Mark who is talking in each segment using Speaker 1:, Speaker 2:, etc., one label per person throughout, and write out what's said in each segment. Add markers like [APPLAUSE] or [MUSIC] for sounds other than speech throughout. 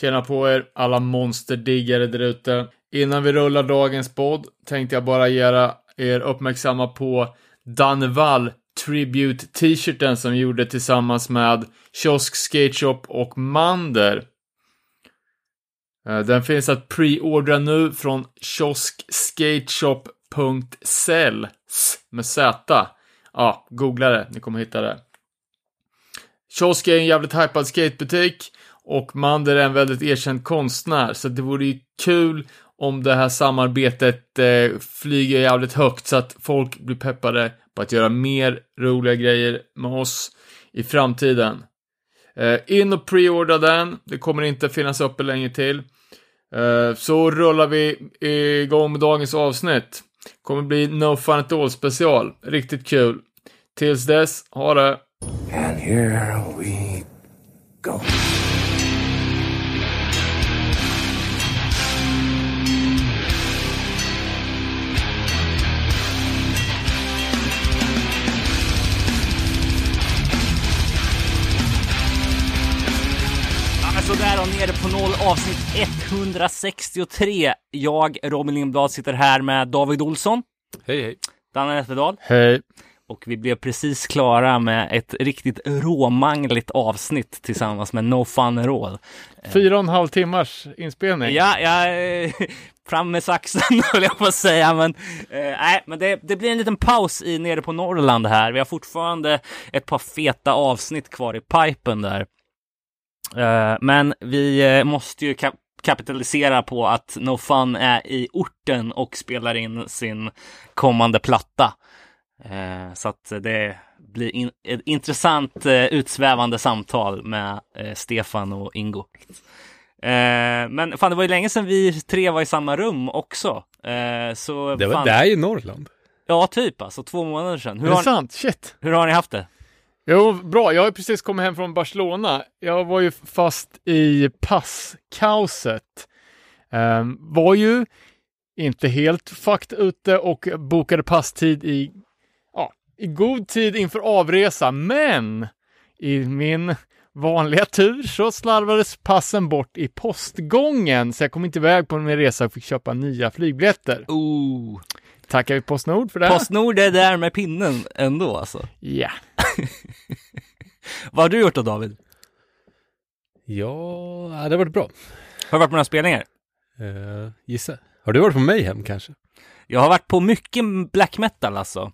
Speaker 1: Tjena på er, alla monsterdiggare där ute. Innan vi rullar dagens podd tänkte jag bara göra er uppmärksamma på Danvall Tribute T-shirten som vi gjorde tillsammans med Kiosk Skate Shop och Mander. Eh, Den finns att preordra nu från kioskskateshop.sell med Z. Ja, googla det, ni kommer hitta det. Kiosk är en jävligt hypad skatebutik och Mander är en väldigt erkänd konstnär, så det vore ju kul om det här samarbetet eh, flyger jävligt högt så att folk blir peppade på att göra mer roliga grejer med oss i framtiden. Eh, in och preordra den, det kommer inte finnas uppe länge till. Eh, så rullar vi igång med dagens avsnitt. Kommer bli No Fun At All special, riktigt kul. Tills dess, ha det!
Speaker 2: And here we go.
Speaker 3: Ja, Sådär och nere på noll avsnitt 163. Jag, Robin Lindblad, sitter här med David Olsson,
Speaker 4: Hej hej.
Speaker 3: Danne Nätterdal
Speaker 1: Hej!
Speaker 3: och vi blev precis klara med ett riktigt råmangligt avsnitt tillsammans med No Fun at All.
Speaker 1: Fyra och en halv timmars inspelning.
Speaker 3: Ja, [LAUGHS] jag, eh, fram med saxen [LAUGHS] höll jag på att säga, men, eh, nej, men det, det blir en liten paus i nere på Norrland här. Vi har fortfarande ett par feta avsnitt kvar i pipen där. Eh, men vi eh, måste ju kap- kapitalisera på att No Fun är i orten och spelar in sin kommande platta. Eh, så att det blir in, ett intressant eh, utsvävande samtal med eh, Stefan och Ingo. Eh, men fan, det var ju länge sedan vi tre var i samma rum också. Eh, så
Speaker 4: Det, var,
Speaker 3: fan,
Speaker 4: det är ju Norrland.
Speaker 3: ja, typ alltså två månader sedan. Hur
Speaker 1: Är det
Speaker 3: har, ni,
Speaker 1: sant? Shit!
Speaker 3: hur har ni haft det?
Speaker 1: Jo, bra. Jag har ju precis kommit hem från Barcelona. Jag var ju fast i passkaoset. Ehm, var ju inte helt fucked ute och bokade passtid i, ja, i god tid inför avresa, men i min vanliga tur så slarvades passen bort i postgången, så jag kom inte iväg på min resa och fick köpa nya flygbiljetter.
Speaker 3: Oh.
Speaker 1: Tackar vi Postnord för det.
Speaker 3: Postnord är där med pinnen ändå alltså.
Speaker 1: Ja.
Speaker 3: Vad har du gjort då David?
Speaker 4: Ja, det har varit bra.
Speaker 3: Har du varit på några spelningar?
Speaker 4: Eh, gissa. Har du varit på Mayhem kanske?
Speaker 3: Jag har varit på mycket black metal alltså.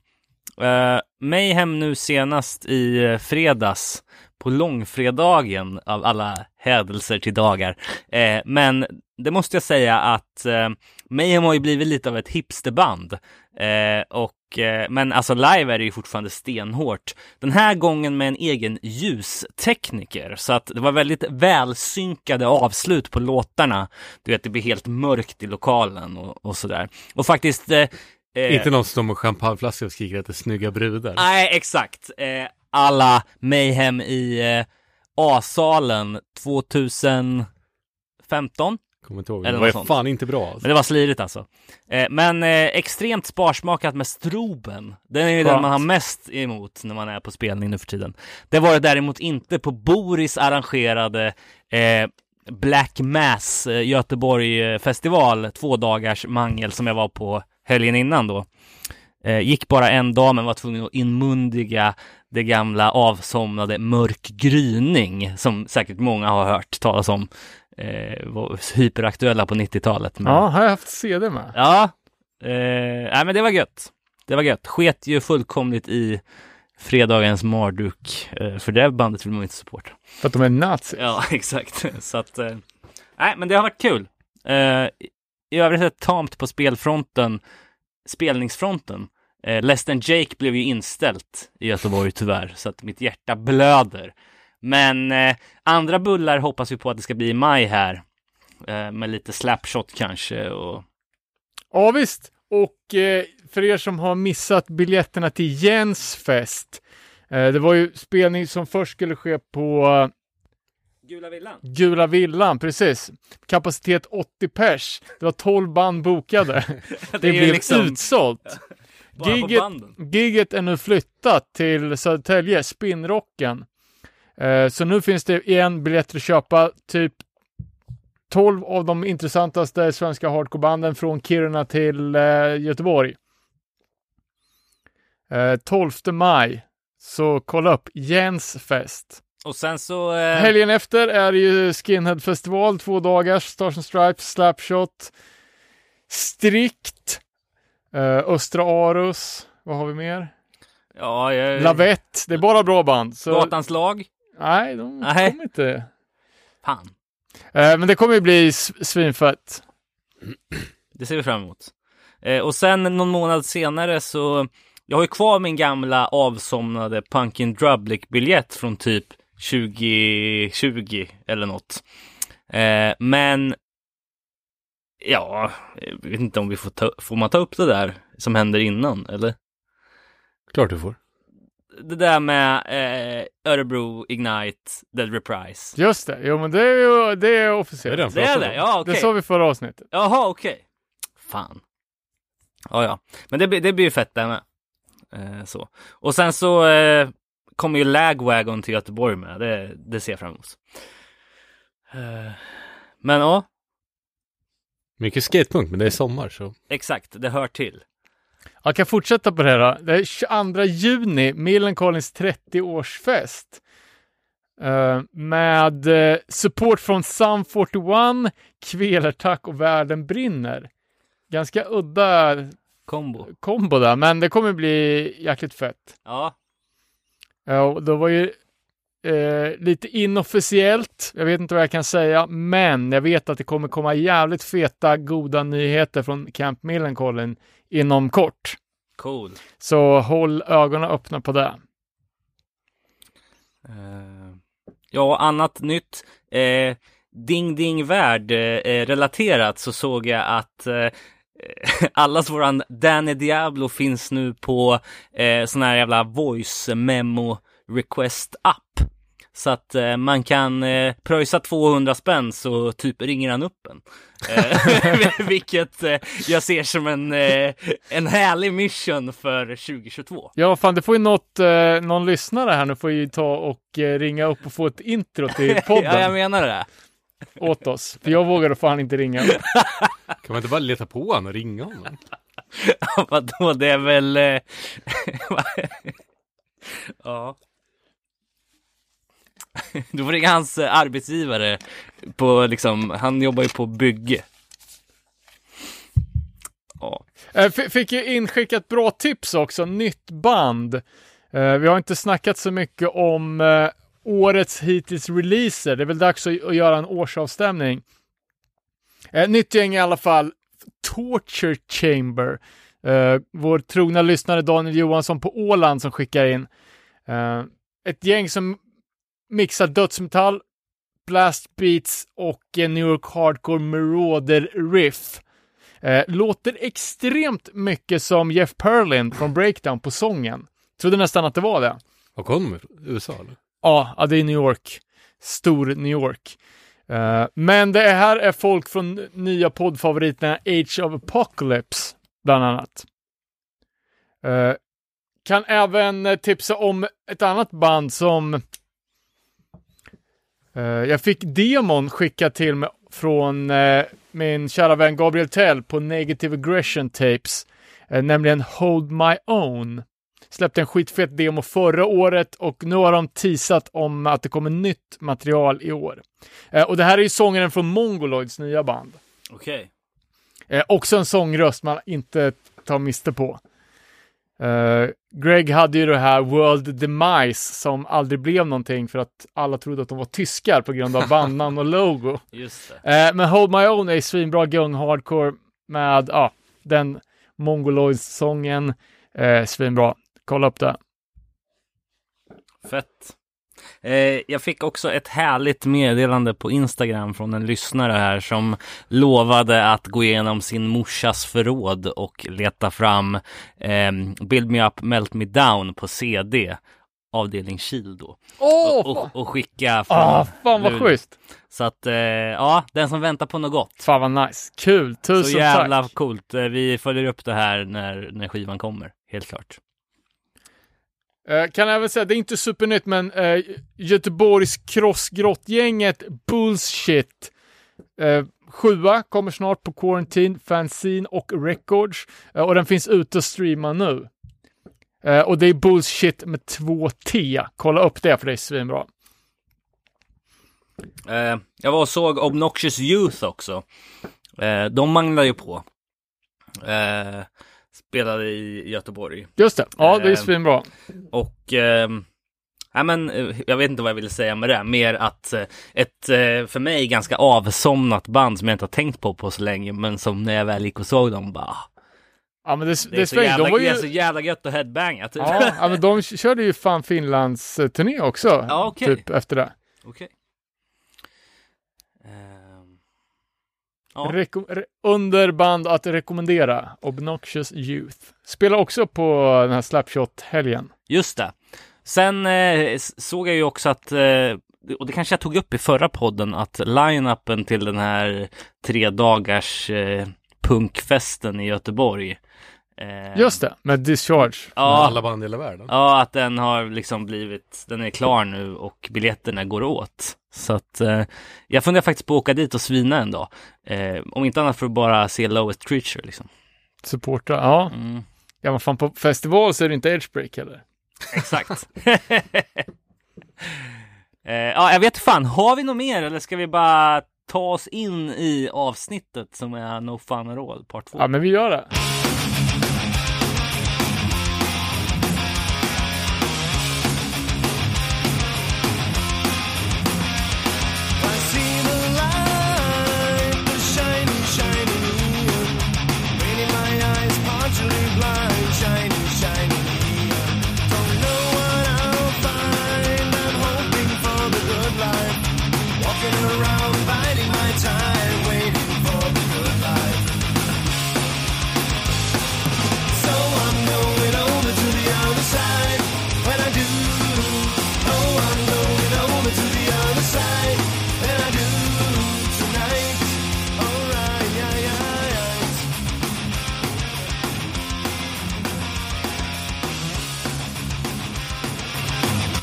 Speaker 3: Uh, Mayhem nu senast i eh, fredags på långfredagen av alla hädelser till dagar. Eh, men det måste jag säga att eh, Mayhem har ju blivit lite av ett hipsterband. Eh, och, eh, men alltså live är det ju fortfarande stenhårt. Den här gången med en egen ljustekniker. Så att det var väldigt välsynkade avslut på låtarna. Du vet, det blir helt mörkt i lokalen och, och sådär. Och faktiskt... Eh, eh, Ah.
Speaker 4: Inte någon som står med champagneflaska och skriker att det är snygga brudar.
Speaker 3: Nej, exakt. Eh, alla Mayhem i eh, A-salen 2015.
Speaker 4: Kommer inte ihåg.
Speaker 3: Eller
Speaker 4: Det var
Speaker 3: något
Speaker 4: ju
Speaker 3: sånt.
Speaker 4: fan inte bra. Alltså.
Speaker 3: Men det var slirigt alltså. Eh, men eh, extremt sparsmakat med stroben. Den är ju den
Speaker 1: Skönt.
Speaker 3: man har mest emot när man är på spelning nu för tiden. Det var det däremot inte på Boris arrangerade eh, Black Mass eh, Göteborg eh, festival, två dagars mangel som jag var på helgen innan då. Eh, gick bara en dag men var tvungen att inmundiga det gamla avsomnade Mörk gryning som säkert många har hört talas om. Eh, var hyperaktuella på 90-talet. men-
Speaker 1: Ja, har jag haft CD med.
Speaker 3: Ja, eh, nej men det var gött. Det var gött. Sket ju fullkomligt i fredagens marduk, eh, för det bandet vill man ju inte supporta.
Speaker 1: För att de är nazis.
Speaker 3: Ja, [LAUGHS] exakt. Så att, eh, nej men det har varit kul. Eh, i- I övrigt är det tamt på spelfronten, spelningsfronten. Eh, Less than Jake blev ju inställt i Göteborg tyvärr, så att mitt hjärta blöder. Men eh, andra bullar hoppas vi på att det ska bli i maj här. Eh, med lite slapshot kanske och
Speaker 1: Ja visst. Och eh, för er som har missat biljetterna till Jens fest. Eh, det var ju spelning som först skulle ske på eh,
Speaker 3: Gula villan.
Speaker 1: Gula villan, precis. Kapacitet 80 pers. Det var 12 band bokade.
Speaker 3: [LAUGHS]
Speaker 1: Det,
Speaker 3: är ju
Speaker 1: blev
Speaker 3: liksom-
Speaker 1: utsålt.
Speaker 3: Bara på
Speaker 1: Gigget-
Speaker 3: banden.
Speaker 1: Giget är nu flyttat till Södertälje, Spinnrocken. Eh, så nu finns det en biljett att köpa, typ 12 av de intressantaste svenska hardcorebanden från Kiruna till eh, Göteborg. Eh, 12 maj. Så kolla upp Jens fest.
Speaker 3: Och sen så... Eh,
Speaker 1: Helgen efter är det ju Skinhead-festival, två dagars, Stars and Stripes, Slapshot, Strikt, eh, Östra Arus, vad har vi mer?
Speaker 3: ja, jag,
Speaker 1: Lavett, det är bara bra band. Så,
Speaker 3: Gatans lag.
Speaker 1: Nej, de
Speaker 3: Nej.
Speaker 1: kommer inte. Eh,
Speaker 3: Fan,
Speaker 1: men det kommer ju bli s- svinfett.
Speaker 3: det ser vi fram emot. Eh, och sen någon månad senare så... Jag har ju kvar min gamla avsomnade Punkin Drublic-biljett från typ 2020 eller något. Eh, men... Ja, jag vet inte om vi får ta, får man ta upp det där som händer innan, eller?
Speaker 4: Klart du får.
Speaker 3: Det där med eh, Örebro Ignite Dead Reprise.
Speaker 1: Just det, jo men det är ju det är officiellt.
Speaker 4: Det är den
Speaker 3: Det är det? Ja, okej.
Speaker 1: Det sa vi förra avsnittet.
Speaker 3: Jaha, okej. Fan. Ja, ja. Men det, blir- det blir ju fett där med. Eh, så. Och sen så eh, kommer ju Lagwagon till Göteborg med. Det, det ser jag fram emot. Eh, men ja,
Speaker 4: Mycket skatepunk, men det är sommar så.
Speaker 3: exakt. Det hör till.
Speaker 1: Jag kan fortsätta på det här. då. Det är 22 juni, Millencolins 30-årsfest. Eh, med eh, support från Sum 41, Kvelertak och Världen brinner. Ganska udda
Speaker 3: Kombo.
Speaker 1: kombo där, men det kommer bli jäkligt fett.
Speaker 3: Ja,
Speaker 1: Ja, och det var ju eh, lite inofficiellt. Jag vet inte vad jag kan säga, men jag vet att det kommer komma jävligt feta, goda nyheter från Camp Millencolin inom kort.
Speaker 3: cool.
Speaker 1: Så håll ögonen öppna på det.
Speaker 3: Eh, ja, annat nytt. Eh, ding Ding Värld eh, eh, relaterat så såg jag att eh, [LAUGHS] allas våran Danny Diablo finns nu på eh, sån här jävla voice memo request app. Så att eh, man kan eh, pröjsa 200 spänn så typ ringer han upp en. Eh, [LAUGHS] vilket eh, jag ser som en, eh, en härlig mission för 2022.
Speaker 1: Ja, fan, det får ju något, eh, någon lyssnare här nu får ju ta och eh, ringa upp och få ett intro till
Speaker 3: [LAUGHS] Ja, jag
Speaker 1: podden
Speaker 3: menar det.
Speaker 1: åt oss. För jag vågar fan inte ringa. upp.
Speaker 4: Kan man inte bara leta på honom och ringa honom?
Speaker 3: [LAUGHS] Vadå, det är väl... eh, [LAUGHS] ja. [LAUGHS] Du får ringa hans eh, arbetsgivare på liksom, han jobbar ju på bygge. Ja.
Speaker 1: Eh, f- fick ju inskickat bra tips också, nytt band. Eh, vi har inte snackat så mycket om eh, årets hittills releaser. Det är väl dags att, att göra en årsavstämning. Eh, nytt gäng i alla fall, Torture Chamber. Eh, vår trogna lyssnare Daniel Johansson på Åland som skickar in. Eh, ett gäng som mixar dödsmetall, blast beats och eh, New York Hardcore Marauder riff. Eh, låter extremt mycket som Jeff Perlin från Breakdown på sången. Trodde nästan att det var det.
Speaker 4: Var kom de ifrån? USA eller?
Speaker 1: Ja, ja, det är New York. Stor New York. Eh, men det här är folk från nya poddfavoriterna Age of Apocalypse, bland annat. Eh, kan även eh, tipsa om ett annat band som eh, jag fick demon skicka till mig från eh, min kära vän Gabriel Tell på Negative Aggression Tapes, eh, nämligen Hold My Own släppte en skitfet demo förra året och nu har de teasat om att det kommer nytt material i år. Eh, och det här är ju sångaren från Mongoloids nya band.
Speaker 3: Okej.
Speaker 1: Eh, också en sångröst man inte tar miste på. Eh, Greg hade ju det här World Demise som aldrig blev någonting för att alla trodde att de var tyskar på grund av bandnamn och
Speaker 3: [LAUGHS]
Speaker 1: logo.
Speaker 3: Just det.
Speaker 1: Eh, men Hold My Own är svinbra gung hardcore med ja, den Mongoloids-sången. Eh, svinbra. Kolla upp det.
Speaker 3: Fett. Eh, jag fick också ett härligt meddelande på Instagram från en lyssnare här som lovade att gå igenom sin morsas förråd och leta fram eh, Build Me Up Melt Me Down på CD avdelning Kil då
Speaker 1: Åh!
Speaker 3: och, och, och skicka från
Speaker 1: Ah, fan vad
Speaker 3: Luleå.
Speaker 1: schysst!
Speaker 3: Så att eh, ja, den som väntar på något gott.
Speaker 1: Fan vad nice. Kul, tusen
Speaker 3: Så jävla
Speaker 1: tack.
Speaker 3: coolt. Eh, Vi följer upp det här när, när skivan kommer, helt klart.
Speaker 1: Eh, kan även säga, det är inte supernytt, men eh, Göteborgs crossgrottgänget Bullshit Eh, sjua kommer snart på Quarantine, Fanzine och Records. Eh, och den finns ute och streamar nu. Eh, och det är Bullshit med 2T. Kolla upp det för det är svinbra.
Speaker 3: Eh, jag var och såg Obnoxious Youth också. Eh, de manglar ju på. Eh, spelade i Göteborg.
Speaker 1: Just det. Ja, det är
Speaker 3: Eh,
Speaker 1: svinbra.
Speaker 3: Och ehm, ja, men, eh, jag vet inte vad jag ville säga med det. Mer att eh, ett eh, för mig ganska avsomnat band som jag inte har tänkt på på så länge. Men som när jag väl gick och såg dem bara. ah,
Speaker 1: Ja, men det,
Speaker 3: Det är, så,
Speaker 1: svänger.
Speaker 3: jävla,
Speaker 1: De var
Speaker 3: det är så
Speaker 1: ju...
Speaker 3: jävla gött att headbanga typ.
Speaker 1: Ja, ja, men de körde ju fan Finlands eh, turné också.
Speaker 3: [LAUGHS] Ja, okej.
Speaker 1: Typ efter det.
Speaker 3: Okej. Ehm, Ja.
Speaker 1: Reko- re- under band att rekommendera, Obnoxious Youth. Spelar också på den här Slapshot-helgen.
Speaker 3: Just det. Sen eh, s- såg jag ju också att, eh, och det kanske jag tog upp i förra podden, att line-upen till den här tre dagars eh, punkfesten i Göteborg. Eh,
Speaker 1: Just det, med Discharge.
Speaker 4: Med
Speaker 3: Ja,
Speaker 4: alla band i hela världen.
Speaker 3: ja, att den har liksom blivit, den är klar nu och biljetterna går åt. Så att eh, jag funderar faktiskt på att åka dit och svina en dag. Eh, om inte annat för att bara se Lowest Creature liksom.
Speaker 1: Supporta, ja.
Speaker 3: Mm.
Speaker 1: Ja, men fan på festival så är det inte Edgebreak heller.
Speaker 3: Exakt. [LAUGHS] eh, ja, jag vet fan. Har vi något mer eller ska vi bara ta oss in i avsnittet som är No Fun at All, part 2?
Speaker 1: Ja, men vi gör det.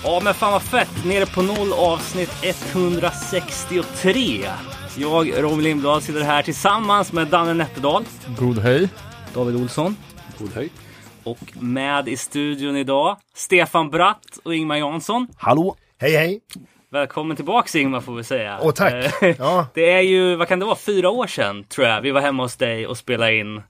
Speaker 3: Ja, men fan vad fett. Nere på noll avsnitt 163. Jag, Robin Lindblad, sitter här tillsammans med Danne Nätterdal,
Speaker 1: God hej.
Speaker 3: David Olsson
Speaker 4: God höjd.
Speaker 3: och med i studion idag Stefan Bratt och Ingmar Jansson.
Speaker 5: Hallå! Hej hej!
Speaker 3: Välkommen tillbaks Ingmar får vi säga.
Speaker 5: Åh tack!
Speaker 3: Eh,
Speaker 5: [LAUGHS] Ja,
Speaker 3: [LAUGHS] Det är ju, vad kan det vara, fyra år sedan tror jag vi var hemma hos dig och spelade in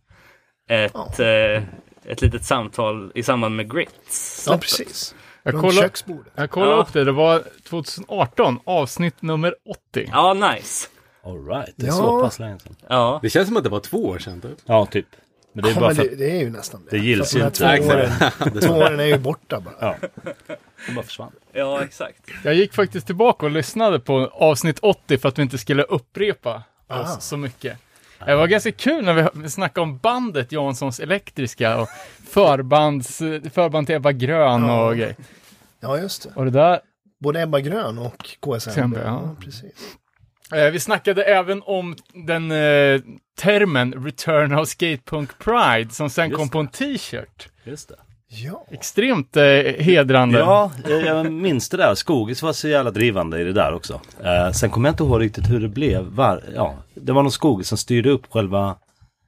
Speaker 3: ett, eh, ett litet samtal i samband med Grits.
Speaker 5: ja precis.
Speaker 1: Jag
Speaker 5: Runt
Speaker 1: kollar,
Speaker 5: köksbordet.
Speaker 1: jag kollar
Speaker 3: Ja.
Speaker 1: upp det. Det var 2018, avsnitt nummer 80.
Speaker 3: Ja, nice.
Speaker 6: Alright, det är
Speaker 5: Ja.
Speaker 6: så pass länge sedan.
Speaker 3: Ja,
Speaker 4: Det känns som att det var två år sedan typ.
Speaker 6: Ja, typ. Men det är
Speaker 5: Ja,
Speaker 6: bara
Speaker 5: men
Speaker 6: för
Speaker 5: det,
Speaker 6: att
Speaker 5: det är ju nästan det.
Speaker 6: det gills ju
Speaker 5: För att de här
Speaker 6: inte.
Speaker 5: Två åren,
Speaker 6: [LAUGHS]
Speaker 5: två åren är ju borta bara.
Speaker 6: det bara försvann.
Speaker 3: ja exakt.
Speaker 1: Jag gick faktiskt tillbaka och lyssnade på avsnitt 80 för att vi inte skulle upprepa
Speaker 5: Ah.
Speaker 1: oss så mycket. Det var ganska kul när vi snackade om bandet Janssons Elektriska och förbands, förband till Ebba Grön och grejer.
Speaker 5: Ja, just det.
Speaker 1: Och det där,
Speaker 5: Både Ebba Grön och KSMB.
Speaker 1: Sembe, ja.
Speaker 5: precis.
Speaker 1: eh, vi snackade även om den eh, termen Return of Skatepunk Pride som sen kom på en t-shirt.
Speaker 6: Just det.
Speaker 5: Ja,
Speaker 1: Extremt eh, hedrande.
Speaker 6: Ja, jag, jag minns det där. Skogis var så jävla drivande i det där också. Eh, sen kommer jag inte ihåg riktigt hur det blev. Var, ja, det var någon Skogis som styrde upp själva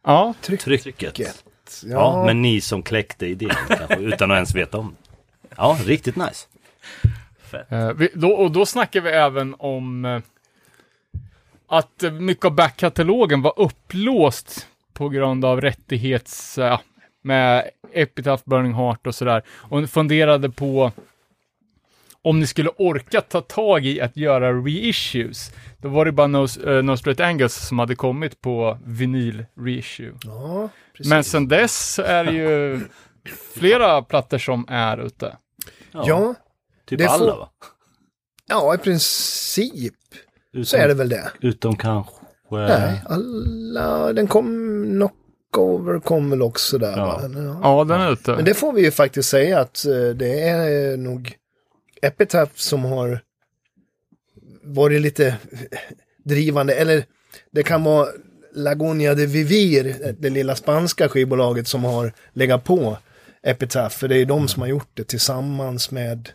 Speaker 1: Ja.
Speaker 6: trycket. Ja.
Speaker 5: gött. Ja,
Speaker 6: men ni som kläckte idén kanske, utan att ens veta om det. Ja, riktigt nice.
Speaker 1: Eh, vi, då, och då snackar vi även om eh, att eh, mycket av backkatalogen var upplåst på grund av rättighets... Eh, med Epitaph Burning Heart och sådär. Och funderade på om ni skulle orka ta tag i att göra reissues. Då var det bara No, eh, no Straight Angles som hade kommit på vinyl reissue.
Speaker 5: ja precis.
Speaker 1: Men sen dess så är det
Speaker 5: [LAUGHS]
Speaker 1: ju flera plattor som är ute.
Speaker 5: ja,
Speaker 6: Typ
Speaker 5: det
Speaker 6: alla
Speaker 5: får-
Speaker 6: va?
Speaker 5: ja, i princip
Speaker 6: Utom,
Speaker 5: så är det väl det.
Speaker 6: utom kanske...
Speaker 5: Nej, alla, den kom, Knockover kom väl också där.
Speaker 6: Ja.
Speaker 5: va? Eller, ja.
Speaker 1: Ja, den är ute.
Speaker 5: Men det får vi ju faktiskt säga att eh, det är nog Epitaph som har varit lite drivande. Eller det kan vara Lagonia de Vivir, det lilla spanska skivbolaget som har legat på Epitaph. För det är de som har gjort det tillsammans med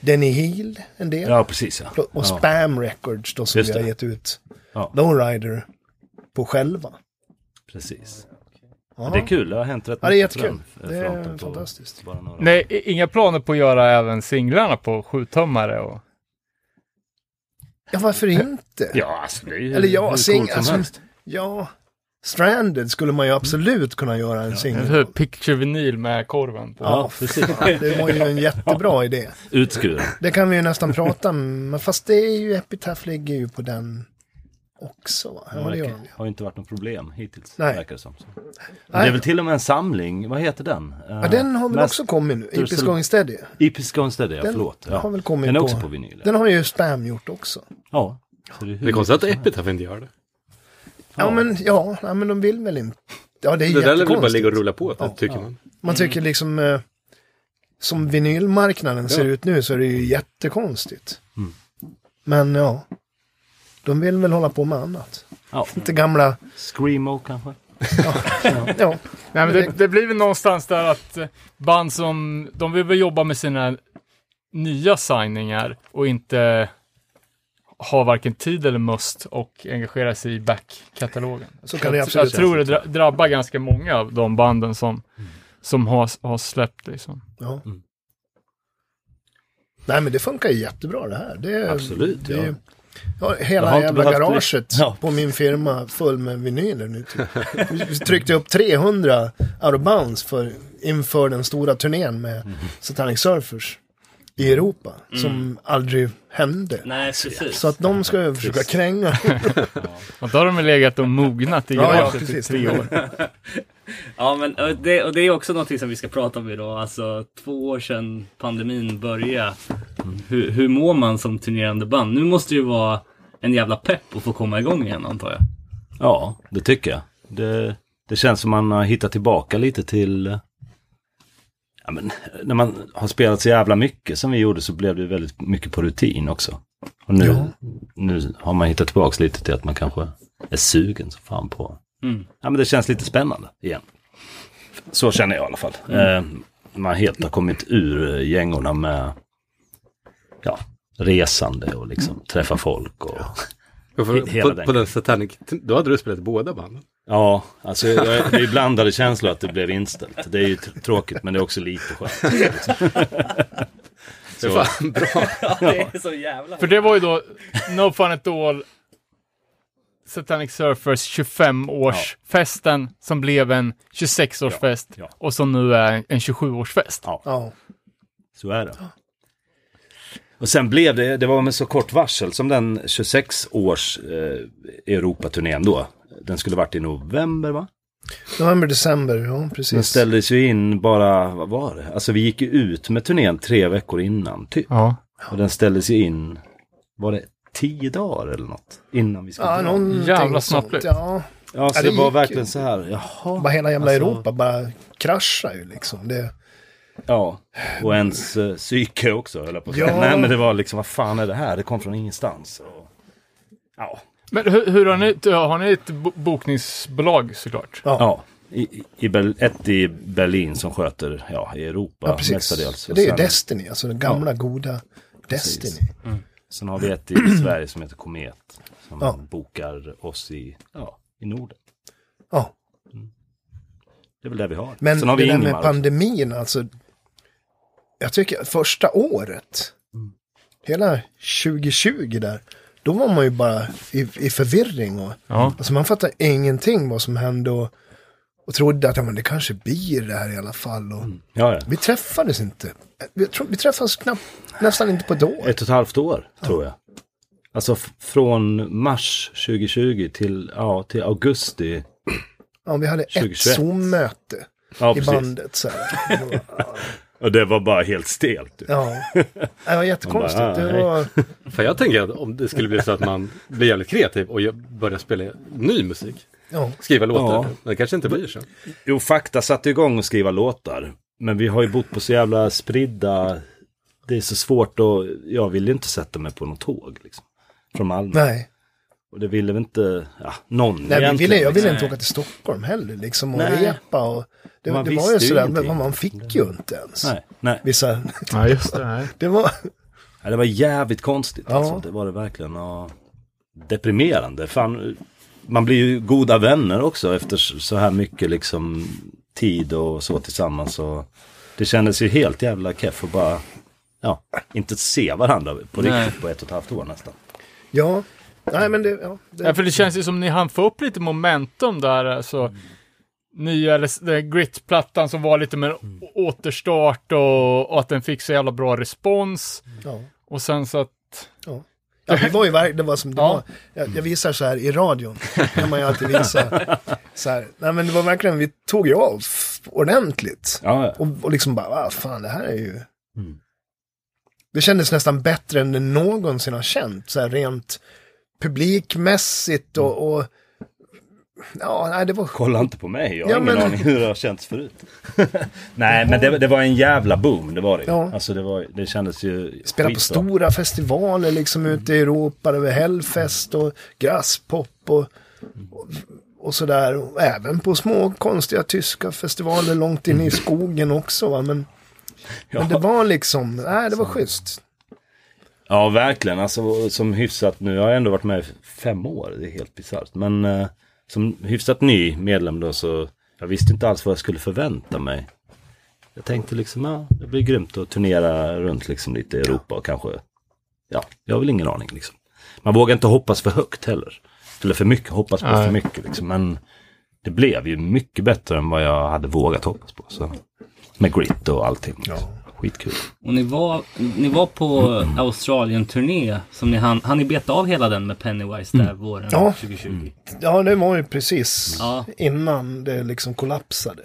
Speaker 5: Denny Hill en del.
Speaker 6: Ja, precis ja.
Speaker 5: Och Spam Records då som
Speaker 6: Just
Speaker 5: vi har
Speaker 6: det.
Speaker 5: gett ut
Speaker 6: Ja.
Speaker 5: Lowrider på själva.
Speaker 6: Precis.
Speaker 5: Ja.
Speaker 6: Det är kul, det har hänt rätt
Speaker 5: Ja, det är jättekul.
Speaker 6: på den,
Speaker 5: Det
Speaker 6: eh, fronten på
Speaker 5: är fantastiskt.
Speaker 6: Bara några
Speaker 7: Nej, i- inga planer på att göra även singlarna på 7-tummare och...
Speaker 5: Ja, varför inte?
Speaker 6: Ja, alltså det är ju
Speaker 5: Eller ja,
Speaker 6: hur coolt
Speaker 5: sing-
Speaker 6: som
Speaker 5: alltså-
Speaker 6: helst. Mm.
Speaker 5: Ja. Stranded skulle man ju absolut kunna göra en singel.
Speaker 7: Eller hur? Picture vinyl med korven på.
Speaker 6: Ja, precis.
Speaker 5: Det var ju en jättebra idé.
Speaker 6: Utskuren.
Speaker 5: Det kan vi ju nästan prata om, men fast det är ju Epitaph ligger ju på den också. Va? Ja, det gör de ju.
Speaker 6: har ju inte varit något problem hittills.
Speaker 5: Nej.
Speaker 6: Verkar det som. Så. Det är
Speaker 5: Nej.
Speaker 6: väl till och med en samling, vad heter den? Eh,
Speaker 5: Ja, den har väl också kommit nu,
Speaker 6: Thursday-
Speaker 5: Episk Going Steady.
Speaker 6: Ipis Gunstead, ja
Speaker 5: Den
Speaker 6: förlåt. Ja.
Speaker 5: har väl kommit
Speaker 6: den är
Speaker 5: på-
Speaker 6: också på vinyl.
Speaker 5: Den har ju Spam gjort också.
Speaker 6: Ja. Så det är hur-
Speaker 4: Det är konstigt att Epitaph inte gör det.
Speaker 5: Ja, men ja, nej, men de vill väl inte. Ja, det är
Speaker 4: Det där lär väl bara ligga
Speaker 5: jättekonstigt.
Speaker 4: och rulla på,
Speaker 5: Ja.
Speaker 4: tycker man.
Speaker 5: Man tycker liksom, eh, som vinylmarknaden ser ut nu så är det ju jättekonstigt.
Speaker 6: Mm.
Speaker 5: Men ja, de vill väl hålla på med annat.
Speaker 6: Ja.
Speaker 5: Inte gamla,
Speaker 6: Screamo kanske?
Speaker 5: ja,
Speaker 7: Nej, men
Speaker 1: [LAUGHS]
Speaker 7: det, det blir väl någonstans där att eh, band som, de vill väl jobba med sina nya signingar och inte ha varken tid eller must och engagera sig i backkatalogen.
Speaker 5: så kan det
Speaker 7: Jag, jag
Speaker 5: absolut
Speaker 7: tror det dra- drabbar ganska många av de banden som,
Speaker 5: Mm.
Speaker 7: som har, har släppt liksom.
Speaker 5: Ja. Nej men det funkar ju jättebra det här. Det,
Speaker 6: Absolut,
Speaker 5: det,
Speaker 6: ja.
Speaker 5: ja.
Speaker 6: Jag har
Speaker 5: Hela
Speaker 6: inte
Speaker 5: jävla
Speaker 6: behövt bli-
Speaker 5: garaget
Speaker 6: Ja.
Speaker 5: på min firma full med vinyler nu. Typ. Vi tryckte upp 300 out of bounds för, inför den stora turnén med Satanic Surfers
Speaker 6: Mm.
Speaker 5: i Europa. Som aldrig hände.
Speaker 3: Nej, precis.
Speaker 5: Så att de ska ju försöka kränga.
Speaker 7: Och då har de väl legat och mognat i
Speaker 5: Ja, ja,
Speaker 7: garaget i
Speaker 5: precis.
Speaker 7: tre år.
Speaker 3: Ja, men och det, och det är också någonting som vi ska prata om idag. Alltså, två år sedan pandemin började. Hur, hur mår man som turnerande band? Nu måste det ju vara en jävla pepp att få komma igång igen, antar jag.
Speaker 6: Ja, det tycker jag. Det, det känns som man har hittat tillbaka lite till... eh, Ja, men, när man har spelat så jävla mycket som vi gjorde så blev det väldigt mycket på rutin också. Och nu, nu har man hittat tillbaka lite till att man kanske är sugen som fan på...
Speaker 3: Mm.
Speaker 6: Ja, men det känns lite spännande igen. Så känner jag i alla fall. Eh, man helt har kommit ur eh, gängorna med ja, resande och liksom träffa folk och...
Speaker 4: Och för,
Speaker 6: Hela den
Speaker 4: på, på
Speaker 6: grejen.
Speaker 4: den Satanic, då hade du spelat båda banden.
Speaker 6: Ja, alltså jag- det är blandade känslor att det blev inställt. Det är ju tr- tråkigt men det är också lite skönt.
Speaker 4: Det är fan bra.
Speaker 3: Det är så jävla...
Speaker 7: För det var ju då No Fun At All Satanic Surfers 25-årsfesten som blev en 26-årsfest
Speaker 6: Ja, ja.
Speaker 7: och som nu är en 27-årsfest.
Speaker 6: Ja,
Speaker 5: Ja,
Speaker 6: så är det. Och sen blev det, det var med så kort varsel som den 26 års eh, Europaturnén då. Den skulle varit i november va?
Speaker 5: november, december, ja
Speaker 6: Den
Speaker 5: precis.
Speaker 6: ställdes ju in bara, vad var det? Alltså vi gick ju ut med turnén tre veckor innan typ.
Speaker 7: Ja.
Speaker 6: Och den ställdes ju in, var det tio dagar eller något? Innan vi skulle
Speaker 5: Ja,
Speaker 6: dra.
Speaker 5: någonting
Speaker 7: Jävla
Speaker 5: sånt,
Speaker 7: snabblöt.
Speaker 5: Ja,
Speaker 6: Ja, så
Speaker 5: Ja, det
Speaker 6: det var
Speaker 5: gick ju.
Speaker 6: verkligen så här, jaha.
Speaker 5: bara hela jävla
Speaker 6: Alltså-
Speaker 5: Europa bara kraschar ju liksom. Det,
Speaker 6: Ja, och ens eh, psyke också höll jag på att säga.
Speaker 5: Ja.
Speaker 6: Nej men det var liksom, vad fan är det här? Det kom från ingenstans. Och... Ja,
Speaker 7: Men hur, hur har ni, har ni ett bo- bokningsbolag såklart?
Speaker 6: ja. I, i- i Ber- ett i Berlin som sköter ja, i Europa
Speaker 5: Ja, precis.
Speaker 6: mestadels. Och
Speaker 5: Det är ju
Speaker 6: sen-
Speaker 5: Destiny, alltså den gamla goda Destiny.
Speaker 6: Sen har vi ett i [CLEARS THROAT] Sverige som heter Komet. Som
Speaker 5: Ja.
Speaker 6: bokar oss i, ja, i Norden.
Speaker 5: Ja.
Speaker 6: Det är väl det vi har.
Speaker 5: Men
Speaker 6: sen har
Speaker 5: det
Speaker 6: vi
Speaker 5: där
Speaker 6: Ingemar
Speaker 5: med
Speaker 6: också.
Speaker 5: pandemin, alltså. Jag tycker att första året, hela 2020 där, då var man ju bara i, i förvirring. Och,
Speaker 7: Ja.
Speaker 5: Alltså man fattade ingenting vad som hände och, och trodde att ja, men det kanske blir det här i alla fall. Och,
Speaker 6: ja, ja.
Speaker 5: Vi träffades inte. Vi, tro- vi träffades knappt, nästan inte på ett år.
Speaker 6: Ett och ett halvt år, tror jag. Alltså f- från mars 2020 till, ja, till augusti.
Speaker 5: Ja, vi hade
Speaker 6: 2021.
Speaker 5: ett Zoom-möte
Speaker 6: Ja,
Speaker 5: i
Speaker 6: precis.
Speaker 5: bandet. Så här.
Speaker 6: Och det var bara helt stelt. du.
Speaker 5: Ja, det var jättekonstigt.
Speaker 6: Man bara, "Ah,
Speaker 5: det var...
Speaker 4: För jag tänker att om det skulle bli så att man blir jävligt kreativ och gör- börjar spela ny musik.
Speaker 5: Ja.
Speaker 4: Skriva låtar.
Speaker 6: Ja.
Speaker 4: Men det kanske inte blir så.
Speaker 6: Jo, Fakta satte igång och skriva låtar. Men vi har ju bott på så jävla spridda... Det är så svårt och jag ville inte sätta mig på något tåg. Liksom, från Malmö.
Speaker 5: Nej,
Speaker 6: Och det ville väl inte ja, någon
Speaker 5: Nej vi ville, jag ville
Speaker 6: liksom.
Speaker 5: inte åka till Stockholm heller liksom och
Speaker 6: Nej.
Speaker 5: repa och det,
Speaker 6: Man
Speaker 5: det var ju
Speaker 6: visste ju
Speaker 5: sådär, men
Speaker 6: ingenting.
Speaker 5: man fick ju inte ens.
Speaker 6: Nej, nej.
Speaker 5: Vissa,
Speaker 7: Ja, just det.
Speaker 5: [LAUGHS] det var,
Speaker 6: Ja, det var jävligt konstigt
Speaker 5: Ja.
Speaker 6: alltså. Det var det verkligen. Och deprimerande. Fan, man blir ju goda vänner också efter s- så här mycket liksom tid och så tillsammans. Och det kändes ju helt jävla keff att bara, ja, inte se varandra på
Speaker 3: Nej.
Speaker 6: riktigt på ett och ett halvt år nästan.
Speaker 5: Ja. Nej men det, ja. Det,
Speaker 7: Ja, för det känns ju som ni hann få upp lite momentum där, alltså.
Speaker 6: Mm.
Speaker 7: Nya, eller s- den här Grit-plattan som var lite mer
Speaker 6: Mm.
Speaker 7: å- återstart och, och att den fick så jävla bra respons.
Speaker 5: ja.
Speaker 7: Och sen så att...
Speaker 5: Ja, det var ju verkligen, det var som det
Speaker 7: Ja.
Speaker 5: var. Jag, jag visar så här i radion, kan man ju alltid visa.
Speaker 6: [LAUGHS]
Speaker 5: Så här. Nej men det var verkligen, vi tog ju av f- ordentligt.
Speaker 6: Ja,
Speaker 5: Och, och liksom bara, ah, fan det här är ju... Det kändes nästan bättre än det någonsin har känt, så här rent publikmässigt och... och ja, nej det var skönt.
Speaker 6: kolla inte på mig, jag har
Speaker 5: Ja,
Speaker 6: ingen
Speaker 5: men-
Speaker 6: aning hur det har känts förut. [LAUGHS] Nej, men det, det var en jävla boom, det var det ju.
Speaker 5: Ja.
Speaker 6: Alltså det, var, det kändes ju
Speaker 5: Spela på
Speaker 6: skitbra.
Speaker 5: stora festivaler liksom ute i Europa, det var Hellfest och Grasspop och, och, och sådär. Och även på små konstiga tyska festivaler långt in i skogen också. Va? Men, men det var liksom, nej det var schysst.
Speaker 6: Ja, verkligen. Alltså, som hyfsat nu, jag har ändå varit med i fem år, det är helt bisarrt. Men eh, som hyfsat ny medlem då så, jag visste inte alls vad jag skulle förvänta mig. Jag tänkte liksom, ja, det blir grymt att turnera runt liksom lite i Europa och kanske, ja, jag har väl ingen aning liksom. Man vågar inte hoppas för högt heller. Eller för mycket, hoppas på för mycket liksom. Men det blev ju mycket bättre än vad jag hade vågat hoppas på. Så. Med grit och allting. Liksom. Skitkul.
Speaker 3: Och ni var, ni var på Australien-turné som ni hann, hann ni beta av hela den med Pennywise där våren
Speaker 5: Ja.
Speaker 3: 2020?
Speaker 5: Ja, det var ju precis
Speaker 3: Ja.
Speaker 5: innan det liksom kollapsade.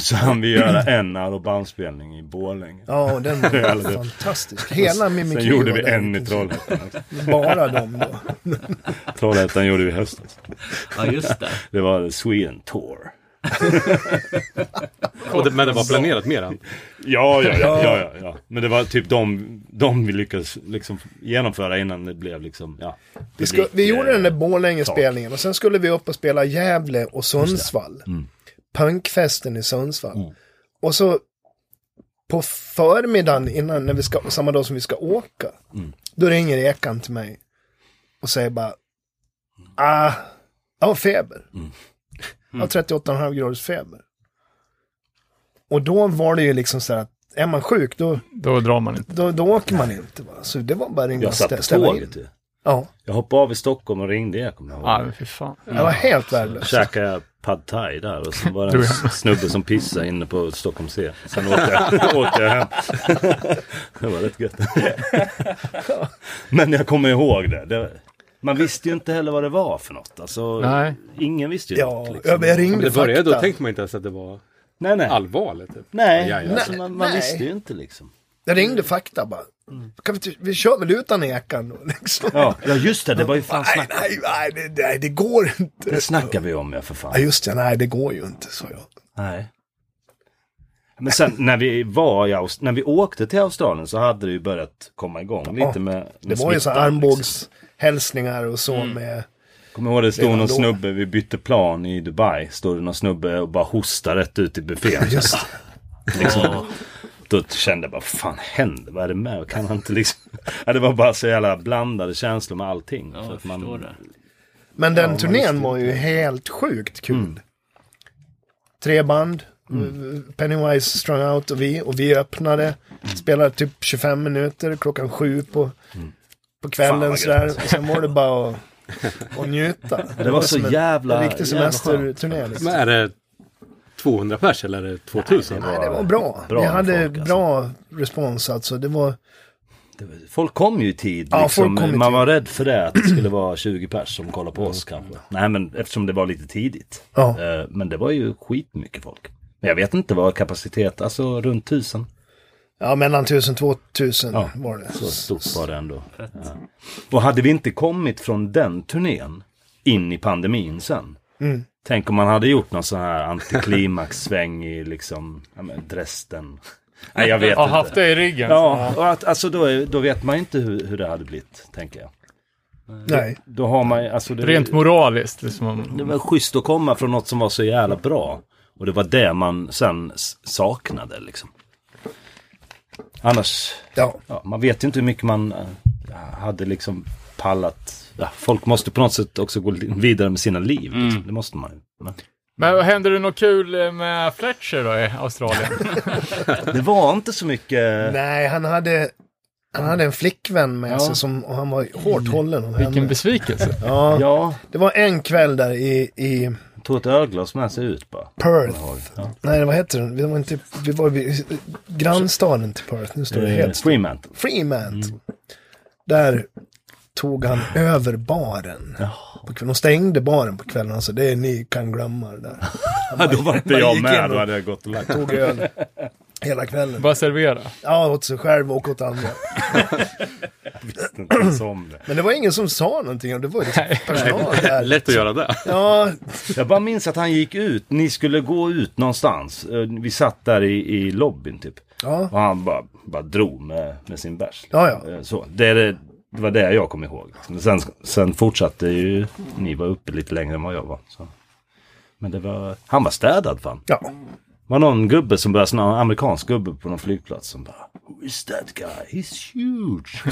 Speaker 6: Så han vill göra en arrowbandspelning i Borlänge.
Speaker 5: Ja,
Speaker 6: [LAUGHS]
Speaker 5: och den
Speaker 6: Jävlar,
Speaker 5: var
Speaker 6: det-
Speaker 5: fantastisk. Hela Mimikyu.
Speaker 6: Sen gjorde
Speaker 5: var
Speaker 6: vi
Speaker 5: där.
Speaker 6: en i Trollhättan. också.
Speaker 5: Bara dem
Speaker 6: [LAUGHS]
Speaker 5: då.
Speaker 6: Trollhättan gjorde vi i höstas.
Speaker 3: Ja, just det.
Speaker 6: Det var Sweden Tour.
Speaker 4: Och det, men det var planerat mer än.
Speaker 6: Ja, ja, ja, ja, ja, ja. Men det var typ de, de vi lyckades liksom genomföra innan det blev liksom, ja.
Speaker 5: Vi, sku,
Speaker 6: eh,
Speaker 5: vi gjorde den där Borlänge-spelningen och sen skulle vi upp och spela Gävle och Sundsvall.
Speaker 6: Mm.
Speaker 5: Punkfesten i Sundsvall. Och så på förmiddagen innan, när vi ska, samma dag som vi ska åka,
Speaker 6: Mm.
Speaker 5: då ringer Ekan till mig och säger bara, ah, jag har feber.
Speaker 6: Mm.
Speaker 5: Jag har 38,5 graders feber. Och då var det ju liksom så här att, är man sjuk då,
Speaker 7: Då drar man inte.
Speaker 5: då, då åker man inte. Va? Så det var bara att ringa
Speaker 6: Jag
Speaker 5: och
Speaker 6: satt
Speaker 5: stä-
Speaker 6: på
Speaker 5: ställa in.
Speaker 6: tåget ju.
Speaker 5: Ja,
Speaker 6: Jag hoppade av i Stockholm och ringde, jag kommer ihåg.
Speaker 7: Ja, men fy fan.
Speaker 5: det var
Speaker 6: Mm.
Speaker 5: helt värdelöst.
Speaker 6: käkade jag pad thai
Speaker 7: [LAUGHS]
Speaker 6: där och sen var det
Speaker 7: Du
Speaker 6: en
Speaker 7: ja.
Speaker 6: snubbe som pissade inne på Stockholm C. Sen åkte
Speaker 7: [LAUGHS]
Speaker 6: jag, åkte jag hem. Det var rätt gött. Men jag kommer ihåg det. det. Man visste ju inte heller vad det var för något. Alltså,
Speaker 7: Nej.
Speaker 6: Ingen visste ju
Speaker 5: Ja,
Speaker 6: något. liksom.
Speaker 5: ja, men jag
Speaker 4: Men
Speaker 5: ringde
Speaker 4: Typ, liksom. det började, då
Speaker 5: fakta.
Speaker 4: tänkte man inte ens att det var
Speaker 6: Nej, nej.
Speaker 4: allvarligt. Typ.
Speaker 6: nej,
Speaker 4: Ja, ja.
Speaker 6: Alltså, man, man
Speaker 5: Nej.
Speaker 6: visste ju inte liksom.
Speaker 5: Jag ringde fakta bara. Kan vi, inte- vi kör väl utan ekan då liksom.
Speaker 6: Ja, ja just det. Det var ju fan
Speaker 5: Nej,
Speaker 6: snack.
Speaker 5: nej, nej, det, nej, det går inte.
Speaker 6: Det snackar vi om ja, för fan.
Speaker 5: Ja, just det, nej, det går ju inte, sa jag.
Speaker 6: Nej. Men sen när vi var i Aust- när vi åkte till Australien så hade det ju börjat komma igång lite med, med
Speaker 5: Det var ju så
Speaker 6: smittan,
Speaker 5: här
Speaker 6: liksom. Mm.
Speaker 5: armbågshälsningar och så med...
Speaker 6: Kommer ihåg det stod
Speaker 5: Redan
Speaker 6: någon
Speaker 5: då.
Speaker 6: snubbe, vi bytte plan i Dubai. Stod det någon snubbe och bara hostade rätt ut i buffén.
Speaker 5: Just
Speaker 6: Liksom. Då kände jag bara, vad fan händer? Vad är det med? Kan han inte liksom... [LAUGHS] ja, det var bara så jävla blandade känslor med allting.
Speaker 3: Ja,
Speaker 6: För
Speaker 3: jag
Speaker 6: att man-
Speaker 3: förstår det.
Speaker 5: Men den turnén var ju helt sjukt kul.
Speaker 6: Mm.
Speaker 5: Tre band, eh, Pennywise, Strung Out och vi. Och vi öppnade,
Speaker 6: Mm.
Speaker 5: spelade typ 25 minuter klockan sju på, på
Speaker 6: Fan,
Speaker 5: kvällen
Speaker 6: vad
Speaker 5: sådär. Och sen var det bara att,
Speaker 6: [LAUGHS]
Speaker 5: att njuta.
Speaker 6: det var så
Speaker 5: som en-
Speaker 6: jävla-
Speaker 5: En riktig
Speaker 6: jävla
Speaker 5: semesterturné. Liksom.
Speaker 4: Men är det 200 pers eller är det 2000?
Speaker 5: Nej, det var bra.
Speaker 6: Bra
Speaker 5: vi
Speaker 6: med
Speaker 5: hade
Speaker 6: folk, alltså.
Speaker 5: bra respons alltså. Det var,
Speaker 6: Det var- Folk kom ju i tid.
Speaker 5: Ja,
Speaker 6: Liksom.
Speaker 5: folk kom i
Speaker 6: man
Speaker 5: tid.
Speaker 6: var rädd för det, att det skulle
Speaker 5: [CLEARS THROAT]
Speaker 6: vara 20 pers som kollade på oss kanske.
Speaker 5: Mm.
Speaker 6: Nej, men eftersom det var lite tidigt.
Speaker 5: Ja.
Speaker 6: Eh, Men det var ju skitmycket folk. Men jag vet inte vad kapacitet, alltså runt tusen.
Speaker 5: ja mellan 1000 och 2000
Speaker 6: Ja,
Speaker 5: var det.
Speaker 6: Så stort var det ändå. Ja. Och hade vi inte kommit från den turnén in i pandemin sen.
Speaker 7: Mm.
Speaker 6: Tänk om man hade gjort någon sån här antiklimax-sväng i liksom, ja men Dresden. Nej jag vet
Speaker 7: Har
Speaker 6: inte.
Speaker 7: haft det i ryggen.
Speaker 6: Ja, och att, alltså då, är, då vet man ju inte hur, hur det hade blivit, tänker jag.
Speaker 5: Nej,
Speaker 6: Då har man ju- alltså det,
Speaker 7: Rent moraliskt liksom.
Speaker 6: det var schysst att komma från något som var så jävla bra. Och det var det man sen s- saknade liksom. Annars
Speaker 5: ja.
Speaker 6: Ja, man vet ju inte hur mycket man eh, hade liksom pallat ja, folk måste på något sätt också gå li- vidare med sina liv. Liksom. Det måste man ju. Men
Speaker 1: Men vad hände det något kul eh, med Fletcher då i
Speaker 5: [LAUGHS]
Speaker 1: Australien?
Speaker 6: det var inte så mycket...
Speaker 5: Nej, han hade, han hade en flickvän med sig som, och han var hårt hållen om
Speaker 1: Vilken
Speaker 5: henne.
Speaker 1: besvikelse.
Speaker 5: Ja,
Speaker 6: Ja,
Speaker 5: det var en kväll där i, i
Speaker 6: tog ett ölglas med sig ut bara.
Speaker 5: Perth.
Speaker 6: Ja.
Speaker 5: Nej, vad heter den? Vi var, inte, vi var i grannstaden till Perth. Nu står det
Speaker 6: Eh,
Speaker 5: helt still.
Speaker 6: Fremantle.
Speaker 5: Fremant. Där tog han över baren. På kvällen. De stängde baren på kvällen. Alltså, det är ni kan glömma det där.
Speaker 6: Ja, då var inte
Speaker 5: Man
Speaker 6: jag
Speaker 5: gick in
Speaker 6: med. Då
Speaker 5: och-
Speaker 6: hade jag gått och lagt mig.
Speaker 5: Tog öl hela kvällen.
Speaker 1: Bara servera.
Speaker 5: Ja, åt sig själv och åt andra.
Speaker 6: Visste inte [CLEARS THROAT] ens om det.
Speaker 5: Men det var ingen som sa någonting. och Det var liksom personal där.
Speaker 4: Lätt att göra det.
Speaker 5: Ja,
Speaker 6: Jag bara minns att han gick ut. Ni skulle gå ut någonstans. Eh, Vi satt där i, i lobbyn typ.
Speaker 5: ja.
Speaker 6: Och han bara, bara drog med, med sin bärs.
Speaker 5: Ja, ja.
Speaker 6: Eh, Så, det, är det, det var det jag kom ihåg. liksom. Sen, sen fortsatte ju, ni var uppe lite längre än vad jag var. Så. Men det var, han var städad fan.
Speaker 5: ja.
Speaker 6: Det var någon gubbe som började, någon amerikansk gubbe på någon flygplats som bara Who is that guy? He's
Speaker 1: [LAUGHS]
Speaker 6: huge!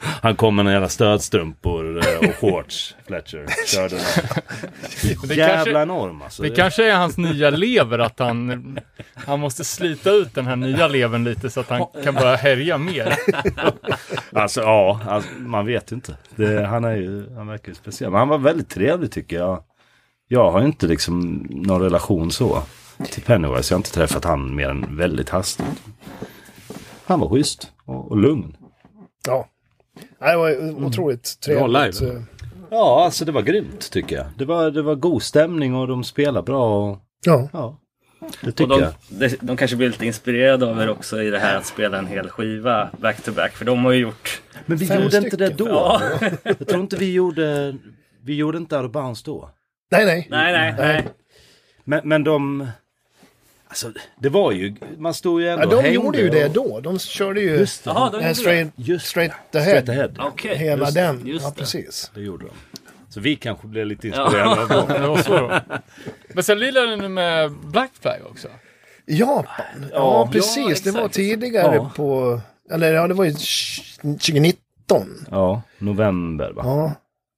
Speaker 6: han kom med några jävla stödstrumpor eh, och shorts, Fletcher. Körde
Speaker 1: [LAUGHS] Det kanske-
Speaker 6: Jävla enorm alltså.
Speaker 1: Det kanske är hans nya lever att han, han måste slita ut den här nya levern lite så att han kan börja härja mer.
Speaker 6: Alltså ja, alltså, man vet ju inte. Det, han är ju, han verkar ju speciell. Men han var väldigt trevlig tycker jag. Jag har ju inte liksom någon relation så till Pennywise. Jag har inte träffat han mer än väldigt hastigt. Han var schysst och, och lugn.
Speaker 5: Ja. Nej, Det
Speaker 6: Mm.
Speaker 5: var otroligt trevligt. eh,
Speaker 4: live.
Speaker 6: Ja, alltså det var grymt tycker jag. Det var, det var god stämning och de spelade bra. Och,
Speaker 5: Ja,
Speaker 6: ja, det
Speaker 8: Och
Speaker 6: tycker
Speaker 8: de,
Speaker 6: jag.
Speaker 8: de, de kanske blir lite inspirerade av er också i det här att spela en hel skiva back-to-back. För de har ju gjort...
Speaker 6: Men vi
Speaker 5: Fem
Speaker 6: gjorde inte det
Speaker 5: stycken.
Speaker 6: då. Jag tror inte vi gjorde, vi gjorde inte Out of Bounds då.
Speaker 5: nej, nej.
Speaker 8: Nej, nej, nej.
Speaker 6: Men, men de... Alltså, det var ju... Man stod ju ändå
Speaker 5: Ja,
Speaker 6: och
Speaker 5: de
Speaker 6: hängde
Speaker 5: gjorde ju det
Speaker 6: och-
Speaker 5: då. De körde ju
Speaker 6: Just det.
Speaker 8: Jaha, de
Speaker 5: eh,
Speaker 8: gjorde det.
Speaker 5: straight,
Speaker 6: Just
Speaker 5: straight
Speaker 6: det.
Speaker 5: ahead.
Speaker 6: Straight ahead.
Speaker 8: Okej.
Speaker 5: Hela den.
Speaker 8: just
Speaker 5: ja,
Speaker 8: det.
Speaker 5: precis.
Speaker 6: Det gjorde de. Så vi kanske blev lite inspirerade
Speaker 1: [LAUGHS]
Speaker 6: av dem.
Speaker 1: Det var så. då. Men sen lirade ni med Black Flag också.
Speaker 5: Japan. Ja,
Speaker 6: Ja,
Speaker 5: precis. det var
Speaker 8: exakt.
Speaker 5: tidigare
Speaker 6: Ja.
Speaker 5: på... Eller ja, det var ju 2019.
Speaker 6: Ja, november va?
Speaker 5: Ja,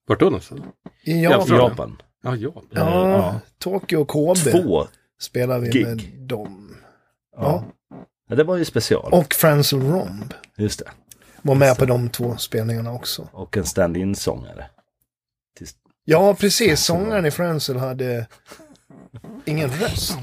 Speaker 4: Vart då någonstans?
Speaker 5: i
Speaker 6: Ja,
Speaker 5: Japan.
Speaker 6: för Japan. Eh,
Speaker 4: Ja, ja.
Speaker 5: Ja,
Speaker 6: Ja.
Speaker 5: Tokyo och Kobe
Speaker 6: Två.
Speaker 5: spelade vi
Speaker 6: gig.
Speaker 5: med dem.
Speaker 6: Ja. ja. Det var ju special.
Speaker 5: Och Franz och Romb
Speaker 6: Just det.
Speaker 5: var med på de två spelningarna också.
Speaker 6: Och en stand-in-sångare.
Speaker 5: Ja, precis. Sångaren i Franzel hade ingen röst.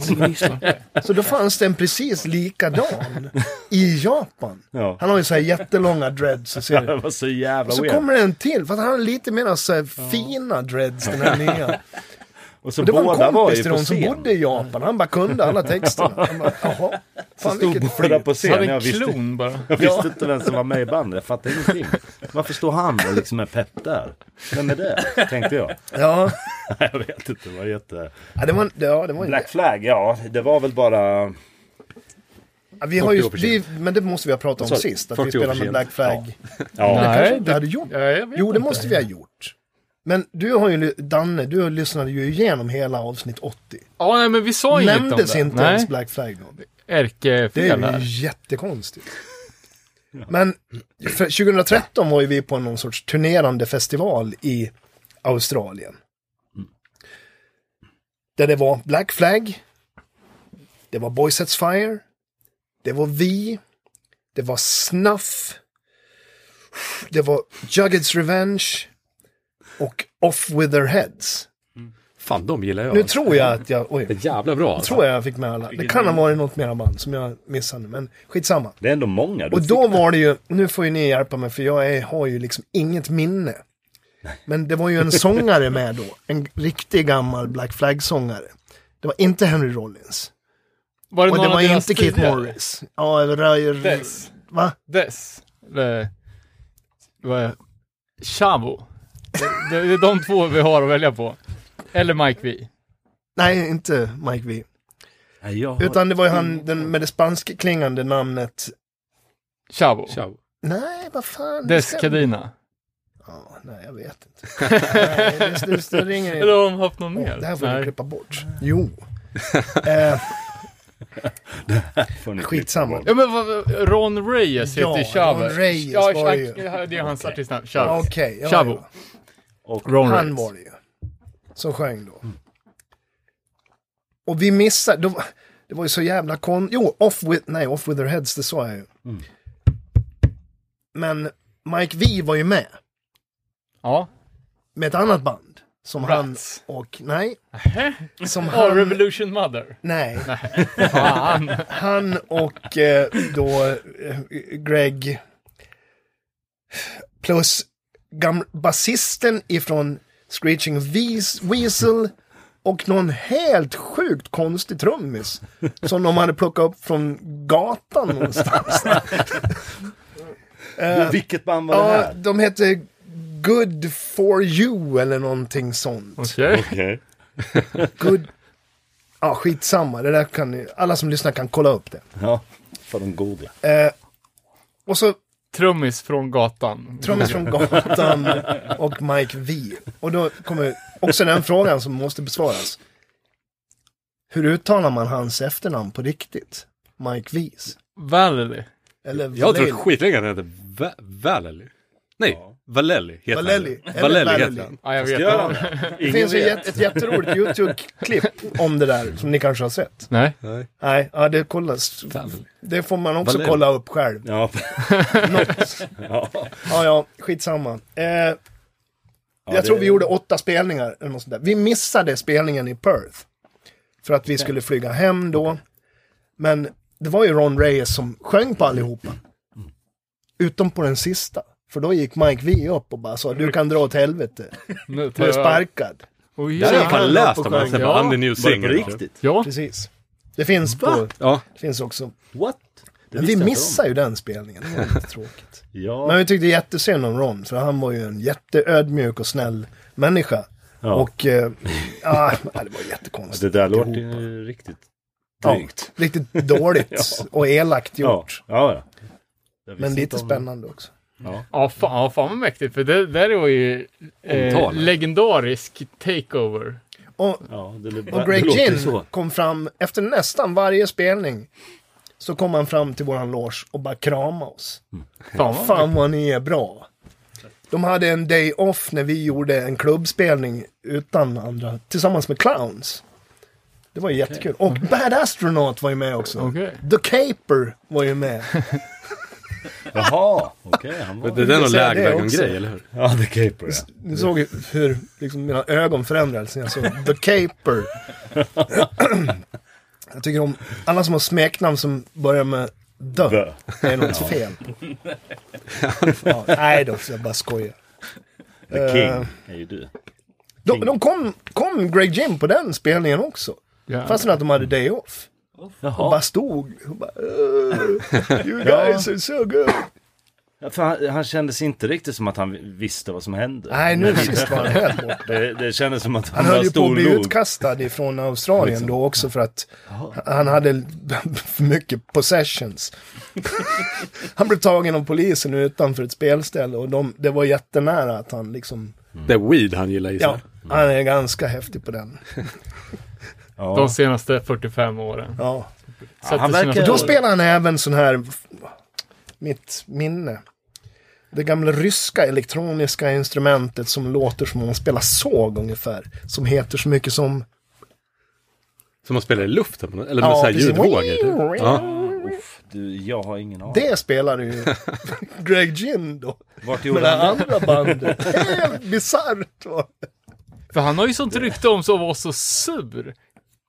Speaker 5: Så då fanns det en precis likadan i Japan.
Speaker 6: Ja.
Speaker 5: Han har ju så här jättelånga dreads. Och ser
Speaker 6: [LAUGHS] Det var så jävla
Speaker 5: Och så
Speaker 6: weird.
Speaker 5: kommer det en till, fast han har lite mer så här fina dreads den här nya.
Speaker 6: Och så
Speaker 5: Och det var
Speaker 6: båda
Speaker 5: en
Speaker 6: var
Speaker 5: kompis
Speaker 6: ju
Speaker 5: till
Speaker 6: på
Speaker 5: dem som
Speaker 6: scen.
Speaker 5: bodde i Japan, han bara kunde alla texterna. Han bara, jaha, fan vilket
Speaker 6: Båda
Speaker 5: flyt.
Speaker 6: på
Speaker 1: Hade
Speaker 6: scen. Jag
Speaker 1: en
Speaker 6: visste,
Speaker 1: klon bara.
Speaker 6: jag visste inte vem som var med i bandet. Jag fattade ingenting. Varför står han och liksom är pepp där? Vem är det? Tänkte
Speaker 5: [LAUGHS]
Speaker 6: jag.
Speaker 5: Ja,
Speaker 6: Jag vet inte. Det var jätte...
Speaker 5: ja det var, en- ja, det var en,
Speaker 6: Black Flag, ja. Det var väl bara...
Speaker 5: ja, vi har ju,
Speaker 4: 40 år
Speaker 5: vi, men det måste vi ha pratat om
Speaker 6: Sorry,
Speaker 5: sist, att
Speaker 4: 40
Speaker 5: vi
Speaker 4: år
Speaker 5: spelade med
Speaker 4: försenat.
Speaker 5: Black Flag.
Speaker 6: Ja.
Speaker 5: Det kanske vi
Speaker 1: Nej,
Speaker 5: inte
Speaker 1: det,
Speaker 5: hade gjort.
Speaker 1: ja, jag vet
Speaker 5: Jo, det
Speaker 1: inte.
Speaker 5: måste vi ha gjort. Men du har ju, Danne, du lyssnade ju igenom hela avsnitt 80.
Speaker 1: Ja, nej, men vi sa inget om det.
Speaker 5: Nämndes inte
Speaker 1: nej,
Speaker 5: ens Black Flag då. Det
Speaker 1: ärkefel
Speaker 5: är ju
Speaker 1: här.
Speaker 5: jättekonstigt. Men för 2013 var ju vi på någon sorts turnerande festival i Australien. Där det var Black Flag, det var Boy Sets Fire, det var vi, det var Snuff, det var Jugged's Revenge och Off With Their Heads.
Speaker 4: Fan, de gillar jag.
Speaker 5: Nu tror jag att jag, oj,
Speaker 4: Det är jävla bra. alltså.
Speaker 5: tror jag jag fick med alla. Det kan ha varit något mera band som jag missade, men skitsamma.
Speaker 6: Det är ändå många. Du
Speaker 5: Och
Speaker 6: fick-
Speaker 5: då var det ju, nu får ju ni hjälpa mig för jag är, har ju liksom inget minne. Men det var
Speaker 1: [LAUGHS]
Speaker 5: ju en sångare med då, en riktig gammal Black Flag-sångare. Det var inte Henry Rollins.
Speaker 1: Var det
Speaker 5: Och
Speaker 1: någon
Speaker 5: det
Speaker 1: av
Speaker 5: var
Speaker 1: deras
Speaker 5: inte Keith
Speaker 1: tidigare?
Speaker 5: Morris. Ja, Ray,
Speaker 1: Dess.
Speaker 5: va?
Speaker 1: Dess. Eller, vad är Chavo. Det, det, det är de två vi har att välja på. Eller Mike V.
Speaker 5: Nej, inte Mike V.
Speaker 6: Nej, jag har-
Speaker 5: Utan det var ju
Speaker 1: Mm.
Speaker 5: han den, med det spanskklingande namnet.
Speaker 1: Chavo.
Speaker 4: Ciao.
Speaker 5: Nej, vad fan. det
Speaker 1: Dess
Speaker 5: ska-
Speaker 1: Kadina.
Speaker 5: Ja, nej, jag vet inte. nej, det, det,
Speaker 1: [LAUGHS]
Speaker 5: det ringer inte.
Speaker 1: Eller har de haft någon mer?
Speaker 5: Det här får
Speaker 1: Nej.
Speaker 5: du klippa bort. Jo. eh,
Speaker 6: Får ni
Speaker 5: Skitsamma.
Speaker 6: klippa
Speaker 7: Ja men vad- Ron Reyes heter
Speaker 5: Ja,
Speaker 7: ju Chavo.
Speaker 5: Ron Reyes
Speaker 7: ja,
Speaker 5: var det ju.
Speaker 7: ja, det är hans artistnamn.
Speaker 5: Ja,
Speaker 7: Chavo.
Speaker 5: Okej, ja,
Speaker 7: Chavo.
Speaker 5: ja.
Speaker 6: Och
Speaker 7: Ron
Speaker 5: han
Speaker 7: Reyes.
Speaker 5: var det ju. Som sjöng då. Och vi missade, då, det var ju så jävla kon... Jo, off with, nej, off with their heads, det sa jag ju. Men Mike V var ju med.
Speaker 7: Ja.
Speaker 5: Med ett annat band. Som
Speaker 7: Rats.
Speaker 5: han och, nej. Som
Speaker 7: Oh,
Speaker 5: han,
Speaker 7: Revolution Mother.
Speaker 5: nej.
Speaker 7: [LAUGHS]
Speaker 5: han och eh, då eh, Greg. Plus gam- basisten ifrån Screeching Weas- Weasel. Och någon helt sjukt konstig trummis. Som de hade plockat upp från gatan någonstans.
Speaker 6: på. Vilket band var det
Speaker 5: ja,
Speaker 6: här?
Speaker 5: de hette Good for you eller någonting sånt.
Speaker 7: Okej.
Speaker 6: Okej.
Speaker 5: Good... Ja, skitsamma. Det där kan ni... Alla som lyssnar kan kolla upp det.
Speaker 6: Ja, får de googla.
Speaker 5: Eh, och så
Speaker 7: Trummis från gatan.
Speaker 5: trummis från gatan och Mike V. Och då kommer också den frågan som måste besvaras. Hur uttalar man hans efternamn på riktigt? Mike V's?
Speaker 7: Valley.
Speaker 5: Eller
Speaker 4: Jag har trott
Speaker 5: Valeli?
Speaker 4: skitlänge att han hette Va- Valeli. Nej, Valelli heter
Speaker 5: Valeli,
Speaker 4: han.
Speaker 5: eller
Speaker 4: Valelli
Speaker 5: Valeli.
Speaker 4: heter han.
Speaker 7: Ja, jag vet.
Speaker 6: Gör
Speaker 7: inte.
Speaker 6: han det?
Speaker 5: Det finns ju ett, ett jätteroligt YouTube-klipp om det där som ni kanske har sett.
Speaker 7: Nej.
Speaker 5: Nej, ja, det kollas. Det får man också
Speaker 4: Valeli.
Speaker 5: kolla upp själv.
Speaker 6: Ja, [LAUGHS]
Speaker 5: Något.
Speaker 6: ja.
Speaker 5: Ja, ja, skitsamma. Eh,
Speaker 6: Ja,
Speaker 5: jag tror
Speaker 6: det-
Speaker 5: vi gjorde åtta spelningar. Eller något sånt där. Vi missade spelningen i Perth. För att vi skulle flyga hem då. Men det var ju Ron Reyes som sjöng på allihopa. Utom på den sista. För då gick Mike V upp och bara sa du kan dra åt helvete.
Speaker 7: Nu tar
Speaker 5: Du är
Speaker 7: jag...
Speaker 5: sparkad.
Speaker 7: Oh,
Speaker 4: Det hade
Speaker 7: yeah.
Speaker 4: jag fan
Speaker 5: han
Speaker 4: läst
Speaker 5: på
Speaker 4: om. Han
Speaker 5: skärmen.
Speaker 4: säger bara, I'm the new
Speaker 6: Var det
Speaker 4: singer.
Speaker 6: på
Speaker 4: typ.
Speaker 6: riktigt?
Speaker 7: Ja.
Speaker 5: Precis. Det finns, på,
Speaker 4: Ja,
Speaker 5: det finns också.
Speaker 6: What? Det
Speaker 5: Men vi
Speaker 6: visste jag inte om.
Speaker 5: missar ju den spelningen. Det var lite tråkigt. Men
Speaker 6: Ja,
Speaker 5: vi tyckte jättesynd om Ron. För han var ju en jätteödmjuk och snäll människa.
Speaker 6: ja. [LAUGHS]
Speaker 5: Och eh, ja, det var
Speaker 6: det
Speaker 5: jättekonstigt.
Speaker 6: där låter
Speaker 5: alltihopa.
Speaker 6: ju riktigt
Speaker 5: Ja.
Speaker 6: drygt. [LAUGHS]
Speaker 5: Riktigt dåligt och elakt
Speaker 6: Ja,
Speaker 5: gjort.
Speaker 6: ja. ja. Jag visste
Speaker 5: Men
Speaker 6: inte
Speaker 5: lite
Speaker 6: om-
Speaker 5: spännande också.
Speaker 7: Ja, fan, ja, fan vad mäktigt. För det där var ju eh,
Speaker 4: Omtal.
Speaker 7: legendarisk takeover.
Speaker 5: Och,
Speaker 6: Ja, det, det,
Speaker 5: och
Speaker 6: det
Speaker 5: Greg
Speaker 6: låter ju
Speaker 5: Ginn
Speaker 6: så.
Speaker 5: kom fram, efter nästan varje spelning, så kom han fram till våran loge och bara krama oss.
Speaker 7: Fan vad...
Speaker 5: Fan vad ni är bra. De hade en day off när vi gjorde en klubbspelning utan andra, tillsammans med Clowns. Det var ju jättekul. Och Bad Astronaut var ju med också.
Speaker 7: Okej.
Speaker 5: The Caper var ju med.
Speaker 6: Jaha, okej. [LAUGHS] han var...
Speaker 4: det där är nog
Speaker 5: säga det också.
Speaker 4: lägervägen-grej, eller hur?
Speaker 6: Ja, The Caper ja.
Speaker 5: Ni såg ju hur liksom, mina ögon förändrades när jag såg The Caper. [CLEARS THROAT] jag tycker om alla som har smeknamn som börjar med The.
Speaker 6: Bö.
Speaker 5: Det är något fel på. ja, nej då, så jag bara skojar.
Speaker 6: The King är ju du.
Speaker 5: De, de kom, kom Greg Jim på den spelningen också.
Speaker 7: Ja.
Speaker 5: Fastän att de hade day off. Och bara
Speaker 6: Jaha.
Speaker 5: stod och bara "Uh, You guys are so good.
Speaker 6: Ja, för han, han kändes inte riktigt som att han visste vad som hände.
Speaker 5: Nej, nu sist var han helt borta.
Speaker 6: Det, det kändes som att han,
Speaker 5: Han höll
Speaker 6: bara
Speaker 5: ju på att
Speaker 6: stod
Speaker 5: bli
Speaker 6: och log. Liksom.
Speaker 5: utkastad ifrån Australien då också för att han hade [LAUGHS] för mycket possessions. [LAUGHS] han blev tagen av polisen utanför ett spelställe och de, det var jättenära att han liksom,
Speaker 4: Det är weed han gillar gissar
Speaker 5: ja,
Speaker 4: jag.
Speaker 5: han är ganska häftig på den.
Speaker 6: Ja.
Speaker 7: De senaste 45 åren.
Speaker 5: Ja.
Speaker 7: Sätter
Speaker 6: han
Speaker 7: sina
Speaker 6: verkar-
Speaker 7: spår.
Speaker 5: Då spelar han även sån här, mitt minne, det gamla ryska elektroniska instrumentet som låter som om man spelar såg ungefär. Som heter så mycket som
Speaker 4: Som man spelar i luften, på något- eller med
Speaker 5: Ja,
Speaker 4: så här
Speaker 5: precis.
Speaker 4: ljudvågor. typ. Ja.
Speaker 6: Du, jag har ingen aning.
Speaker 5: Det spelar ju Greg Ginn då.
Speaker 6: Vart
Speaker 5: Med
Speaker 6: gjorde
Speaker 5: det
Speaker 6: han
Speaker 5: här andra bandet. Helt bisarrt var det.
Speaker 7: För han har ju sånt rykte om sig att vara så sur.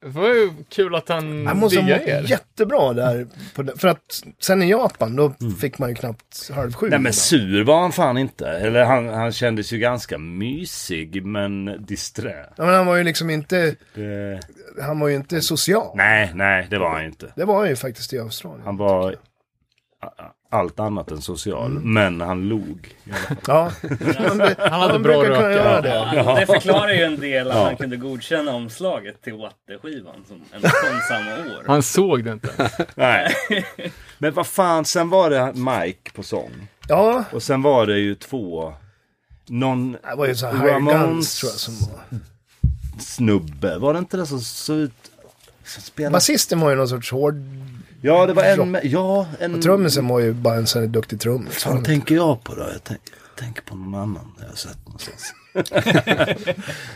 Speaker 7: Det var ju kul att han,
Speaker 5: Han måste ha
Speaker 7: diggar
Speaker 5: mått
Speaker 7: er.
Speaker 5: jättebra där. På det. För att sen i Japan då fick man ju knappt halv sju.
Speaker 6: Nej men sur var han fan inte. Eller han, han kändes ju ganska mysig men disträ.
Speaker 5: Ja, men han var ju liksom inte,
Speaker 6: Det...
Speaker 5: han var ju inte social.
Speaker 6: Nej, nej det var han ju inte.
Speaker 5: Det var han ju faktiskt i Australien.
Speaker 6: Han var a- allt annat än social.
Speaker 5: Mm.
Speaker 6: Men han log.
Speaker 5: Ja. han,
Speaker 7: Han hade bra
Speaker 5: brukar kunna
Speaker 7: röka.
Speaker 5: göra det.
Speaker 8: Ja, det förklarar ju en del att han kunde godkänna omslaget till Watte-skivan som ändå kom samma år.
Speaker 7: Han såg det inte.
Speaker 5: [LAUGHS]
Speaker 6: Nej. Men vad fan, sen var det Mike på sång.
Speaker 5: Ja,
Speaker 6: Och sen var det ju två... Någon
Speaker 5: det var ju så här Ramones
Speaker 6: Ramones-
Speaker 5: tror jag som var.
Speaker 6: snubbe. Var det inte det som såg ut... liksom spela...
Speaker 5: Basisten var ju någon sorts hård...
Speaker 6: Ja, det var en... med- Ja, en...
Speaker 5: Och trummisen var ju bara en sån här duktig trummis.
Speaker 6: Mm. fan tänker jag på då? Jag, tänk, jag tänker på någon annan jag har sett
Speaker 5: [LAUGHS]
Speaker 6: någonstans.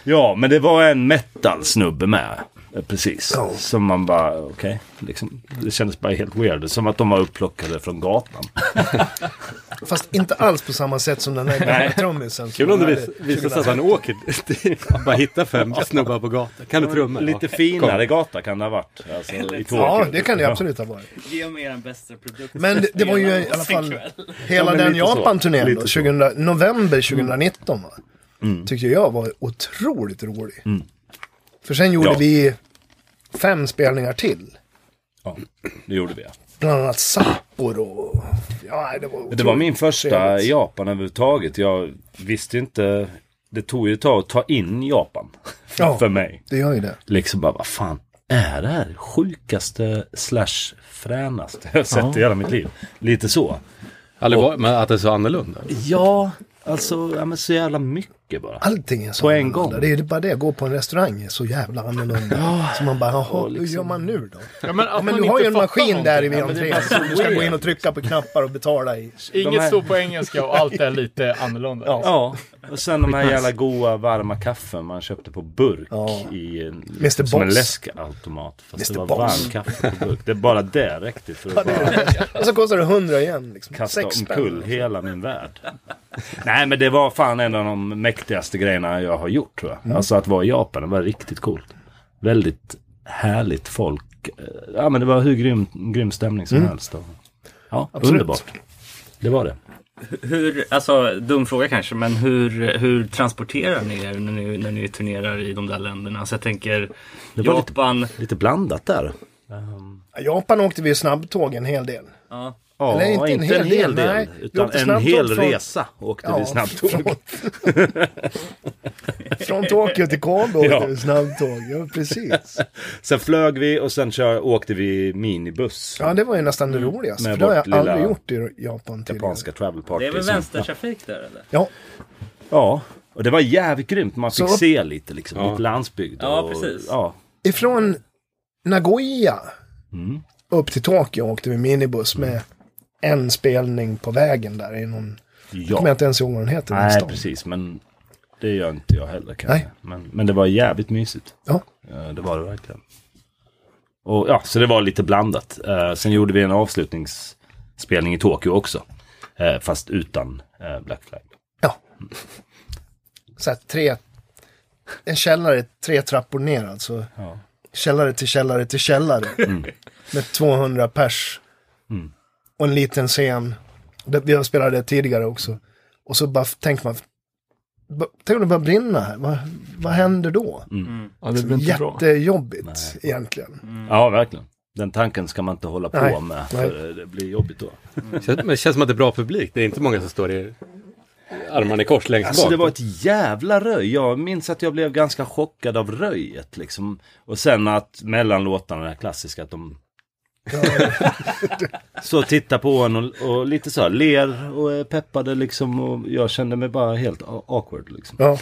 Speaker 6: ja, men det var en metal-snubbe med. eh, Precis.
Speaker 5: Ja.
Speaker 6: Som man bara, okej. liksom, det kändes bara helt weird. Som att de var upplockade från gatan.
Speaker 5: Fast inte alls på samma sätt som den här gamla trummisen. som
Speaker 4: Kul om det
Speaker 5: var
Speaker 4: vis,
Speaker 5: här-
Speaker 4: visar sig att han åker dit. Han Bara hittar fem snubbar på gatan. Kan du trummor?
Speaker 6: Lite finare gata kan det ha varit. Alltså, i Tokyo.
Speaker 5: Ja, det kan det absolut ha varit.
Speaker 8: Ge mig den bästa produkten.
Speaker 5: Men det, det var ju i alla fall hela den Japan-turnén då, 2000, november 2019 va? Tyckte jag var otroligt rolig. För sen gjorde
Speaker 6: Ja.
Speaker 5: vi fem spelningar till.
Speaker 6: Ja, det gjorde vi. Ja.
Speaker 5: Bland annat Sapporo. och- Ja, det
Speaker 6: Det
Speaker 5: var
Speaker 6: var
Speaker 5: otroligt
Speaker 6: min första
Speaker 5: trevligt.
Speaker 6: Japan överhuvudtaget. Jag visste ju inte. Det tog ju ett tag att ta in Japan. [LAUGHS]
Speaker 5: Ja.
Speaker 6: För mig.
Speaker 5: Det gör ju det.
Speaker 6: liksom bara, vad fan är det här? Sjukaste slash fränaste jag har sett i hela mitt liv. Lite så.
Speaker 4: Aldrig varit, Alltså, men att det är så annorlunda.
Speaker 6: Ja, alltså, ja men så jävla mycket bara.
Speaker 5: Allting är så
Speaker 6: På en
Speaker 5: annorlunda.
Speaker 6: gång.
Speaker 5: Det är ju bara det, gå på en restaurang är så jävla annorlunda. Så man bara, jaha, hur
Speaker 6: liksom.
Speaker 5: gör man nu då?
Speaker 1: Ja, men, att
Speaker 5: Ja, men
Speaker 1: man
Speaker 5: du har
Speaker 1: inte
Speaker 5: ju en
Speaker 1: fattar
Speaker 5: maskin där
Speaker 1: någonting.
Speaker 5: i
Speaker 1: Ja, men det är
Speaker 5: entrén
Speaker 1: bara så
Speaker 5: som du ska gå
Speaker 1: weird.
Speaker 5: in och trycka på knappar och betala i.
Speaker 1: Inget
Speaker 6: här-
Speaker 1: står på engelska och allt är lite annorlunda. Ja.
Speaker 6: Ja, och sen de här jävla goa varma kaffen man köpte på burk
Speaker 5: Ja.
Speaker 6: i en,
Speaker 5: Mr.
Speaker 6: som en
Speaker 5: Boss.
Speaker 6: läskautomat. Fast
Speaker 5: Mr.
Speaker 6: det var
Speaker 5: Boss.
Speaker 6: varm kaffe på burk. Det är bara det räckte för att bara
Speaker 5: Och så kostar det 100 igen. Liksom.
Speaker 6: kasta
Speaker 5: Sex
Speaker 6: omkull
Speaker 5: spänn.
Speaker 6: hela min värld. Nej men det var fan en av de mäktigaste grejerna jag har gjort tror jag.
Speaker 5: Mm.
Speaker 6: Alltså att vara i Japan, det var riktigt coolt. Väldigt härligt folk. Eh, Ja men det var hur grym, grym stämning
Speaker 5: Mm.
Speaker 6: som helst. Och- Ja, underbart. Det var det.
Speaker 8: Hur, alltså dum fråga kanske, men hur, hur transporterar ni er när ni, när ni turnerar i de där länderna? Alltså jag tänker
Speaker 6: var lite-
Speaker 8: Japan.
Speaker 6: Lite blandat där.
Speaker 5: Japan åkte vi ju snabbtåg en hel del.
Speaker 8: Ja.
Speaker 6: Ja,
Speaker 5: Eller inte en hel del, nej. Vi
Speaker 6: utan
Speaker 5: åkte
Speaker 6: en
Speaker 5: snabbtåg
Speaker 6: hel
Speaker 5: från-
Speaker 6: resa åkte vi
Speaker 5: [LAUGHS]
Speaker 6: snabbtåg. [LAUGHS]
Speaker 5: Från, från Tokyo till Kobe
Speaker 6: Ja.
Speaker 5: åkte vi snabbtåg. Ja, precis.
Speaker 6: Sen flög vi och sen kör, åkte vi minibuss.
Speaker 5: Ja, det var ju nästan det roligaste.
Speaker 6: Mm. Med
Speaker 5: För det har
Speaker 6: vårt
Speaker 5: jag aldrig
Speaker 6: lilla
Speaker 5: gjort i Japan tidigare.
Speaker 6: Japanska travel
Speaker 8: Det
Speaker 6: party.
Speaker 8: är väl
Speaker 6: som-
Speaker 8: vänstertrafik där eller?
Speaker 5: Ja,
Speaker 6: Ja, och det var jävligt grymt. Man fick
Speaker 5: Så-
Speaker 6: se lite liksom,
Speaker 4: Ja.
Speaker 6: lite landsbygd.
Speaker 8: Ja,
Speaker 6: och,
Speaker 8: precis.
Speaker 6: Ja,
Speaker 5: ifrån Nagoya upp till Tokyo åkte vi minibuss med en spelning på vägen där i någon... Jag kommer
Speaker 6: ja.
Speaker 5: inte ens ihåg vad den heter. den
Speaker 6: Nej,
Speaker 5: stan.
Speaker 6: precis. Men det gör inte jag heller kanske.
Speaker 5: Nej.
Speaker 6: Men, men det var jävligt mysigt.
Speaker 5: Ja.
Speaker 6: Eh, Det var det verkligen. Och ja, så det var lite blandat. Eh, Sen gjorde vi en avslutningsspelning i Tokyo också. Eh, Fast utan eh, Black Flag.
Speaker 5: Ja. Så här, tre... En källare tre trappor ner alltså.
Speaker 6: Ja.
Speaker 5: Källare till källare till källare.
Speaker 6: Mm.
Speaker 5: Med 200 pers. Och en liten scen. Det, vi har spelat det tidigare också. Och så bara f- tänker man. ba- Tänk om det börjar brinna här. Vad, vad händer då?
Speaker 1: Ja, det blir inte bra.
Speaker 5: Jättejobbigt egentligen.
Speaker 6: Mm. Ja, verkligen. Den tanken ska man inte hålla på
Speaker 5: Nej.
Speaker 6: med. För det blir jobbigt då.
Speaker 4: Känns- Men det känns som att det är bra publik. Det är inte många som står i armarna i kors längst
Speaker 6: Alltså
Speaker 4: bak.
Speaker 6: det var ett jävla röj. Jag minns att jag blev ganska chockad av röjet liksom. Och sen att mellan låtarna, det här klassiska, att de [LAUGHS] så tittar på en och, och lite så här ler och är peppade liksom. Och jag kände mig bara helt a- awkward liksom.
Speaker 5: Ja.